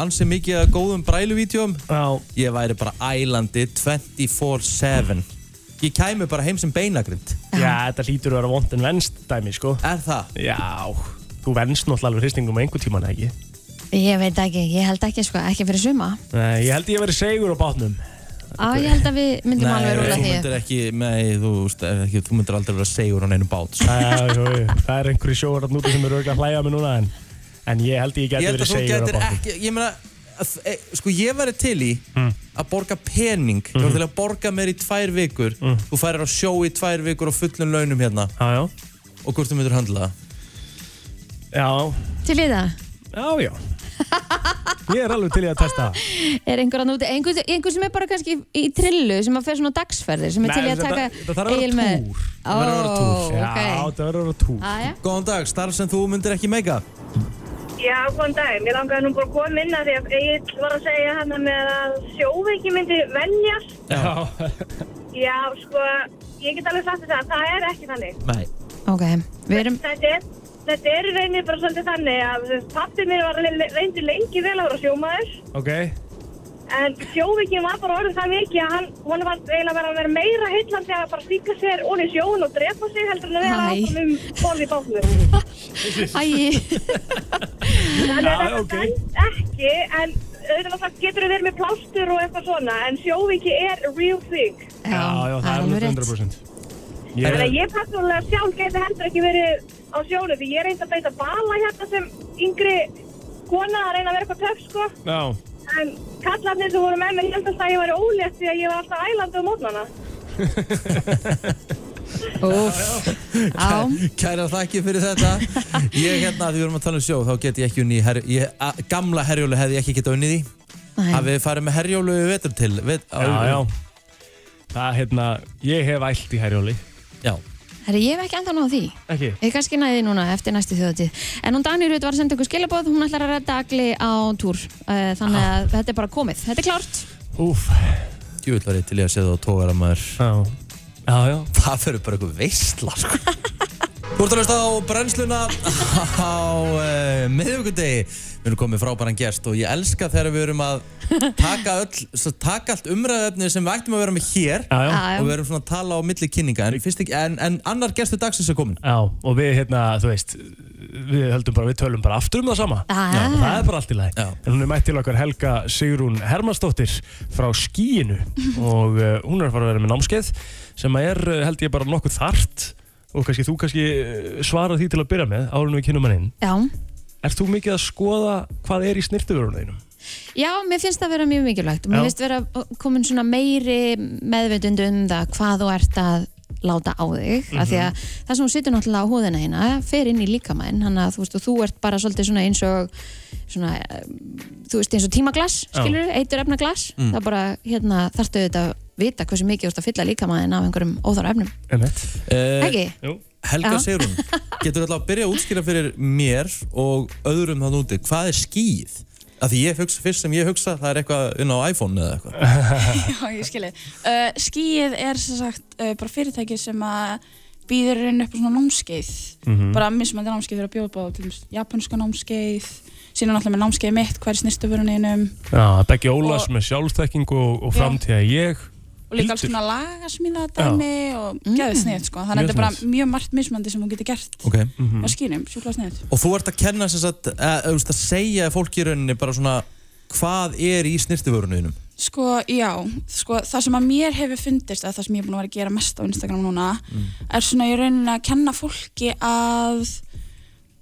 [SPEAKER 1] ansi mikið af góðum bræluvídeóum
[SPEAKER 3] Já,
[SPEAKER 1] Ég væri bara ælandi 24-7 Ég kæmi bara heim sem beinagrind
[SPEAKER 3] já þetta hlýtur að vera vond en venst dæmi sko
[SPEAKER 1] Er það?
[SPEAKER 3] Já, þú venst náttúrulega alveg hristingum einhver tíman ekki
[SPEAKER 2] Ég veit ekki, ég held ekki sko, ekki fyrir suma.
[SPEAKER 3] Nei, ég held ég að vera segur á bátnum
[SPEAKER 2] Á, ég held að við myndum alveg rúla
[SPEAKER 1] þú
[SPEAKER 2] því.
[SPEAKER 1] myndir ekki, nei, þú, veist, ekki, þú myndir aldrei vera segur á neinu bát sko.
[SPEAKER 3] Já, jú, jú, Það er einhverju sjóar að núti sem eru auðvitað að hlæja mig núna en, en ég held ég geti
[SPEAKER 1] Ég held
[SPEAKER 3] verið
[SPEAKER 1] að þú
[SPEAKER 3] segur á
[SPEAKER 1] getur
[SPEAKER 3] bátnum
[SPEAKER 1] ekki, ég meina að- e, Sko ég væri til í
[SPEAKER 3] Mm.
[SPEAKER 1] að borga pening Þú voru til að borga mér í tvær vikur Þú færir á sjó í tvær vikur og fullum launum hérna
[SPEAKER 3] Mm. Já, já,
[SPEAKER 1] Og hvort þú myndir handla það
[SPEAKER 3] já,
[SPEAKER 2] Til í það,
[SPEAKER 3] já, já Ég er alveg til í að testa það
[SPEAKER 2] er einhver að núti, einhver, einhver sem er bara kannski í trillu, sem að fer svona á dagsferðir, sem er til í að taka
[SPEAKER 3] þetta þarf að
[SPEAKER 2] Egil
[SPEAKER 3] vera
[SPEAKER 2] með.
[SPEAKER 3] túr
[SPEAKER 2] Ó,
[SPEAKER 1] verður að vera túr.
[SPEAKER 3] Já,
[SPEAKER 2] ok. Ah,
[SPEAKER 3] þetta verður að vera túr
[SPEAKER 2] Æja,
[SPEAKER 1] Góðan dag, starf sem þú myndir ekki meika
[SPEAKER 8] Já, góðan dag. Mér langaði nú bara að koma inn að því að ég var að segja hann með að sjóveiki myndi venjast.
[SPEAKER 3] Já,
[SPEAKER 8] Já, sko, ég get alveg sagt þetta, það er ekki þannig.
[SPEAKER 1] Nei
[SPEAKER 2] ok. Við erum,
[SPEAKER 8] Þetta er, þetta er í rauninni bara svolítið þannig að pappi mér var le- reyndi lengi vel að vera sjómaður,
[SPEAKER 3] ok
[SPEAKER 8] en sjóveikin var bara orðið það mikið að hann, hún var eiginlega bara að vera meira heillandi að bara stíka sér onni sjóun og drepa sig heldur en að vera
[SPEAKER 2] Æ.
[SPEAKER 8] áfram um borð í bátnum.
[SPEAKER 2] æj,
[SPEAKER 9] Mhm.
[SPEAKER 8] Þannig að
[SPEAKER 3] Já,
[SPEAKER 8] þetta
[SPEAKER 3] ok.
[SPEAKER 8] dæmt ekki, en auðvitað það getur verið með plástur og eitthvað svona, en sjóviki er real thing.
[SPEAKER 3] Já, já, það er alveg
[SPEAKER 2] rétt.
[SPEAKER 3] 100%
[SPEAKER 8] Þannig að
[SPEAKER 3] Ég,
[SPEAKER 8] ég persónulega sjálf geti heldur ekki verið á sjónu, því ég reyndi að beita bala hérna sem yngri kona að reyna að vera eitthvað töff, sko.
[SPEAKER 3] já,
[SPEAKER 8] En kallarnir sem voru með mér heldast að ég væri ólétt því að ég var alltaf ælandi á mótnana.
[SPEAKER 2] Úf, á,
[SPEAKER 1] Kæra þakki fyrir þetta Ég hérna, því við erum að tala um sjó þá get ég ekki unni her, ég, a, Gamla herjólu hefði ég ekki getað unnið í
[SPEAKER 2] næ,
[SPEAKER 1] Hafið þið farið með herjólu við vetur til vet, á-
[SPEAKER 3] Já, já Það, hérna, ég hef ælt í herjóli
[SPEAKER 1] Já.
[SPEAKER 2] herri, ég hef ekki enda náð því
[SPEAKER 3] Ekki?
[SPEAKER 2] Ég kannski næði því núna eftir næstu þjóðatíð En hún Dani Rut var að senda ykkur skilabóð Hún ætlar að redda agli á túr Eh, Þannig
[SPEAKER 3] Ah.
[SPEAKER 2] að þetta er bara komið, þetta er klárt
[SPEAKER 3] Úf
[SPEAKER 1] Djúvill var ég til ég að segja það á tógar að maður
[SPEAKER 3] Já, já, já
[SPEAKER 1] Það fyrir bara eitthvað veistla sko. Þú ert að hlusta á brennsluna á uh, miðvíkundegi Við erum komið frábæran gest og ég elska þegar við erum að taka, öll, svo taka allt umræðefni sem við ættum að vera með hér
[SPEAKER 3] Já, já
[SPEAKER 2] Já, já.
[SPEAKER 1] og við erum svona að tala á milli kynninga en, fyrst ekki, en, en annar gestur dagsins er komin
[SPEAKER 3] Já, og við, hérna, þú veist Við höldum bara, við tölum bara aftur um það sama
[SPEAKER 2] Ah.
[SPEAKER 3] Já, Það er bara allt í lagi
[SPEAKER 1] Já.
[SPEAKER 3] En hún er mætt til okkar Helga Sigrún Hermannsdóttir Frá skíinu Og uh, hún er að fara að vera með námskeið Sem að er, eh, held ég, bara nokkuð þart Og kannski, þú kannski eh, svarar því til að byrja með Árunum við kynum hann inn
[SPEAKER 2] Já,
[SPEAKER 3] Er þú mikið að skoða hvað er í snirtuvörunum þínum?
[SPEAKER 2] Já, mér finnst það vera mjög mikilvægt og mér
[SPEAKER 3] Já.
[SPEAKER 2] finnst vera komin svona meiri meðvitund um það hvað þú ert að láta á þig af því að
[SPEAKER 3] Mhm.
[SPEAKER 2] það sem hún situr náttúrulega á húðina hérna fer inn í líkamæn, þannig að þú veist og þú ert bara svolítið svona eins og svona, eh, þú veist eins og tímaglas
[SPEAKER 3] Já. Mm.
[SPEAKER 2] skilur, eitur efna glas það er bara, hérna, þarftu auðvitað að vita hversu mikið þú ert að fylla líkamæn af einhverjum óþára efnum,
[SPEAKER 3] Emmett?
[SPEAKER 1] uh,
[SPEAKER 2] ekki?
[SPEAKER 3] Jú.
[SPEAKER 1] Helga
[SPEAKER 2] Já.
[SPEAKER 1] Sigrún, getur alltaf að byrja að útskýra fyrir mér og öðrum þann úti hvað er skýð? Af því ég hugsa, fyrst sem ég hugsa, það er eitthvað inn á iPhone eða eitthvað
[SPEAKER 10] Já, ég skilji. Uh, skíið er sem sagt uh, bara fyrirtæki sem að býður inn upp á svona námskeið.
[SPEAKER 3] Mhm.
[SPEAKER 10] Bara mismandi námskeið fyrir að bjóða bá til dæmis japanska námskeið, síðan náttúrulega með námskeið mitt, hver snirtuvöruninum
[SPEAKER 3] Já, Beggi Ólas
[SPEAKER 10] Og-
[SPEAKER 3] með sjálfstekking og, og
[SPEAKER 10] Já.
[SPEAKER 3] framtíða ég
[SPEAKER 10] og líka alls
[SPEAKER 3] Hildur.
[SPEAKER 10] konar lagasmíða dæmi og geðið sniðt sko. Þannig að
[SPEAKER 3] Mjög Mhm.
[SPEAKER 10] þetta er bara
[SPEAKER 3] sniðugt.
[SPEAKER 10] mjög margt mismandi sem hún getur gert
[SPEAKER 1] okay.
[SPEAKER 10] á skínum, sjúkla sniðt.
[SPEAKER 1] Og þú ert að kenna sem sagt, að, að, að segja fólki í rauninni bara svona hvað er í snirtivörunum?
[SPEAKER 10] Sko, já, sko, það sem að mér hefur fundist, eða það sem ég er búin að vera að gera mest á Instagram núna, er svona í rauninni að kenna fólki að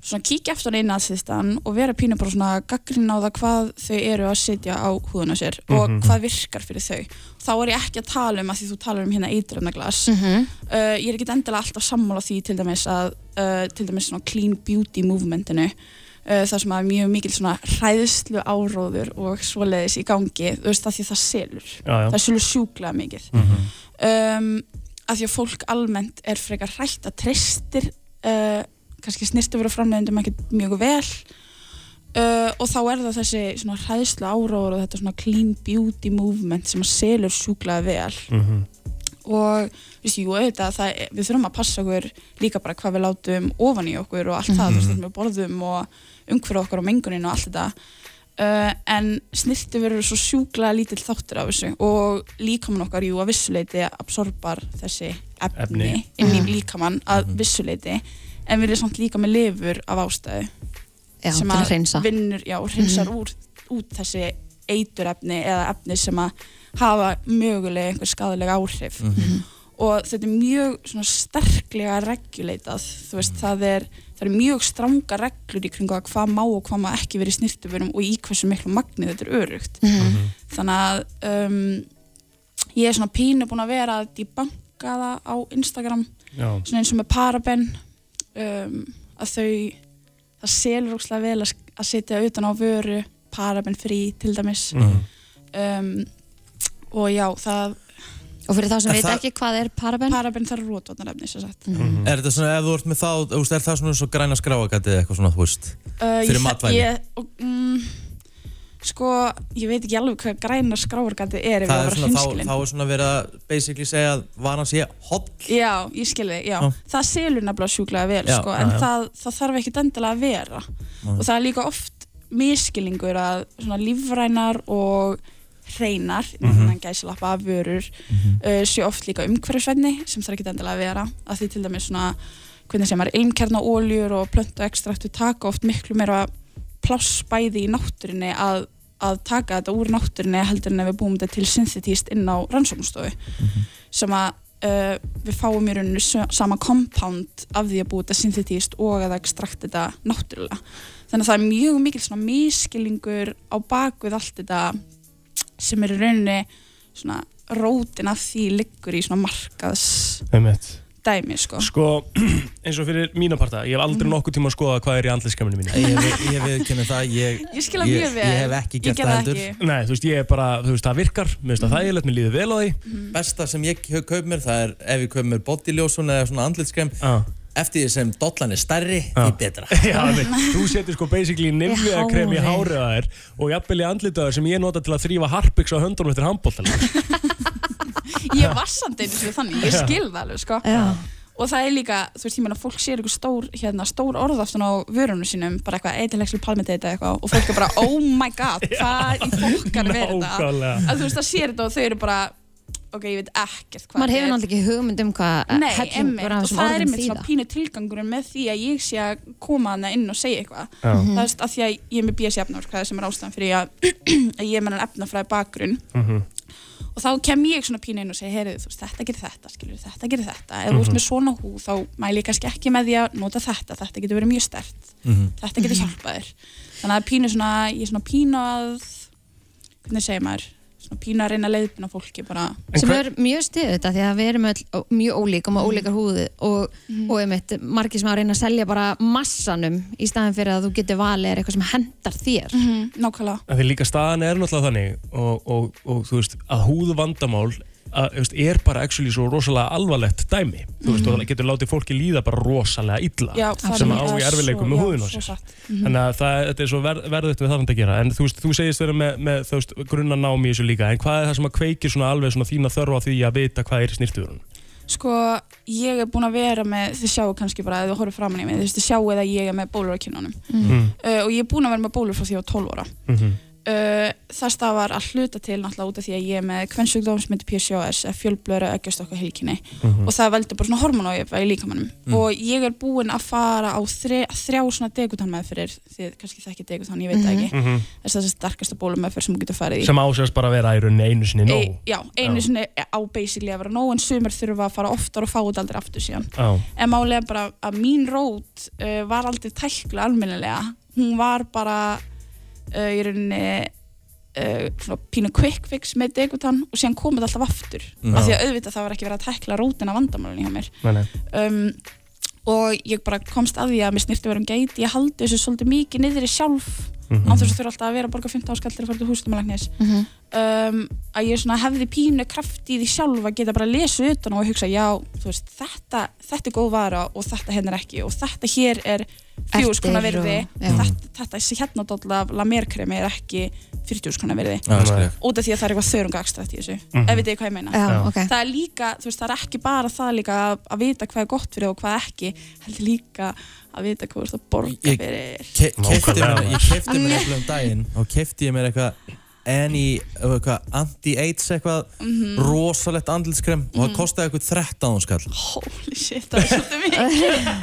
[SPEAKER 10] svona kíkja aftur á innanstýstan og vera pínu bara svona gaggrinn á það hvað þau eru að sitja á húðuna sér og hvað virkar fyrir þau. Þá er ég ekki að tala um að því þú talar um hérna eitröfnaglas. Mm uh, ég er ekki endilega alltaf sammála því til dæmis að uh, til dæmis svona clean beauty movementinu uh, þar sem að er mjög mikil svona hræðslu áróður og svoleiðis í gangi þú veist það því það selur
[SPEAKER 3] Já, já. Mhm.
[SPEAKER 10] það selur sjúklega mikið um, að því að fólk almennt er frekar hrætt að treystir uh, kannski snirtu verið framleiðendum ekki mjög vel Uh, og þá er það þessi svona hræðslu áróður og þetta svona clean beauty movement sem að selur sjúklega vel
[SPEAKER 3] Mhm.
[SPEAKER 10] og viðst, jú, auðvitað, það, við þurfum að passa okkur líka bara hvað við látum ofan í okkur og allt það, þú veist, það, við borðum og umhverju okkar og mengunin og allt þetta uh, en snirti verður svo sjúkla lítill þáttur af þessu og líkamann okkar, jú, að vissuleiti absorbar þessi efni,
[SPEAKER 3] Efni.
[SPEAKER 10] inn
[SPEAKER 2] Mm.
[SPEAKER 10] í líkamann að vissuleiti en við erum samt líka með lifur af ástæðu
[SPEAKER 2] Já,
[SPEAKER 10] sem
[SPEAKER 2] til að hreinsa Mhm.
[SPEAKER 10] vinnur, já, hreinsar úr, út þessi eiturefni eða efni sem að hafa mögulega einhver skadalega áhrif
[SPEAKER 2] Mhm.
[SPEAKER 10] og þetta er mjög svona sterklega regulatað þú veist, það er það eru mjög stranga reglur í kringu að hvað má og hvað má ekki verið snirtuverum og í hversu miklu magni þetta er örugt þannig að um, ég er svona pínu búin að vera að debanka það á Instagram
[SPEAKER 3] Já,
[SPEAKER 10] svona eins og með paraben um, að þau það selur ókslega vel að, að setja utan á vöru paraben frí til dæmis
[SPEAKER 1] Mhm.
[SPEAKER 10] um, og já, það
[SPEAKER 2] Og fyrir þá sem
[SPEAKER 1] Er
[SPEAKER 2] veit
[SPEAKER 1] það-
[SPEAKER 2] ekki hvað er paraben
[SPEAKER 10] paraben þarf rótvarnarefni sem sagt mm.
[SPEAKER 1] Er þetta svona, ef þú ert með þá, þú veist, er það svona svo græna skráagatið eða eitthvað svona, þú veist?
[SPEAKER 10] uh,
[SPEAKER 1] Fyrir
[SPEAKER 10] ég-
[SPEAKER 1] matvæli?
[SPEAKER 10] ég, og, mm, sko, ég veit ekki alveg hvað græna skráargandi er ef ég á
[SPEAKER 1] Það
[SPEAKER 10] að
[SPEAKER 1] er
[SPEAKER 10] vera
[SPEAKER 1] svona, þá,
[SPEAKER 10] hreinskilin.
[SPEAKER 1] þá er svona verið að basically segja að varan sé holl.
[SPEAKER 10] Já, ég skil þig, já.
[SPEAKER 1] Já.
[SPEAKER 10] Það selur nefnilega sjúklega vel,
[SPEAKER 1] Já,
[SPEAKER 10] sko,
[SPEAKER 1] já,
[SPEAKER 10] en
[SPEAKER 1] já.
[SPEAKER 10] Það, það þarf ekkit endilega að vera.
[SPEAKER 3] Mhm.
[SPEAKER 10] Og það er líka oft miskilingur að svona lífrænar og hreinar, mm -hmm. gæsilappa af vörur, uh, sé oft líka umhverfisvenni sem þarf ekkit endilega að vera. Að því til dæmis svona, hvernig sem er ilmkjarnaóljur og plöntu ekstraktu taka oft miklu meira pláss bæði í náttúrinni að, að taka þetta úr náttúrinni heldur en ef við búum þetta til synthetíst inn á rannsóknstofu sem að uh, við fáum í rauninu sö- sama compound af því að búa þetta synthetíst og að ekstrakt þetta náttúrulega þannig að það er mjög mikil svona miskilingur á bakvið allt þetta sem er í rauninni svona rótin af því liggur í svona markaðs
[SPEAKER 3] einmitt
[SPEAKER 10] dæmi sko.
[SPEAKER 3] Sko, eins og fyrir mína parta, ég hef aldrei nokkuð tíma að skoða hvað er í andliskæminu mínu.
[SPEAKER 1] Mhm. Ég, ve ég veðkenni það, ég,
[SPEAKER 10] Ég skil það mjög vel.
[SPEAKER 1] ég hef ekki
[SPEAKER 10] Ég
[SPEAKER 1] gert
[SPEAKER 10] gerði
[SPEAKER 1] það
[SPEAKER 10] það
[SPEAKER 1] heldur.
[SPEAKER 10] ekki.
[SPEAKER 3] Nei, þú veist, ég er bara, þú veist, það virkar, mér
[SPEAKER 10] Mhm.
[SPEAKER 3] finnst það þægilegt, mér líður vel á því.
[SPEAKER 1] Besta sem ég hef kaup mér, það er ef ég kaup mér bodyljósun eða svona andlitskrem,
[SPEAKER 3] Já.
[SPEAKER 1] eftir því sem dollan er stærri, því betra.
[SPEAKER 3] Já, nei, þú setur sko basically nefnilega krem í
[SPEAKER 2] hárið.
[SPEAKER 3] hárið að þér og jafnvel í andlitaður sem ég nota til að þrýfa harpiks á höndunum eftir handbóltan.
[SPEAKER 10] Ég var samt einu sinni þannig, ég skil það alveg sko.
[SPEAKER 2] Já.
[SPEAKER 10] Og það er líka, þú veist, ég meina, fólk sér eitthvað stór, hérna, stór orð aftan á vörunum sínum, bara eitthvað eitilexil palmetita eitthvað og fólk er bara, oh my god, hvað í fólkan verið það?
[SPEAKER 3] Nákvæmlega.
[SPEAKER 10] Að þú veist, það sér þetta og þau eru bara, ok, ég veit ekkert hvað
[SPEAKER 2] Maður hefur
[SPEAKER 10] þetta er.
[SPEAKER 2] náttúrulega ekki hugmynd um hvað
[SPEAKER 10] Nei,
[SPEAKER 2] hellingur
[SPEAKER 10] emmitt,
[SPEAKER 2] af
[SPEAKER 10] og
[SPEAKER 2] þessum
[SPEAKER 10] það er
[SPEAKER 2] orðum
[SPEAKER 10] einmitt svona
[SPEAKER 2] þýða.
[SPEAKER 10] pínu tilgangurinn með því að ég sé að koma hana inn og segja eitthvað
[SPEAKER 3] Já.
[SPEAKER 10] það veist að því að ég er með BS í efnafræði sem sko, er ástæðan fyrir að, að ég er með hann efnafræði bakgrunn
[SPEAKER 1] Mhm.
[SPEAKER 10] og þá kem ég svona pínu inn og segja heyrðu þú veist þetta gerir þetta, skilur þetta gerir þetta ef þú ert með svona hú þá mæli ég kannski ekki með því að nota þetta, þetta getur verið mjög stert
[SPEAKER 3] Mhm.
[SPEAKER 10] þetta getur
[SPEAKER 8] Mhm.
[SPEAKER 10] hjálpað þér þannig að pínu svona, ég er svona pínu að hvernig segir maður svona pínu að reyna að leiðbina fólki bara
[SPEAKER 2] sem
[SPEAKER 3] hver-
[SPEAKER 2] er mjög stuð þetta því að við erum öll ó- mjög ólík og með ólíkar húðu og, og einmitt margir sem að reyna að selja bara massanum í staðin fyrir að þú getur valið er eitthvað sem hendar þér
[SPEAKER 10] mm, nákvæmlega
[SPEAKER 3] Því líka staðan er náttúrulega þannig og, og, og þú veist, að húðu vandamál að, þú veist, er bara actually svo rosalega alvarlegt dæmi. Þú
[SPEAKER 1] Mhm.
[SPEAKER 3] veist, og það getur látið fólki líða bara rosalega illa
[SPEAKER 10] Já, það er
[SPEAKER 3] sem á
[SPEAKER 10] mikið-
[SPEAKER 3] í
[SPEAKER 10] það er
[SPEAKER 3] erfileikum
[SPEAKER 10] svo-
[SPEAKER 3] með
[SPEAKER 10] já,
[SPEAKER 3] húðun á
[SPEAKER 10] svo
[SPEAKER 3] sér. Mhm.
[SPEAKER 10] satt.
[SPEAKER 3] Þannig að það, þetta er svo ver, verðugt við þarfum að gera. En þú veist, þú segist vera með, með þú veist, grunna nám í þessu líka, en hvað er það sem að kveikir svona alveg svona þína þörfa því að vita hvað er í snýrtuðurinn?
[SPEAKER 10] Sko, ég er búin að vera með, þið sjáu kannski bara, ef þú horfir framan í mig, þú veist, þið sjáu að ég er með bólur á kinnunum.
[SPEAKER 8] Mhm.
[SPEAKER 3] Mhm.
[SPEAKER 10] Uh, og ég er búin að vera með bólur frá því ég var 12 ára. uh, það stafar að hluta til náttúrulega út af því að ég er með kvennsugdóm sem heitir PCOS, eða fjölblöru eggjastokka hilkinni
[SPEAKER 3] Mhm.
[SPEAKER 10] og það veldur bara svona hormonójöfa í líkamannum og ég er búin að fara á þre, þrjá svona degutan meðferðir, þið kannski þekki degutan, ég veit
[SPEAKER 3] Mhm.
[SPEAKER 10] það ekki, þess að þessi starkasta bólum meðferð sem þú getur farið í.
[SPEAKER 3] Sem ásjast bara að vera í rauninni einu sinni nóg.
[SPEAKER 10] Ei- já, einu sinni á basically að vera nóg en sumir þurfa að fara oftar og fá þetta aldrei aftur síðan
[SPEAKER 3] Já,
[SPEAKER 10] en málega bara að mín rót uh, var aldrei tækla almennilega hún var bara uh, í rauninni uh, svona pínu quick fix með degutan og síðan kom þetta alltaf aftur af því að auðvitað það var ekki verið að tækla rótina vandamálun hjá mér
[SPEAKER 3] nei, nei.
[SPEAKER 10] um, og ég bara komst að því að mér snirti verið um geit ég haldi þessu svolítið mikið niður í sjálf án þess að þurfa alltaf að vera að borga 15 áskallir að fara til húsnumalagnis
[SPEAKER 8] Mhm.
[SPEAKER 10] um, að ég svona hefði pínu kraft í því sjálf að geta bara að lesa utan á og hugsa já, þú veist, þetta, þetta er góð vara og þetta hennar ekki og þetta hér er fjús konar
[SPEAKER 2] Eftir og-
[SPEAKER 10] verði
[SPEAKER 2] já.
[SPEAKER 10] þetta, þetta sem hérna dótla af lamerkremi er ekki 40 konar verði
[SPEAKER 1] Já, það skil Mhm. ég.
[SPEAKER 10] út af því að það er eitthvað þörunga ekstrætt í þessu ef við þið hvað ég meina
[SPEAKER 2] Já, ok.
[SPEAKER 10] það er líka, þú veist, það er ekki bara það líka að, að vita hvað er gott fyrir þig og hvað ekki heldur líka að vita hvað þú ert að borga
[SPEAKER 1] Ég-
[SPEAKER 10] fyrir
[SPEAKER 1] Ke- keypti
[SPEAKER 3] Nákvæmlega,
[SPEAKER 1] mér- Ég kefti mér eitthvað um daginn og kefti ég mér eitthvað any, eitthvað anti-AIDS eitthvað
[SPEAKER 10] Mhm.
[SPEAKER 1] rosalegt andlitskrem og það kostaði eitthvað 13 skall
[SPEAKER 10] holy shit, það er svolítið mikið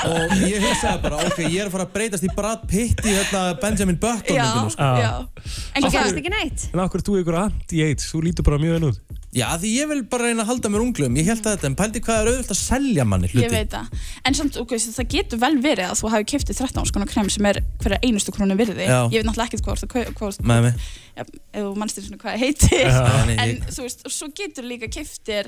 [SPEAKER 1] og ég hugsaði bara, ok, ég er að fara að breytast í Brad Pitt í hérna Benjamin Button
[SPEAKER 10] já,
[SPEAKER 1] myndinu, sko.
[SPEAKER 10] já en
[SPEAKER 2] en
[SPEAKER 10] hvað,
[SPEAKER 2] gerðist ekki neitt
[SPEAKER 3] En af hverju ert þú ykkur anti-AIDS, þú lítur bara mjög vel út.
[SPEAKER 1] Já, því ég vil bara reyna að halda mér unglum ég held að þetta, en pældi hvað er auðvitað að selja manni hluti
[SPEAKER 10] ég veit það en samt, ok, það getur vel verið að þú hafi keftið 13 skona krem sem er hverja einustu krónu virði
[SPEAKER 1] Já.
[SPEAKER 10] ég veit náttúrulega ekkert hvað, þú ert að kau- hvað, þú ert-
[SPEAKER 1] með mig
[SPEAKER 10] ja, ef þú mannst þér svona hvað það heitir
[SPEAKER 1] Nei, nei,
[SPEAKER 10] en
[SPEAKER 1] ég-
[SPEAKER 10] þú veist, og svo getur líka keftir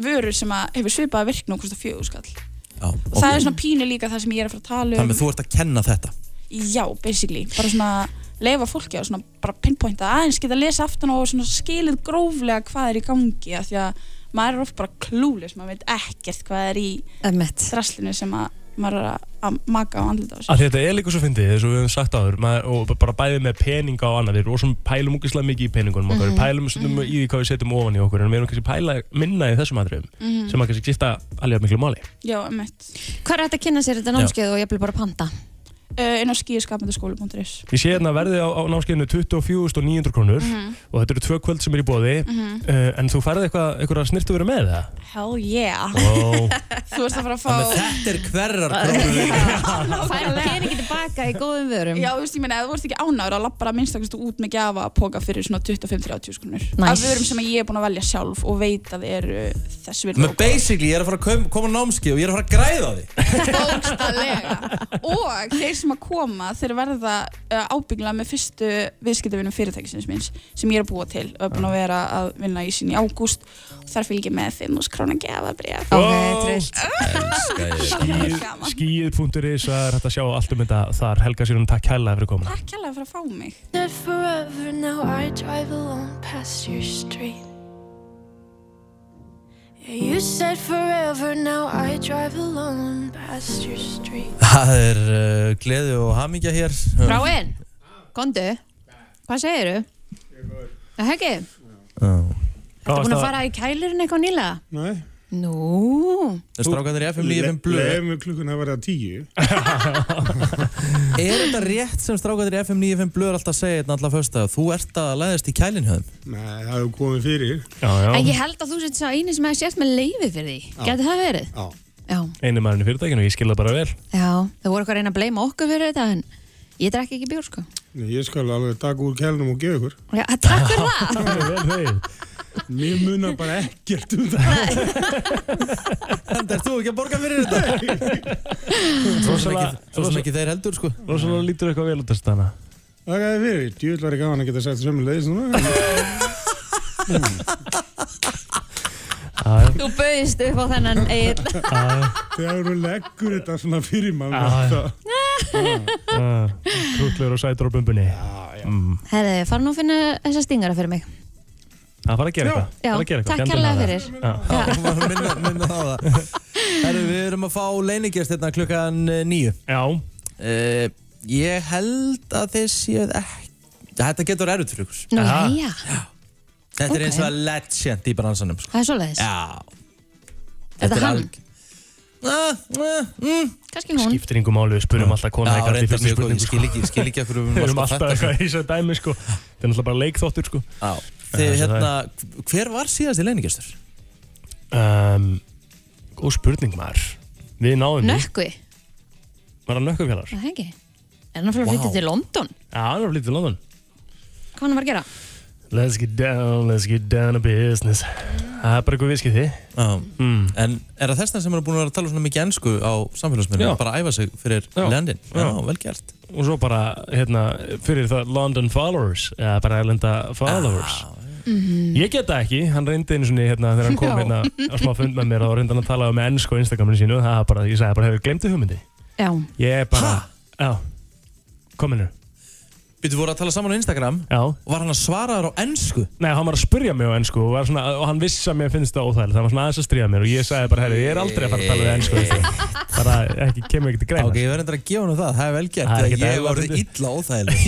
[SPEAKER 10] vörur sem að hefur svipað virkn og kostar fjögur skall
[SPEAKER 1] Já,
[SPEAKER 10] og það
[SPEAKER 1] ok.
[SPEAKER 10] er svona pínu líka það sem ég er að fara að tala um
[SPEAKER 1] Þannig að þú ert að kenna þetta
[SPEAKER 10] já, basically, bara svona leifa fólki að svona bara pinpointa aðeins geta að lesa aftan og svona skilið gróflega hvað er í gangi af því að maður er oft bara klúlis, maður veit ekkert hvað er í
[SPEAKER 2] Einmitt.
[SPEAKER 10] draslinu sem að maður er að- að maka og andlita á sig
[SPEAKER 3] að þetta er líka svo fyndið eins og við höfum sagt áður maður, og bara bæðið með peninga og annað við erum svona pælum úkislega mikið í peningunum okkar
[SPEAKER 10] Mhm.
[SPEAKER 3] við pælum stundum í því hvað við setjum ofan í okkur en við erum kannski pæla minna í þessum aðriðum
[SPEAKER 10] Mhm.
[SPEAKER 3] sem að kannski skipta alveg miklu máli
[SPEAKER 10] já, emmitt,
[SPEAKER 2] hvað er þetta að kynna sér þetta námskeið og ég vil bara panta
[SPEAKER 10] uh, inn á skíðskapendaskólu.is
[SPEAKER 3] ég sé hérna verðið á, á námskeiðinu 24.900 krónur
[SPEAKER 2] Mhm.
[SPEAKER 3] og þetta eru tvö kvöld sem er í bóði uh, en þú færði eitthvað eitthvað snirtu verið með það
[SPEAKER 10] hell yeah
[SPEAKER 3] oh.
[SPEAKER 10] þú ert að fara að
[SPEAKER 1] Þannig að
[SPEAKER 10] fá
[SPEAKER 1] þetta er hverrar krónur
[SPEAKER 2] fær peningi tilbaka í góðum vörum
[SPEAKER 10] Já, þú veist, ég meina, ef þú ert ekki ánægur að labba að minnstakostu út með gjafa að póka fyrir svona 25-30 skunur
[SPEAKER 2] Nice.
[SPEAKER 10] af vörum sem ég er búin að velja sjálf og veit að eru þess virði
[SPEAKER 1] Með
[SPEAKER 10] og góð.
[SPEAKER 1] basically, ég er að fara að kom, koma á námskeið og ég er að fara að græða á því
[SPEAKER 10] bókstallega og þeir sem að koma þeir verða uh, ábyggla með fyrstu viðskiptavinnum fyrirtækisins míns sem ég er að búa til og er búin að vera að vinna í sín í ágúst og þar fylg ég með 5.000 krónar gefabrið
[SPEAKER 2] Ok,
[SPEAKER 3] Ó.
[SPEAKER 2] trillt.
[SPEAKER 3] Skíð.is, það er hægt að sjá allt um þetta þar. Helga Sýrun, takk kærlega fyrir komuna.
[SPEAKER 10] Takk hérlega fyrir að fá mig
[SPEAKER 11] Not forever now, I drive alone past your street. Yeah, you said forever now, I drive alone past your street.
[SPEAKER 1] Það er uh, gleði og hamingja hér
[SPEAKER 2] Ráinn, kondu, hvað segiru? Það hekki, ertu búin að fara í kælirinn eitthvað nýlega?
[SPEAKER 9] Nei,
[SPEAKER 2] Nú,
[SPEAKER 1] Strákanir í FM
[SPEAKER 3] um
[SPEAKER 1] 95 blöð
[SPEAKER 9] Leðum við klukkan að vera tíu
[SPEAKER 3] Ah.
[SPEAKER 1] Er þetta rétt sem strákanir í FM 95 blöð er alltaf að segja hérna alltaf fyrst að þú ert að læðast í kælinn hjá þeim
[SPEAKER 9] Nei, það hefur komið fyrir
[SPEAKER 3] Já,
[SPEAKER 2] en
[SPEAKER 3] já,
[SPEAKER 2] ég held að þú sett sá eini sem hefði sért með leiði fyrir því. Gæti það verið?
[SPEAKER 9] Já.
[SPEAKER 2] Já,
[SPEAKER 3] einu maðurinn í fyrirtækinu, ég skil það bara vel.
[SPEAKER 2] já, það voru eitthvað að reyna að bleima okkur fyrir þetta en ég drekk ekki bjór sko.
[SPEAKER 9] Nei, Ég skal alveg taka úr kælnum og gefa ykkur
[SPEAKER 2] Já, takk fyrir það.
[SPEAKER 3] Það er vel þegið.
[SPEAKER 9] Mér munar bara ekkert um það
[SPEAKER 1] Þannig er þú ekki að borga fyrir þetta Svo sem ekki, svo sem ekki þeir heldur sko
[SPEAKER 3] Rosalega lítur eitthvað vel út af stana.
[SPEAKER 9] Það er fyrir, djúvill var ég gaman að geta sagt sömu leiðis núna
[SPEAKER 2] Þú bauðist upp á þennan eigin.
[SPEAKER 9] Þegar þú leggur þetta svona fyrir mann
[SPEAKER 3] Ah, Já, Ah,
[SPEAKER 9] þá-
[SPEAKER 2] Ah.
[SPEAKER 3] Krútlegur og sætur á bumbunni. Mm.
[SPEAKER 2] Herði, fara nú að finna þessa stingara fyrir mig.
[SPEAKER 3] Það fara að gera eitthvað.
[SPEAKER 2] Já,
[SPEAKER 3] Fara að gera eitthvað.
[SPEAKER 2] takk
[SPEAKER 3] Gendu
[SPEAKER 2] hérlega
[SPEAKER 3] hana.
[SPEAKER 2] fyrir.
[SPEAKER 3] Já.
[SPEAKER 1] Minna, minna, minna á það Herru, við erum að fá leiningjast hérna klukkan nýju
[SPEAKER 3] Já,
[SPEAKER 1] uh, Ég held að þið séð ekki Þetta getur erut fyrir ykkur
[SPEAKER 2] Nú,
[SPEAKER 3] Aha.
[SPEAKER 2] já,
[SPEAKER 1] Þetta
[SPEAKER 2] Ok.
[SPEAKER 1] er eins og að legend í bransanum sko.
[SPEAKER 2] það er svoleiðis.
[SPEAKER 1] Já
[SPEAKER 2] Er það hann?
[SPEAKER 1] alg- Ah, ah, mm.
[SPEAKER 2] Kanski hún.
[SPEAKER 3] skiptir yngu máli, við spurum alltaf kona
[SPEAKER 1] Já,
[SPEAKER 3] eitthvað í
[SPEAKER 1] reyndar
[SPEAKER 3] fyrstu
[SPEAKER 1] mjög góð,
[SPEAKER 3] spurningu
[SPEAKER 1] ég
[SPEAKER 3] sko.
[SPEAKER 1] skil ekki, ég skil ekki af hverju við
[SPEAKER 3] Við erum
[SPEAKER 1] erum
[SPEAKER 3] alltaf
[SPEAKER 1] alltaf
[SPEAKER 3] eitthvað í þessu dæmi sko Það er náttúrulega bara leikþóttur sko
[SPEAKER 1] þetta Þið, hérna, hver var síðast í leiningjastur?
[SPEAKER 3] um, Góð spurning maður Við náðum því,
[SPEAKER 2] Nökkvi,
[SPEAKER 3] var það nökkufjallar? Já,
[SPEAKER 2] það hekki. Er hann að fara að flytja
[SPEAKER 1] Vá.
[SPEAKER 2] til London?
[SPEAKER 3] það var lítið í London
[SPEAKER 2] Hvað hann var að gera?
[SPEAKER 3] Let's get down, let's get down to business Það er bara eitthvað viðskið því
[SPEAKER 1] Já,
[SPEAKER 3] mm.
[SPEAKER 1] en er það þess að sem eru búin að vera að tala svona mikið ennsku á samfélagsmiðlum
[SPEAKER 3] Já.
[SPEAKER 1] og bara æfa sig fyrir
[SPEAKER 3] Já.
[SPEAKER 1] landin? Já,
[SPEAKER 3] Já.
[SPEAKER 1] vel gert.
[SPEAKER 3] Og svo bara, hérna, fyrir það London followers Eða bara erlenda followers
[SPEAKER 1] Ah,
[SPEAKER 3] Ég get það ekki, hann reyndi einu svona hérna, þegar hann kom
[SPEAKER 2] Já.
[SPEAKER 3] hérna á smá fund með mér og reyndi hann að tala um ennsku á Instagraminu sínu það er bara, ég sagði bara, hefur glemtu hugmyndi
[SPEAKER 2] Já,
[SPEAKER 3] Ég er bara, já, kominu,
[SPEAKER 1] Býttu voru að tala saman á Instagram
[SPEAKER 3] já
[SPEAKER 1] og var hann að svara þér á ennsku?
[SPEAKER 3] Nei, hann var að spurja mig á ennsku og, var svona, og hann vissi að mér finnst það óþægilegt Það var svona aðeins að stríða mér og ég sagði bara, herri, ég er aldrei að fara að tala við ennsku veistu. Bara ekki, kemur ekki til greina
[SPEAKER 1] Ok, ég verði endur að gefa hann það, það er vel gert.
[SPEAKER 3] Það er ekkert
[SPEAKER 1] ég
[SPEAKER 3] eðlilega
[SPEAKER 1] hef orðið
[SPEAKER 3] fyndið.
[SPEAKER 1] illa óþægileg.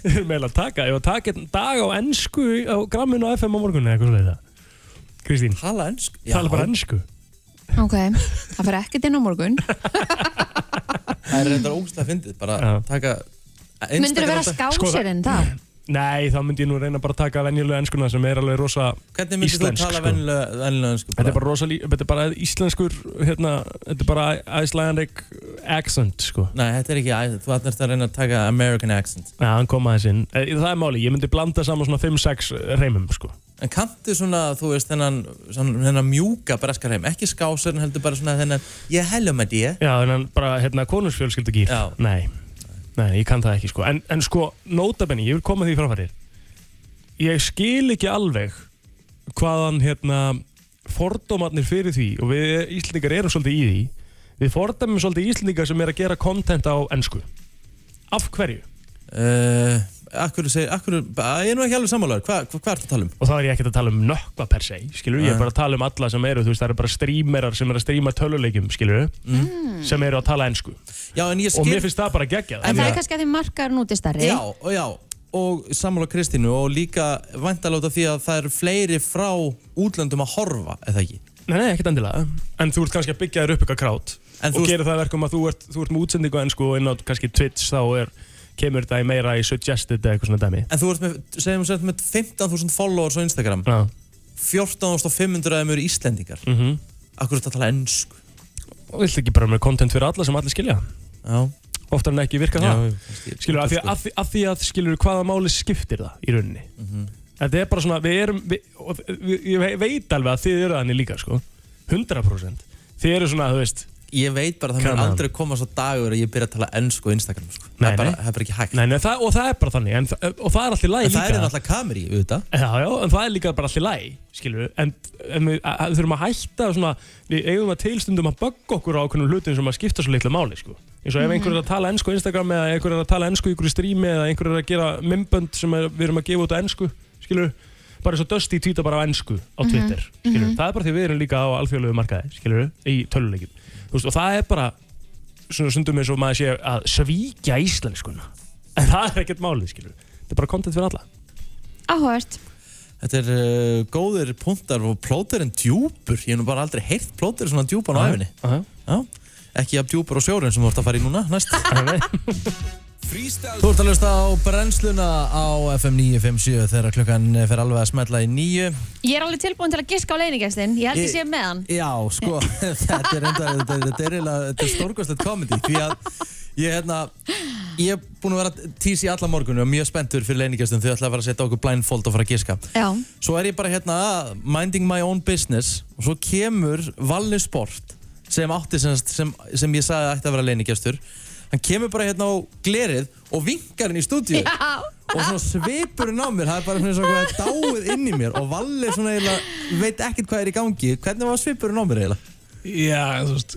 [SPEAKER 3] Við erum eiginlega að taka, ég var að taka einn dag á ennsku á gramminu á FM á morgunni eða eitthvað svona þetta Kristín,
[SPEAKER 1] Tala ennsku?
[SPEAKER 3] tala bara ennsku
[SPEAKER 2] ok. Það fyrir ekkert inn á morgun.
[SPEAKER 1] Það er endur ógustlega fyndið, bara
[SPEAKER 3] Já. Sko,
[SPEAKER 1] taka Instagram.
[SPEAKER 2] Myndir vera skásirinn það?
[SPEAKER 3] Nei, þá myndi ég nú reyna bara að taka venjulega ennskuna sem er alveg rosa
[SPEAKER 1] Hvernig myndir þú
[SPEAKER 3] íslensk,
[SPEAKER 1] tala
[SPEAKER 3] sko.
[SPEAKER 1] vennilega, vennilega ennsku?
[SPEAKER 3] Þetta er bara rosa, lí- þetta er bara íslenskur, hérna, þetta er bara Icelandic accent, sko
[SPEAKER 1] Nei, þetta er ekki, æ, þú ætnast að reyna að taka American accent.
[SPEAKER 3] Já, hann kom aðeins inn. Eh, Það er máli, ég myndi blanda saman svona 5-6 reymum, sko.
[SPEAKER 1] En kanntu svona, þú veist, þennan, svona- þennan mjúka braskarheim, ekki skásirinn, heldur bara svona þennan, ég helja með því.
[SPEAKER 3] Já, en hann bara, hérna, konusfjölskyldu gýr.
[SPEAKER 1] Já.
[SPEAKER 3] Nei, nei, ég kann það ekki, sko. En, en sko, nótabenni, ég vil koma því framfærir. Ég skil ekki alveg hvaðan, hérna, fordómarnir fyrir því, og við Íslendingar erum svolítið í því, við fordæmum svolítið Íslendingar sem er að gera kontent á ennsku. Af hverju?
[SPEAKER 1] Uh, akkur segir, akkur, ég er nú ekki alveg sammálaður, Hva- hvað hva, hva ertu að tala um?
[SPEAKER 3] og þá er ég ekkert að tala um nökkva per se skilur, ég er
[SPEAKER 1] Nei.
[SPEAKER 3] bara að tala um alla sem eru þú veist, það eru bara streamerar sem eru að streama töluleikjum skilur,
[SPEAKER 1] Mhm.
[SPEAKER 3] sem eru að tala ensku
[SPEAKER 1] Já, en ég skil...
[SPEAKER 3] og mér finnst það bara geggjað
[SPEAKER 2] Hmm. En það
[SPEAKER 3] að
[SPEAKER 2] er kannski að þið markar núti starri.
[SPEAKER 1] Já, og já, og sammála Kristínu og líka vantaláta því að það eru fleiri frá útlöndum að horfa, eða ekki?
[SPEAKER 3] nei, nei, ekkert endilega, en þú ert kannski að byggja þér upp eitthvað krát
[SPEAKER 1] En þú
[SPEAKER 3] og
[SPEAKER 1] veist-
[SPEAKER 3] gera það að verkum að þú ert, þú ert með útsendingu á ensku og inn á kannski Twitch þá er, kemur þetta í meira í suggested eða eitthvað svona dæmi
[SPEAKER 1] En þú ert með, segjum við sett með 15.000 followers á Instagram,
[SPEAKER 3] Ná,
[SPEAKER 1] 14.500 af þeim eru Íslendingar.
[SPEAKER 3] mm
[SPEAKER 1] Akkur ertu að tala ennsku?
[SPEAKER 3] og vilt ekki bara með content fyrir alla sem allir skilja
[SPEAKER 1] Já,
[SPEAKER 3] oftar en ekki virka
[SPEAKER 1] já,
[SPEAKER 3] það
[SPEAKER 1] kannski-
[SPEAKER 3] skilur, af því, af, því, af því að skilur hvaða máli skiptir það í rauninni
[SPEAKER 1] Mhm.
[SPEAKER 3] þetta er bara svona, við erum við, og við, ég veit alveg að þið eru þannig líka sko, 100% þið eru svona, þú veist
[SPEAKER 1] ég veit bara að það mér
[SPEAKER 3] Kannan.
[SPEAKER 1] aldrei koma svo dagur að ég byrja að tala ennsku á Instagram sko.
[SPEAKER 3] Nei,
[SPEAKER 1] það, er bara,
[SPEAKER 3] nei.
[SPEAKER 1] það er bara ekki hægt
[SPEAKER 3] Nei, nei, það, og það er bara þannig en, þa- og það er alltaf læg
[SPEAKER 1] En
[SPEAKER 3] líka
[SPEAKER 1] það er náttúrulega kameri, auðvitað
[SPEAKER 3] Já, já, en það er líka bara alltaf læg, skilur við en, en við að- að þurfum að hætta svona, við eigum að tilstundum að bögga okkur á okkur hlutum sem að skipta svo litlu máli, sko eins og ef
[SPEAKER 1] Mhm.
[SPEAKER 3] einhver er að tala ennsku á Instagram eða einhver er að tala ennsku í einhverju strími eða einhver er að gera mymbönd sem er, við erum að gefa út á ennsku, skilur við bara eins og Dusty týta bara á ennsku á
[SPEAKER 1] Mhm.
[SPEAKER 3] Twitter, skilur
[SPEAKER 1] Mhm.
[SPEAKER 3] það er bara því við erum líka á alþjóðlegu markaði, skilur í töluleikjum, þú veist, og það er bara svona sundum eins og maður sé að svíkja íslenskuna, en það er ekkert málið, skilur þetta er bara content fyrir alla
[SPEAKER 2] Áhört
[SPEAKER 1] Þetta er uh, góðir punktar og plóterinn djúpur Ég hef nú bara aldrei heyrt plóterinn svona djúpan á
[SPEAKER 3] Aha,
[SPEAKER 1] æfinni Já, ekki jafn djúpur á sjórun sem þú ert að fara í núna næst Þú ert að lösta á brennsluna á FM 957 þegar klukkan fer alveg að smetla í nýju
[SPEAKER 2] Ég er alveg tilbúin til að giska á leiningestin Ég held ég sé með hann
[SPEAKER 1] Já, sko, þetta er enda, þetta, þetta er, eiginlega- þetta er stórkostlegt komedi því að ég, hérna, ég er búin að vera tís í alla morgunu og mjög spenntur fyrir leiningastum þau ætla að vera að setja okkur blindfold og fara að giska
[SPEAKER 2] Já
[SPEAKER 1] Svo er ég bara hérna minding my own business og svo kemur Valli Sport sem átti sem, sem, sem ég sagði að ætti að vera leinigestur hann kemur bara hérna á glerið og vinkar henni í stúdíu
[SPEAKER 2] Já.
[SPEAKER 1] og svona svipurinn á mér það er bara svona eins og hvað dáið inn í mér og Valli svona eiginlega veit ekkert hvað er í gangi hvernig var svipurinn á mér eiginlega?
[SPEAKER 12] Já, þú veist,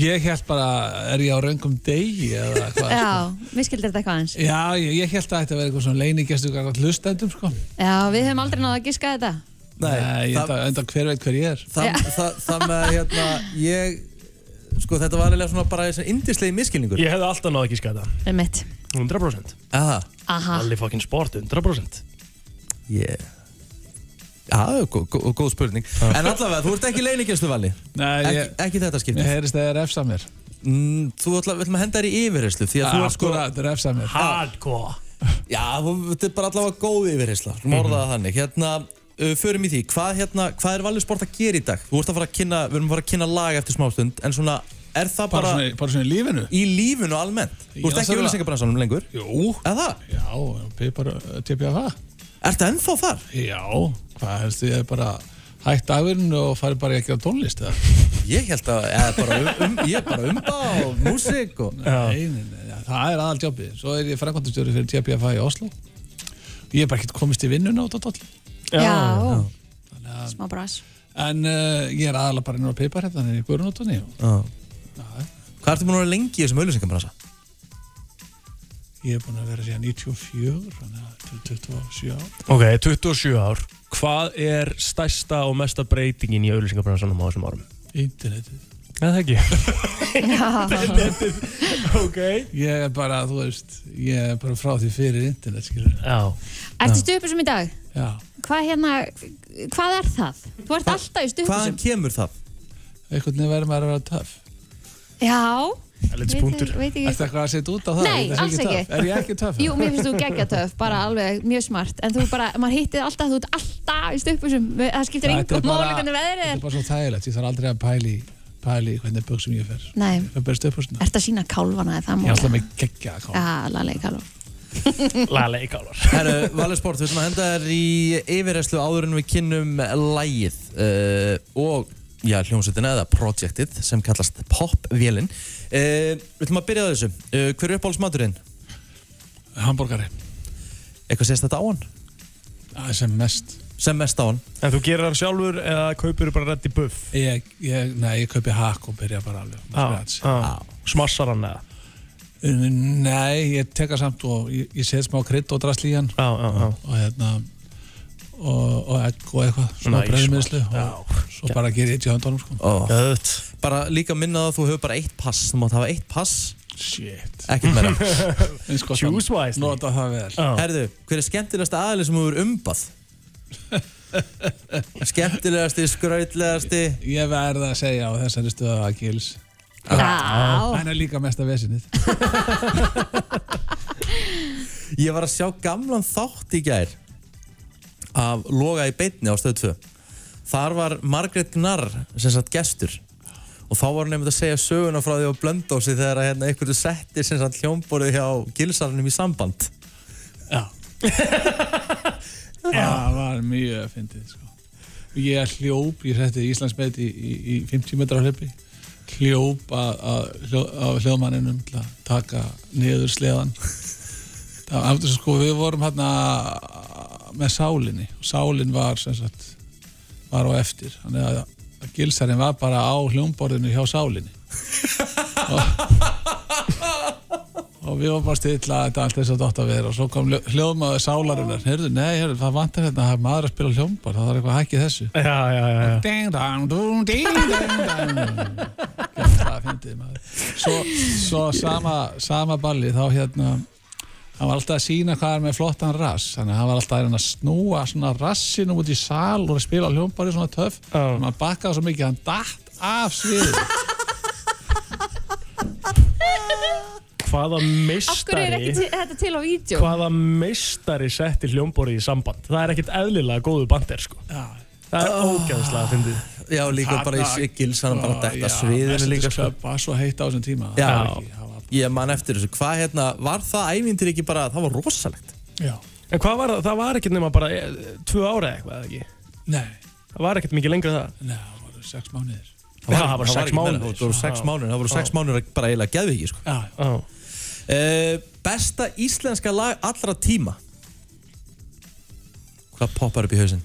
[SPEAKER 12] ég held bara, er ég á raungum degi eða hvað?
[SPEAKER 2] Já, mér skildir þetta eitthvað eins
[SPEAKER 12] Já, ég, ég held að þetta verið eitthvað svona leinigestu gæðat hlustendum, sko.
[SPEAKER 2] Já, við höfum aldrei náða að giska þetta
[SPEAKER 1] Nei,
[SPEAKER 12] ég held að enda hver veit hver ég er.
[SPEAKER 1] Þa, það, það með að hérna ég sko þetta var eiginlega svona bara þessi indislegi miskilningur
[SPEAKER 3] Ég hefði alltaf náð ekki skæta
[SPEAKER 2] Um mitt
[SPEAKER 3] 100%
[SPEAKER 1] Aha.
[SPEAKER 2] Aha.
[SPEAKER 3] Allir fucking sport 100%
[SPEAKER 1] Yeah. Já, gó- gó- góð spurning En allavega, þú ert ekki leinigestu Valli
[SPEAKER 12] Nei,
[SPEAKER 1] ekki,
[SPEAKER 12] ég-
[SPEAKER 1] ekki þetta skiptið
[SPEAKER 12] Mér heyrist að ég er refsa mér.
[SPEAKER 1] Mm, Þú ætla, vill maður henda þér í yfirheyslu Því að þú ert sko
[SPEAKER 12] Akkurat, refsa mér.
[SPEAKER 3] Hardcore
[SPEAKER 1] Já, þú- þetta er bara allavega góð yfirheysla Þú morðaði
[SPEAKER 12] Mhm.
[SPEAKER 1] það þannig Hérna, uh, förum í því Hvað, hérna, hvað er Valli sport að gera í dag? Þú ert að fara að kynna, við erum að fara að kynna lag eftir smástund En svona, er það
[SPEAKER 12] Bara
[SPEAKER 1] bara,
[SPEAKER 12] svona í- bara svona í lífinu?
[SPEAKER 1] Í lífinu almennt Þú ert ekki í auðlýsingabransanum lengur
[SPEAKER 12] Jú.
[SPEAKER 1] Eða?
[SPEAKER 12] Já, pipar, tipja það.
[SPEAKER 1] Ertu ennþá þar?
[SPEAKER 12] Já, hvað helst ég er bara hægt dagurinn og farið bara ekki á tónlist, eða?
[SPEAKER 1] Ég held að, eða bara, um, ég er bara umba og músík og...
[SPEAKER 12] Nei, nei, nei, nei, það er aðal jobbið. Svo er ég framkvæmdastjóri fyrir TPFA í Oslo. Ég er bara ekkert komist í vinnuna út á dollu.
[SPEAKER 2] Já,
[SPEAKER 12] Þannig að-
[SPEAKER 2] Smá brás
[SPEAKER 12] En uh, ég er aðalega bara inn á pipar hérna, þannig að ég guður út á nýjum.
[SPEAKER 1] Hvað ertu búin að vera lengi í þessum auðlýsingabransa?
[SPEAKER 12] Ég er búin að vera síðan 94, þannig að til 27 ár.
[SPEAKER 3] Ok, 27 ár Hvað er stærsta og mesta breytingin í auðlýsingabransanum á þessum árum?
[SPEAKER 12] Internetið.
[SPEAKER 3] Eða það ekki
[SPEAKER 12] Internetið,
[SPEAKER 3] ok.
[SPEAKER 12] Ég er bara, þú veist, ég er bara frá því fyrir internet, skilur.
[SPEAKER 3] Já.
[SPEAKER 2] Ertu stupusum í dag?
[SPEAKER 12] Já.
[SPEAKER 2] Hvað hérna, hvað er það? Þú ert alltaf í stupusum
[SPEAKER 1] kemur það?
[SPEAKER 12] Einhvern veginn verður maður að vera töff.
[SPEAKER 2] Já
[SPEAKER 12] Erlits
[SPEAKER 2] Veit- punktur. veit ekki-
[SPEAKER 12] Ertu eitthvað að setja út á það?
[SPEAKER 2] Nei,
[SPEAKER 12] Ég sé
[SPEAKER 2] alls
[SPEAKER 12] töff.
[SPEAKER 2] ekki.
[SPEAKER 12] Er ég ekki töff?
[SPEAKER 2] Jú, mér finnst þú geggja töf, bara alveg mjög smart En þú bara, maður hittir alltaf, þú ert alltaf í stöpusum Það skiptir
[SPEAKER 12] Þetta er
[SPEAKER 2] engum
[SPEAKER 12] bara-
[SPEAKER 2] máli hvernig veðrið
[SPEAKER 12] Þetta
[SPEAKER 2] er
[SPEAKER 12] er bara svo þægilegt, ég þarf aldrei að pæli, pæli hvernig buksum ég fer.
[SPEAKER 2] Nei,
[SPEAKER 12] Ég fer bara stöpusna.
[SPEAKER 2] ert að sína kálfana eða það
[SPEAKER 12] Ég
[SPEAKER 2] máli
[SPEAKER 12] er alltaf með geggja að
[SPEAKER 2] Já, lalegi kálfan
[SPEAKER 3] Lalegi kálfan
[SPEAKER 1] Herru, Valur Sport, við ætlum að henda þér í yfirreyslu áður en við kynnum lægið uh, og já, hljómsveitina eða projektið sem kallast Popvélin. Uh, við ætlum að byrja á þessu. Uh, hver er uppáhaldsmaturinn?
[SPEAKER 12] Hamburgari.
[SPEAKER 1] Eitthvað sést þetta á hann?
[SPEAKER 12] sem mest.
[SPEAKER 1] Sem mest á hann?
[SPEAKER 3] En þú gerir það sjálfur eða kaupir bara reddi buff?
[SPEAKER 12] Ég, ég, nei, ég kaupi hakk og byrja bara alveg.
[SPEAKER 1] Ah,
[SPEAKER 3] Já, smassar hann eða?
[SPEAKER 12] Nei, ég teka samt og ég, ég set smá krydd og drasl í hann
[SPEAKER 3] já, já, já.
[SPEAKER 12] og hérna og, og egg og eitthvað, smá
[SPEAKER 1] Nice,
[SPEAKER 12] bröðmiðslu
[SPEAKER 1] maður.
[SPEAKER 12] og svo bara ger ég eitt í höndunum sko.
[SPEAKER 1] Oh. Bara líka minna það að þú hefur bara eitt pass, þú mátt hafa eitt pass.
[SPEAKER 12] Shit.
[SPEAKER 1] Ekkert meira.
[SPEAKER 12] Juicewise Nota það vel
[SPEAKER 1] Herðu, hver er skemmtilegasta aðli sem þú hefur umbað? skemmtilegasti, skrautlegasti
[SPEAKER 12] Ég verð að segja á þessari stöðu að Gils
[SPEAKER 1] Já.
[SPEAKER 12] Hann er líka mesta vesinnið
[SPEAKER 1] Ég var að sjá gamlan þátt í gær af Loga í beitni á stöð 2 Þar var Margrét Gnarr sem sagt gestur og þá var hann nefnd að segja söguna frá því á blöndósi þegar að hérna einhverju setti sem sagt hljómborið hjá gilsarnum í samband
[SPEAKER 12] Það var mjög fyndið sko. Ég hljóp, ég setti Íslandsmet í, í, í 50 metra hlaupi hljóp að- að hljó- af hljóðmanninum til að taka niður sleðan það aftur sem sko við vorum hérna með sálinni og sálin var sem sagt var á eftir þannig að, að gilsarinn var bara á hljómborðinu hjá sálinni og, og við varum bara stilla þetta allt þess að dotta vera og svo kom hljó- hljóðmaður sálarinnar heyrðu, nei, heyrðu, það vantar hérna það er maður að spila á hljómborð, það er eitthvað hækki þessu
[SPEAKER 3] já, já, já, já.
[SPEAKER 12] Ding dong, dong, ding dong, dong svo, svo sama, sama balli þá hérna hann var alltaf að sína hvað er með flottan rass þannig að hann var alltaf að reyna að snúa svona rassinu út í sal og spila á hljómbari svona töff oh. hann bakkaði svo mikið að hann datt af sviðu
[SPEAKER 3] Hvaða
[SPEAKER 2] Af hverju er
[SPEAKER 3] meistari
[SPEAKER 2] ekki þetta til á vídeo?
[SPEAKER 3] Hvaða meistari setti hljómborið í samband Það er ekkit eðlilega góðu bandir sko. Það er ógæðslega að fyndið
[SPEAKER 1] Já, líka bara í Sigils, hann bara að detta sviðinu líka sko.
[SPEAKER 12] var svo heitt á þessum tíma
[SPEAKER 1] Já,
[SPEAKER 12] Það var
[SPEAKER 1] ég man eftir þessu Hvað hérna, var það ævindir ekki bara, það var rosalegt
[SPEAKER 12] Já.
[SPEAKER 3] En hvað var það? Það var ekkit nema bara e, tvö ára eða eitthvað eða ekki?
[SPEAKER 12] Nei.
[SPEAKER 3] Það var ekkit mikið lengra en það?
[SPEAKER 12] Nei, það voru sex mánuðir.
[SPEAKER 1] Það var,
[SPEAKER 3] það var
[SPEAKER 1] það
[SPEAKER 3] sex
[SPEAKER 1] ekki meira,
[SPEAKER 3] mánuðir. Ah.
[SPEAKER 1] Það voru sex
[SPEAKER 3] Já.
[SPEAKER 1] mánuðir, það voru sex
[SPEAKER 3] Já.
[SPEAKER 1] mánuðir að bara eiginlega geði ekki sko.
[SPEAKER 12] Já.
[SPEAKER 1] Eh, Besta íslenska lag allra tíma Hvað poppar upp í hausinn?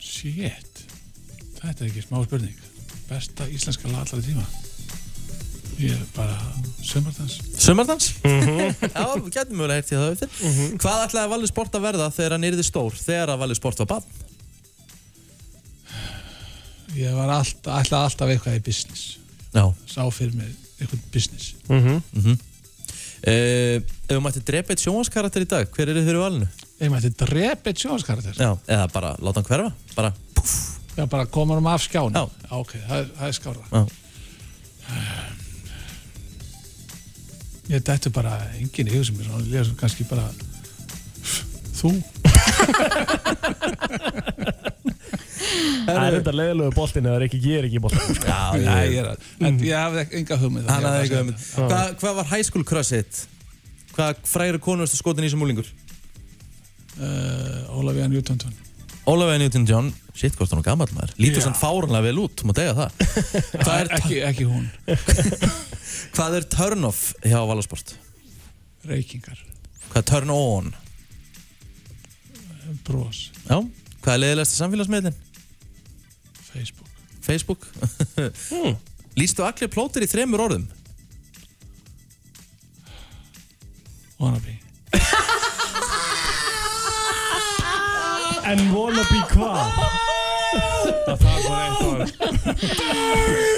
[SPEAKER 12] Shit, þetta er ekki smá spurning Besta íslenska lag allra tíma Ég er bara sömardans
[SPEAKER 1] Sumardans? Já, við getum mögulega hægt í það eftir Hvað ætlaði Valur Sport að verða þegar hann yrði stór þegar að Valur Sport var bann?
[SPEAKER 12] Ég var alltaf, alltaf, alltaf eitthvað í business
[SPEAKER 1] Já. Mhm.
[SPEAKER 12] Sá fyrir mig eitthvað business
[SPEAKER 1] Eh, Ef þú mætti drepa eitt sjónvanskarakter í dag, hver eru þeir í valinu?
[SPEAKER 12] Ég mætti drepa eitt sjónvarskarakter
[SPEAKER 1] Já, eða bara láta hann hverfa bara,
[SPEAKER 12] Já, bara koma um af skjánu Já, ok, það er, það er skára
[SPEAKER 1] Já.
[SPEAKER 12] Ég dættu bara enginn í hugsa mér svona, ég er kannski bara þú
[SPEAKER 3] Það er þetta leiðilegu boltin eða er ekki ég er ekki í boltin sko.
[SPEAKER 12] Nei, ég er að, en ég hafði ekki- enga hugmynd
[SPEAKER 1] Mhm. Hann
[SPEAKER 12] Ég
[SPEAKER 1] hafði
[SPEAKER 12] var að
[SPEAKER 1] eitthvað
[SPEAKER 12] segja þetta.
[SPEAKER 1] um Hvað hva var high school crush þitt? Hvað frægur konu varstu skotin í sem múlingur?
[SPEAKER 12] Uh, Ólafía Newton-John
[SPEAKER 1] Ólafía Newton-John Shit, hvort hún er gammal maður Lítur sann fáranlega vel út, þú má degja það Hvað er,
[SPEAKER 12] ekki, ekki hún
[SPEAKER 1] hvað er turn off hjá Valasport?
[SPEAKER 12] Reykingar
[SPEAKER 1] Hvað er turn on?
[SPEAKER 12] Brós
[SPEAKER 1] Já, hvað er leiðilegsta samfélagsmiðlinn?
[SPEAKER 12] Facebook
[SPEAKER 1] Facebook hmm. Lýstu allir plótir í þremur orðum?
[SPEAKER 12] Wannabe
[SPEAKER 3] En wannabe hvað? Það þarf bara eitt orð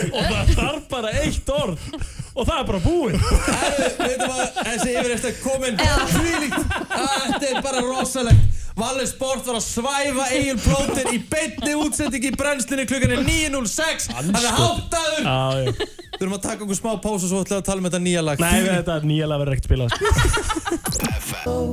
[SPEAKER 3] Og það þarf bara eitt orð Og það er bara búið
[SPEAKER 1] Veitum að þessi yfir eftir komin Þvílíkt, þetta er bara rosalegt Valur Sport var að svæfa Egil Plóter í beinni útsending í brennslinni klukkan er 9.06 Hann er háttaður
[SPEAKER 3] Já, já.
[SPEAKER 1] Við erum að taka okkur smá pásu og svo ætlum við að tala um þetta nýja lag
[SPEAKER 3] Nei, þetta er nýjalega verður ekkert spilað sko.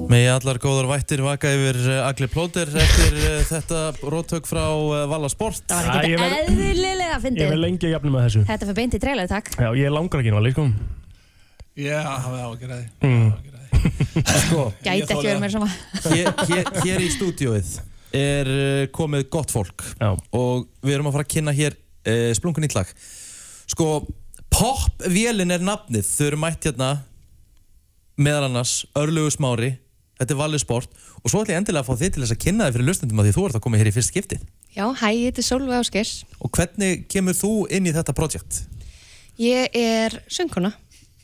[SPEAKER 1] Megi allar góðar vættir vaka yfir uh, Agli Plóter eftir uh, þetta róttök frá uh, Valur Sport
[SPEAKER 2] Það var ekki þetta eðlilega að fyndi
[SPEAKER 3] Ég vil lengi að jafna með þessu
[SPEAKER 2] Þetta fyrir beint í trailer, takk
[SPEAKER 3] Já, ég langar ekki náli, sko
[SPEAKER 12] Já, hafði ágjör að því
[SPEAKER 3] mm.
[SPEAKER 1] Sko,
[SPEAKER 2] Gæti ekki verið mér sama
[SPEAKER 1] hér, hér, hér í stúdióið er uh, komið gott fólk
[SPEAKER 3] Já.
[SPEAKER 1] og við erum að fara að kynna hér uh, splungun í lag sko, popvélin er nafnið þau eru mætt hérna meðal annars, örlugu smári þetta er valið sport og svo ætlum ég endilega að fá þið til þess að kynna þið fyrir hlustendum að því þú ert að koma hér í fyrst skiptið
[SPEAKER 4] Já, hæ, ég heiti Solveig Áskers.
[SPEAKER 1] og hvernig kemur þú inn í þetta projekt?
[SPEAKER 4] Ég er söngkona,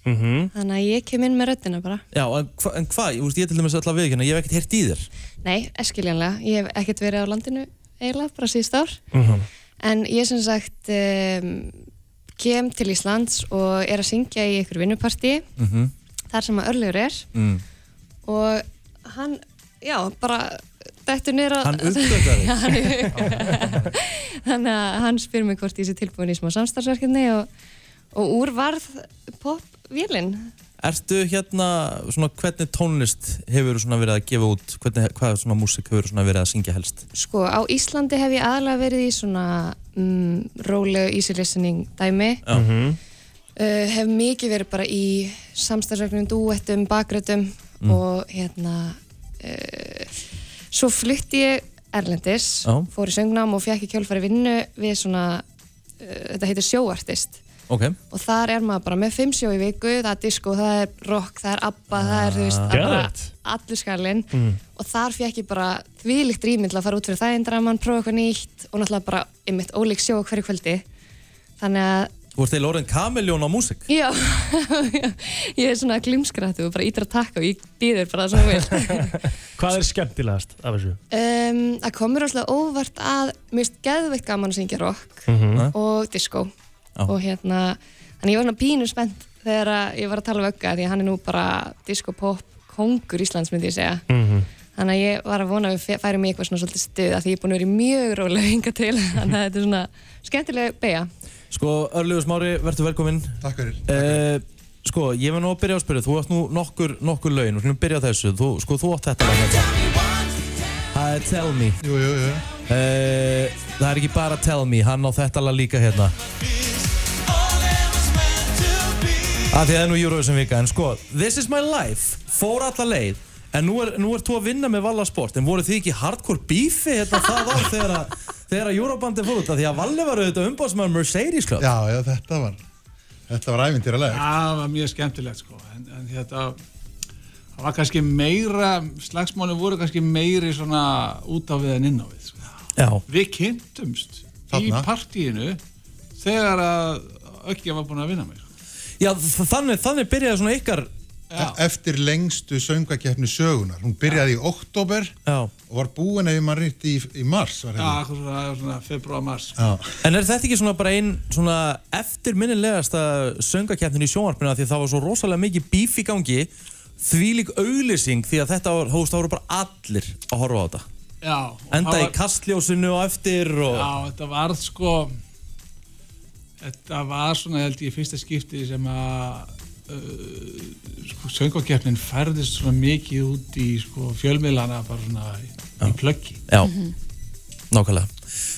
[SPEAKER 1] Mm -hmm.
[SPEAKER 4] þannig að ég kem inn með röddina bara.
[SPEAKER 1] Já, en hvað, en hva, ég, veist, ég til dæmis alltaf við ég hef ekkert heyrt í þér
[SPEAKER 4] Nei, eskiljanlega, ég hef ekkert verið á landinu eiginlega, bara síðust ár. En ég sem sagt um, kem til Íslands og er að syngja í ykkur vinnupartí,
[SPEAKER 1] Mhm.
[SPEAKER 4] þar sem að örlegur er.
[SPEAKER 1] mm.
[SPEAKER 4] Og hann, já, bara dættu niður að...
[SPEAKER 1] Hann uppgötvaði.
[SPEAKER 4] Já, hann uppgötaði. Þannig að hann spyr mig hvort ég sé tilbúin í smá samstarfsverkefni og, og úr varð popvélinn.
[SPEAKER 1] Ertu hérna, svona, hvernig tónlist hefur svona verið að gefa út, hvernig, hvað svona músik hefur svona verið að syngja helst?
[SPEAKER 4] Sko, á Íslandi hef ég aðalega verið í svona mm, rólegu easy listening dæmi.
[SPEAKER 1] Já. Mm -hmm.
[SPEAKER 4] Uh, hef mikið verið bara í samstagsverknum, dúettum, bakröttum
[SPEAKER 1] Mm.
[SPEAKER 4] og hérna uh, svo flutti ég Erlendis,
[SPEAKER 1] Já.
[SPEAKER 4] fór í söngnám og fekk í kjálfari vinnu við svona uh, þetta heitir sjóartist
[SPEAKER 1] ok
[SPEAKER 4] og þar er maður bara með fimm sjó í viku, það er disco, það er rock, það er abba, það er, þú veist, það er bara
[SPEAKER 1] Ah, Geðveikt.
[SPEAKER 4] allur skalinn
[SPEAKER 1] Mm.
[SPEAKER 3] Mm-hmm.
[SPEAKER 4] og þar fekk ég bara þvílíkt rými til að fara út fyrir þægindraman, prófa eitthvað nýtt og náttúrulega bara einmitt ólík sjó á hverju kvöldi. Þannig að,
[SPEAKER 1] Þú ert eða orðin kameljón á músik
[SPEAKER 4] já, ég er svona glumskrættu og bara ítir að takka og ég býður bara það sem þú vilt.
[SPEAKER 3] Hvað er skemmtilegast af þessu?
[SPEAKER 4] Um, það komur rosalega óvart að mér finnst geðveikt gaman að syngja rock og disco
[SPEAKER 1] Já.
[SPEAKER 4] og hérna, þannig ég var svona pínu spennt þegar að ég var að tala við ögga því að hann er nú bara disco pop kongur Íslands myndi ég segja
[SPEAKER 3] Mm-hmm.
[SPEAKER 4] þannig að ég var að vona að við færum í eitthvað svona svolítið stuð af því ég er búin að vera í mjög rólega hinga til þannig að þetta er svona skemmtileg beja
[SPEAKER 1] Sko, Örlugur Smári, verður velkominn Takk fyrir eh, Sko, ég var nú að byrja að spyrja, þú átt nú nokkur, nokkur laun og hljóðum byrja á þessu, þú, sko, þú átt þetta lag hérna. Það er Tell Me Jú, jú, jú eh, Það er ekki bara Tell Me, hann á þetta lag líka hérna Af því að það er nú Eurovision vika, en sko, This is my life, fór alla leið En nú, er, nú ert þú að vinna með Valla Sport, en voru þið ekki hardcore bífi hérna það á þegar að þegar að Eurobandi fór út af því að Valli var auðvitað umbásmaður Mercedes Club
[SPEAKER 13] Já, já, þetta var þetta var ævintýralegt
[SPEAKER 12] það var mjög skemmtilegt sko. en, en þetta það var kannski meira slagsmálum voru kannski meiri svona út á við en inn á við sko.
[SPEAKER 1] Já.
[SPEAKER 12] við kynntumst
[SPEAKER 13] Þarna.
[SPEAKER 12] í partíinu þegar að Öggja var búin að vinna mig sko.
[SPEAKER 1] Já, þannig, þannig byrjaði svona ykkar
[SPEAKER 13] E-, eftir lengstu söngakefni sögunar hún byrjaði í oktober
[SPEAKER 1] já.
[SPEAKER 13] og var búin ef maður rétti í, í mars var
[SPEAKER 12] já,
[SPEAKER 13] þetta
[SPEAKER 12] eitthvað svona, svona februar mars
[SPEAKER 13] Já.
[SPEAKER 1] En er þetta ekki svona bara einn svona eftirminnilegasta söngakeppnin í sjónvarpinu af því að það var svo rosalega mikið bíf í gangi þvílík auglýsing því að þetta var, hóst, það voru bara allir að horfa á þetta
[SPEAKER 12] já, og
[SPEAKER 1] Enda
[SPEAKER 12] það
[SPEAKER 1] í kastljósinu og eftir og
[SPEAKER 12] Já, þetta var sko þetta var svona held ég fyrsta skipti sem að uh, sko, söngvakeppnin færðist svona mikið út í sko, fjölmiðlana bara svona í, í plöggi
[SPEAKER 1] Já, nákvæmlega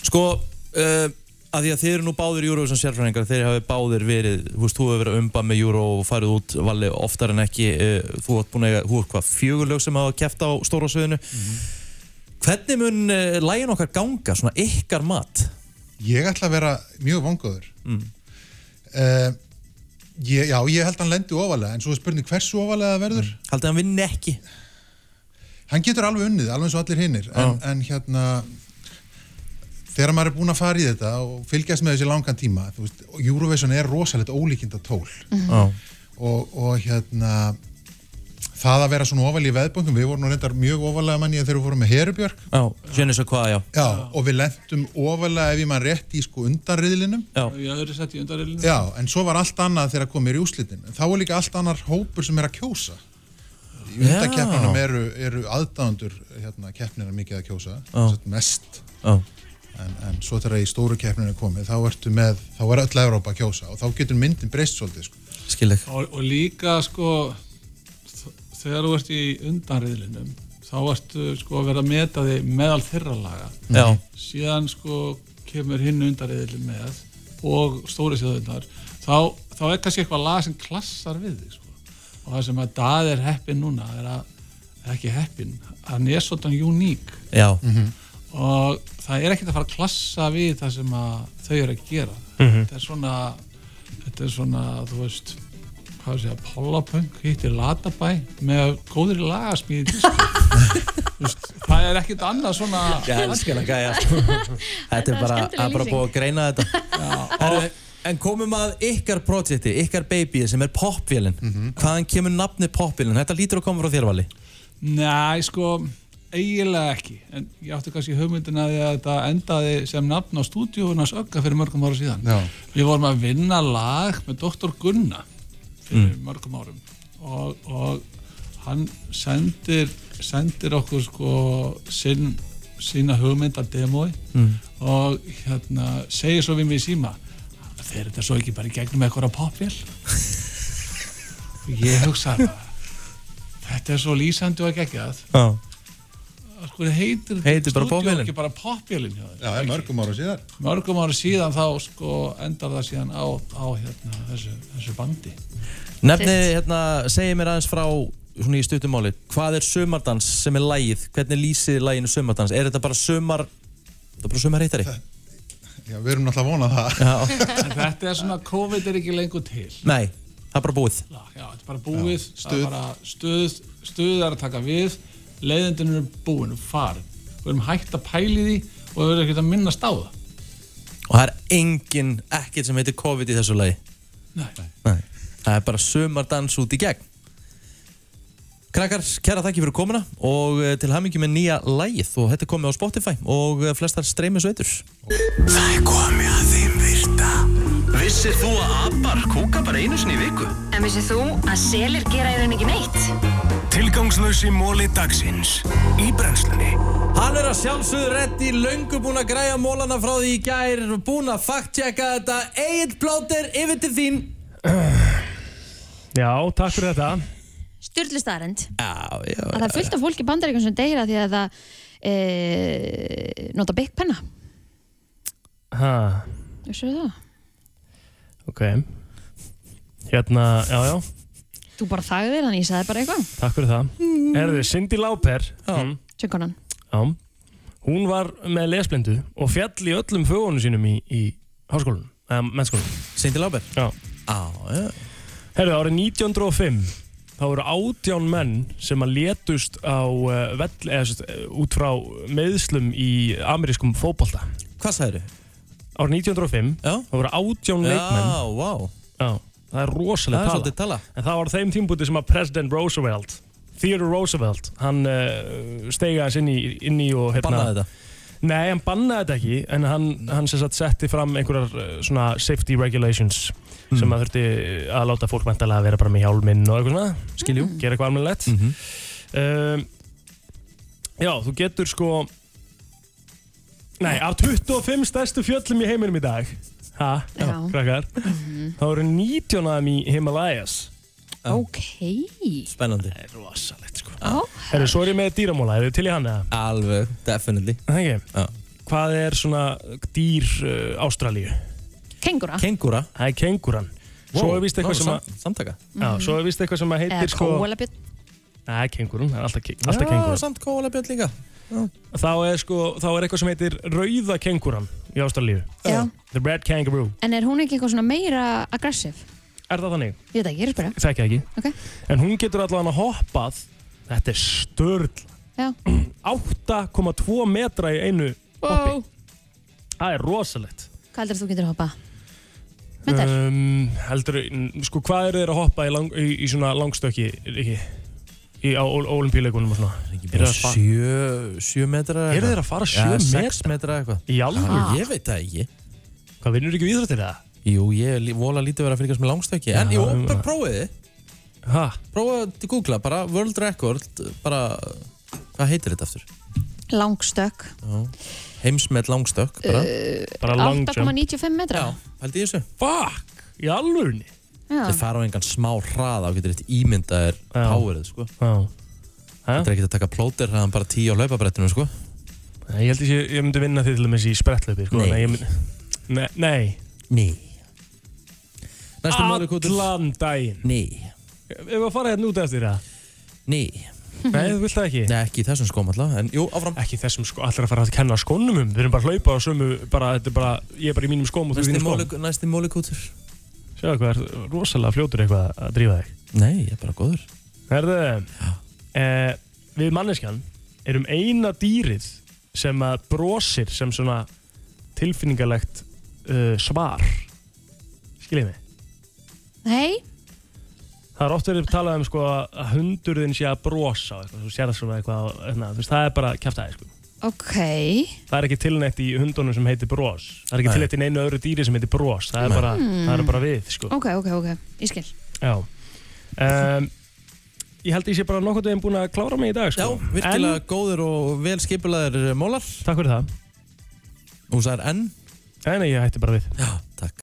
[SPEAKER 1] Sko, uh, að því að þið eru nú báðir Eurovision sérfræðingar, þeir hafi báðir verið þú veist, þú hefur verið að umba með Euro og farið út vali oftar en ekki uh, þú ert búin að, eiga- þú ert hvað, fjögurlög sem hafa kæft á stóra sviðinu Hvernig mun uh, lægin okkar ganga, svona ykkar mat?
[SPEAKER 13] Ég ætla að vera mjög vangóður mm. ég, Já, ég held að hann lendi ofalega en svo er spurning hversu ofalega það verður mm.
[SPEAKER 1] Haldið hann vinni ekki?
[SPEAKER 13] Hann getur alveg unnið, alveg eins og allir hinnir en, en hérna þegar maður er búinn að fara í þetta og fylgjast með þessi langan tíma þú veist, Eurovision er rosalegt ólíkinda tól
[SPEAKER 1] Já.
[SPEAKER 13] og, og hérna það að vera svona ofalega í veðböngum við vorum nú reyndar mjög ofalega manni þegar við vorum með Herubjörg
[SPEAKER 1] Já, sjönnið svo hvað, já
[SPEAKER 13] Já, og við lentum ofalega ef ég mann rétt í sko undanriðlinum
[SPEAKER 1] Já.
[SPEAKER 12] í öðru sett í undarilinu
[SPEAKER 13] Já, en svo var allt annað þegar komið í úslitin þá er líka allt annar hópur sem er að kjósa í
[SPEAKER 1] Já.
[SPEAKER 13] undakeppnunum eru, eru aðdáðundur hérna, keppnina mikið að kjósa
[SPEAKER 1] Já.
[SPEAKER 13] sem sagt mest
[SPEAKER 1] Já.
[SPEAKER 13] en, en svo þegar í stóru keppninu er komið þá, ertu með, þá er öll Evrópa að kjósa og þá getur myndin breyst svolítið sko.
[SPEAKER 1] Skil ekki
[SPEAKER 12] og, og líka sko þ- þegar þú ert í undanriðlinum þá ertu sko að vera að meta þig meðal þeirra laga
[SPEAKER 1] Já.
[SPEAKER 12] síðan sko kemur hinn undanriðlin með og stóri sjóðunar þá, þá er kannski eitthvað lag sem klassar við þig sko. og það sem að Dað er heppin núna er, að, er ekki heppin hann er svona uník
[SPEAKER 1] Já
[SPEAKER 12] og það er ekkert að fara að klassa við það sem að þau eru að gera
[SPEAKER 1] Mhm.
[SPEAKER 12] þetta er svona þetta er svona, þú veist hvað þú segja, Pollapunk hittir Latabæ með góðri lagasmíði sko. Þú veist, það er ekkert annað svona
[SPEAKER 1] Ég elska hana gæja sko. Þetta er bara,
[SPEAKER 12] skemmtileg
[SPEAKER 1] að bara
[SPEAKER 12] lýsing.
[SPEAKER 1] búið að greina þetta Herru, En komum að ykkar projekti, ykkar baby sem er popvélin Hvaðan kemur nafni popvélin? Þetta lítur að koma frá þér vali
[SPEAKER 12] Nei, sko, eiginlega ekki en ég átti kannski hugmyndina því að þetta endaði sem nafn á stúdíunas ögga fyrir mörgum ára síðan
[SPEAKER 13] Já.
[SPEAKER 12] Við vorum að vinna lag með Dr. Gunna fyrir mörgum árum og, og hann sendir, sendir okkur sko sinn, sína hugmynda demói
[SPEAKER 1] Mm.
[SPEAKER 12] og hérna segir svo við mig í síma þeir þetta svo ekki bara í gegnum eitthvað popvél og ég hugsa bara þetta er svo lýsandi og geggjað
[SPEAKER 1] Já.
[SPEAKER 12] Af hverju Sko, heitir
[SPEAKER 1] Heitir bara
[SPEAKER 12] stúdíó
[SPEAKER 1] popvélin?
[SPEAKER 12] ekki bara popvélin hjá þér
[SPEAKER 13] Já, það er mörgum ára síðan
[SPEAKER 12] mörgum ára síðan þá sko endar það síðan á, á hérna, þessu, þessu bandi
[SPEAKER 1] Nefnið, hérna, segi mér aðeins frá svona í stuttumáli, hvað er sömardans sem er lægið? Hvernig lýsið þið læginu sömardans? Er þetta bara sömar, þetta er bara sömar heittari?
[SPEAKER 13] Já, við erum náttúrulega að vona það.
[SPEAKER 12] En þetta er svona, COVID er ekki lengur til.
[SPEAKER 1] Nei, það er bara búið.
[SPEAKER 12] Já, þetta er bara búið, það
[SPEAKER 1] Já, stuð.
[SPEAKER 12] er bara stuð, stuð er að taka við, leiðindin eru búin og farin. Við erum hægt að pæli því og við erum ekkert að minnast á það.
[SPEAKER 1] Og það er engin, ekkert sem heitir COVID í þessu lagi.
[SPEAKER 12] Nei.
[SPEAKER 1] Nei. Það er bara sömardans út í gegn. Krakkar, kæra þakki fyrir komuna og eh, til hamingi með nýja lagið og þetta er komið á Spotify og eh, flestar streymi sveitur.
[SPEAKER 5] Það er komið að þeim virta Vissir þú að abar kúka bara einu sinni í viku?
[SPEAKER 14] En vissið þú að selir gera í rauninni ekki neitt?
[SPEAKER 5] Tilgangslösi móli dagsins Í brennslunni
[SPEAKER 1] Hann er að sjálfsögðu reddi, löngu búin að græja mólana frá því í gær, búin að faktjaka þetta. Egil Blóter, yfir til þín.
[SPEAKER 3] Já, takk fyrir þetta.
[SPEAKER 2] Sturlu staðarend.
[SPEAKER 1] Já, já.
[SPEAKER 2] Að það er fullt af fólki í bandaríkjum sem deyra því að það e, nota byggpenna.
[SPEAKER 3] Ha,
[SPEAKER 2] Vissu það?
[SPEAKER 3] ok. Hérna, já, já,
[SPEAKER 2] Þú bara þagðir, þannig ég sagði bara eitthvað.
[SPEAKER 3] takk fyrir það.
[SPEAKER 2] Mm.
[SPEAKER 3] Erðu, Cindy Lauper, mm,
[SPEAKER 2] Sjöngkonan.
[SPEAKER 3] já, hún var með lesblindu og fjall í öllum fögunum sínum í, í háskólanum, eða mennskólanum.
[SPEAKER 1] Cindy Lauper?
[SPEAKER 3] Já.
[SPEAKER 1] Á, já.
[SPEAKER 3] Herðu, árið 1905 þá voru átján menn sem að létust á uh, vell, eða, sérst, út frá meðslum í amerískum fótbolta.
[SPEAKER 1] Hvað sagðu?
[SPEAKER 3] Árið 1905
[SPEAKER 1] já.
[SPEAKER 3] þá voru átján
[SPEAKER 1] Já,
[SPEAKER 3] leikmenn.
[SPEAKER 1] vá.
[SPEAKER 3] Já, það er rosalega
[SPEAKER 1] Það er
[SPEAKER 3] tala.
[SPEAKER 1] svolítið tala.
[SPEAKER 3] En það var á þeim tímbúti sem að President Roosevelt, Theodore Roosevelt, hann uh, stegi aðeins inn í, inn í og hérna...
[SPEAKER 1] Bannaði þetta?
[SPEAKER 3] Nei, hann bannaði þetta ekki, en hann, hann sem sagt setti fram einhverjar eh, svona safety regulations
[SPEAKER 1] Mm.
[SPEAKER 3] sem að þurfti að láta fólk mentalega að vera bara með hjálminn og eitthvað svona. Skiljú. Gera eitthvað almennilegt.
[SPEAKER 1] Mhm.
[SPEAKER 3] Ehm, Mm já, þú getur sko... Nei, af 25 stærstu fjöllum í heiminum í dag, ha, já,
[SPEAKER 2] Já. Mhm.
[SPEAKER 3] krakkar, þá eru 19 af þeim í Himalayas.
[SPEAKER 2] Ok.
[SPEAKER 1] Spennandi.
[SPEAKER 3] Það er rosalegt, sko.
[SPEAKER 2] Já.
[SPEAKER 3] Herru, svo er ég með dýramóla, eru til í hann eða?
[SPEAKER 1] Alveg, definitely.
[SPEAKER 3] Þannig?
[SPEAKER 1] Já.
[SPEAKER 3] Hvað er svona dýr uh, Ástralíu?
[SPEAKER 2] Kengura.
[SPEAKER 1] Kengúra?
[SPEAKER 3] Það er kengúran. Svo er víst eitthvað sem að...
[SPEAKER 1] Samtaka?
[SPEAKER 3] Já, svo er víst eitthvað sem að heitir
[SPEAKER 2] Eða
[SPEAKER 3] sko...
[SPEAKER 2] kóalabjörn.
[SPEAKER 3] Nei, kengúrun, það er alltaf, ke- alltaf kengúran.
[SPEAKER 1] samt kóalabjörn líka.
[SPEAKER 3] Þá er sko, þá er eitthvað sem heitir rauða kengúran í Ástralíu.
[SPEAKER 2] Já.
[SPEAKER 3] The red kangaroo.
[SPEAKER 2] En er hún ekki eitthvað svona meira aggressiv?
[SPEAKER 3] Er það þannig?
[SPEAKER 2] Ég veit ekki, ég er að spyrja.
[SPEAKER 3] Þekki það ekki.
[SPEAKER 2] Ok.
[SPEAKER 3] En hún getur allavega hoppað, þetta er störl,
[SPEAKER 2] Já.
[SPEAKER 3] 8,2 metra í einu hoppi. Það er rosalegt.
[SPEAKER 2] Hvað heldur þú getur hoppað? Metar?
[SPEAKER 3] Um, heldur, sko, hvað eru þeir að hoppa í, lang, í, í svona langstökki ekki, í, á olimpíuleikunum og svona? Eru þeir
[SPEAKER 1] Bara
[SPEAKER 3] að fa-
[SPEAKER 1] sjö, sjö metra
[SPEAKER 3] Eru þeir að fara sjö
[SPEAKER 1] metra?
[SPEAKER 3] metra?
[SPEAKER 1] Já, sex metra eitthvað
[SPEAKER 3] Í alvöru?
[SPEAKER 1] Já, Ég veit það ekki
[SPEAKER 3] Hvað vinnur ekki viðrættir það?
[SPEAKER 1] Jú, ég er lí- vola lítið verið að fylgjast með langstökki En
[SPEAKER 3] Já,
[SPEAKER 1] jú,
[SPEAKER 3] um
[SPEAKER 1] bara
[SPEAKER 3] það.
[SPEAKER 1] prófið þið
[SPEAKER 3] Hæ?
[SPEAKER 1] Prófið að googla, bara world record Bara, hvað heitir þetta aftur?
[SPEAKER 2] Langstökk.
[SPEAKER 1] Já. Heimsmet langstökk bara.
[SPEAKER 3] bara
[SPEAKER 2] 8,95 metra?
[SPEAKER 1] Hældi ég þessu?
[SPEAKER 3] Fuck, í alvörni
[SPEAKER 2] Já.
[SPEAKER 1] Þeir fara á engan smá hraða og getur eitt ímyndaðir powerið sko
[SPEAKER 3] Já.
[SPEAKER 1] Þetta er ekki að taka plóter hraðan bara tíu á hlaupabrettinu sko
[SPEAKER 3] Nei, Ég held ekki, ég myndi vinna þið til dæmis í sprettlöfi sko,
[SPEAKER 1] Nei.
[SPEAKER 3] nei. Myndi, nei Nei
[SPEAKER 1] Nei
[SPEAKER 3] Næstu máli kútur Allan daginn
[SPEAKER 1] Nei
[SPEAKER 3] Ef við að fara hérna út eftir það
[SPEAKER 1] Nei
[SPEAKER 3] Nei, þú vilt það ekki
[SPEAKER 1] Nei, ekki í þessum skóm alltaf En jú, áfram
[SPEAKER 3] Ekki í þessum sko, allir að fara að kenna skónum um Við erum bara að hlaupa á sömu bara, þetta er bara, Ég er bara í mínum skóm og þú í
[SPEAKER 1] Næsti
[SPEAKER 3] þínum skóm
[SPEAKER 1] móli- Næsti mólikútur
[SPEAKER 3] Sjáðu hvað er rosalega fljótur eitthvað að drífa þig
[SPEAKER 1] Nei, ég er bara góður
[SPEAKER 3] Herðu, eh, við manneskjan erum eina dýrið sem að brosir sem svona tilfinningalegt uh, svar Skiljið mig
[SPEAKER 2] Nei,
[SPEAKER 3] Það er oft verið talað um sko að hundurðin sé að brosa og eitthvað, þú sér það svona eitthvað na, veist, það er bara kjaftaði sko.
[SPEAKER 2] ok.
[SPEAKER 3] Það er ekki tilnætt í hundunum sem heitir bros Það er ekki
[SPEAKER 1] Nei.
[SPEAKER 3] tilnætt í neinu öðru dýri sem heitir bros Það er, bara, það er bara við sko.
[SPEAKER 2] Ok, ok, ok. Ég skil.
[SPEAKER 3] Já um, Ég held að ég sé bara nokkuð veginn búin að klára mig í dag sko.
[SPEAKER 1] Já, virkilega góður og vel
[SPEAKER 3] eh,
[SPEAKER 1] skipulaðir mólar
[SPEAKER 3] Takk fyrir það
[SPEAKER 1] Og það er enn
[SPEAKER 3] Nei, nei, ég hætti bara við
[SPEAKER 1] Já,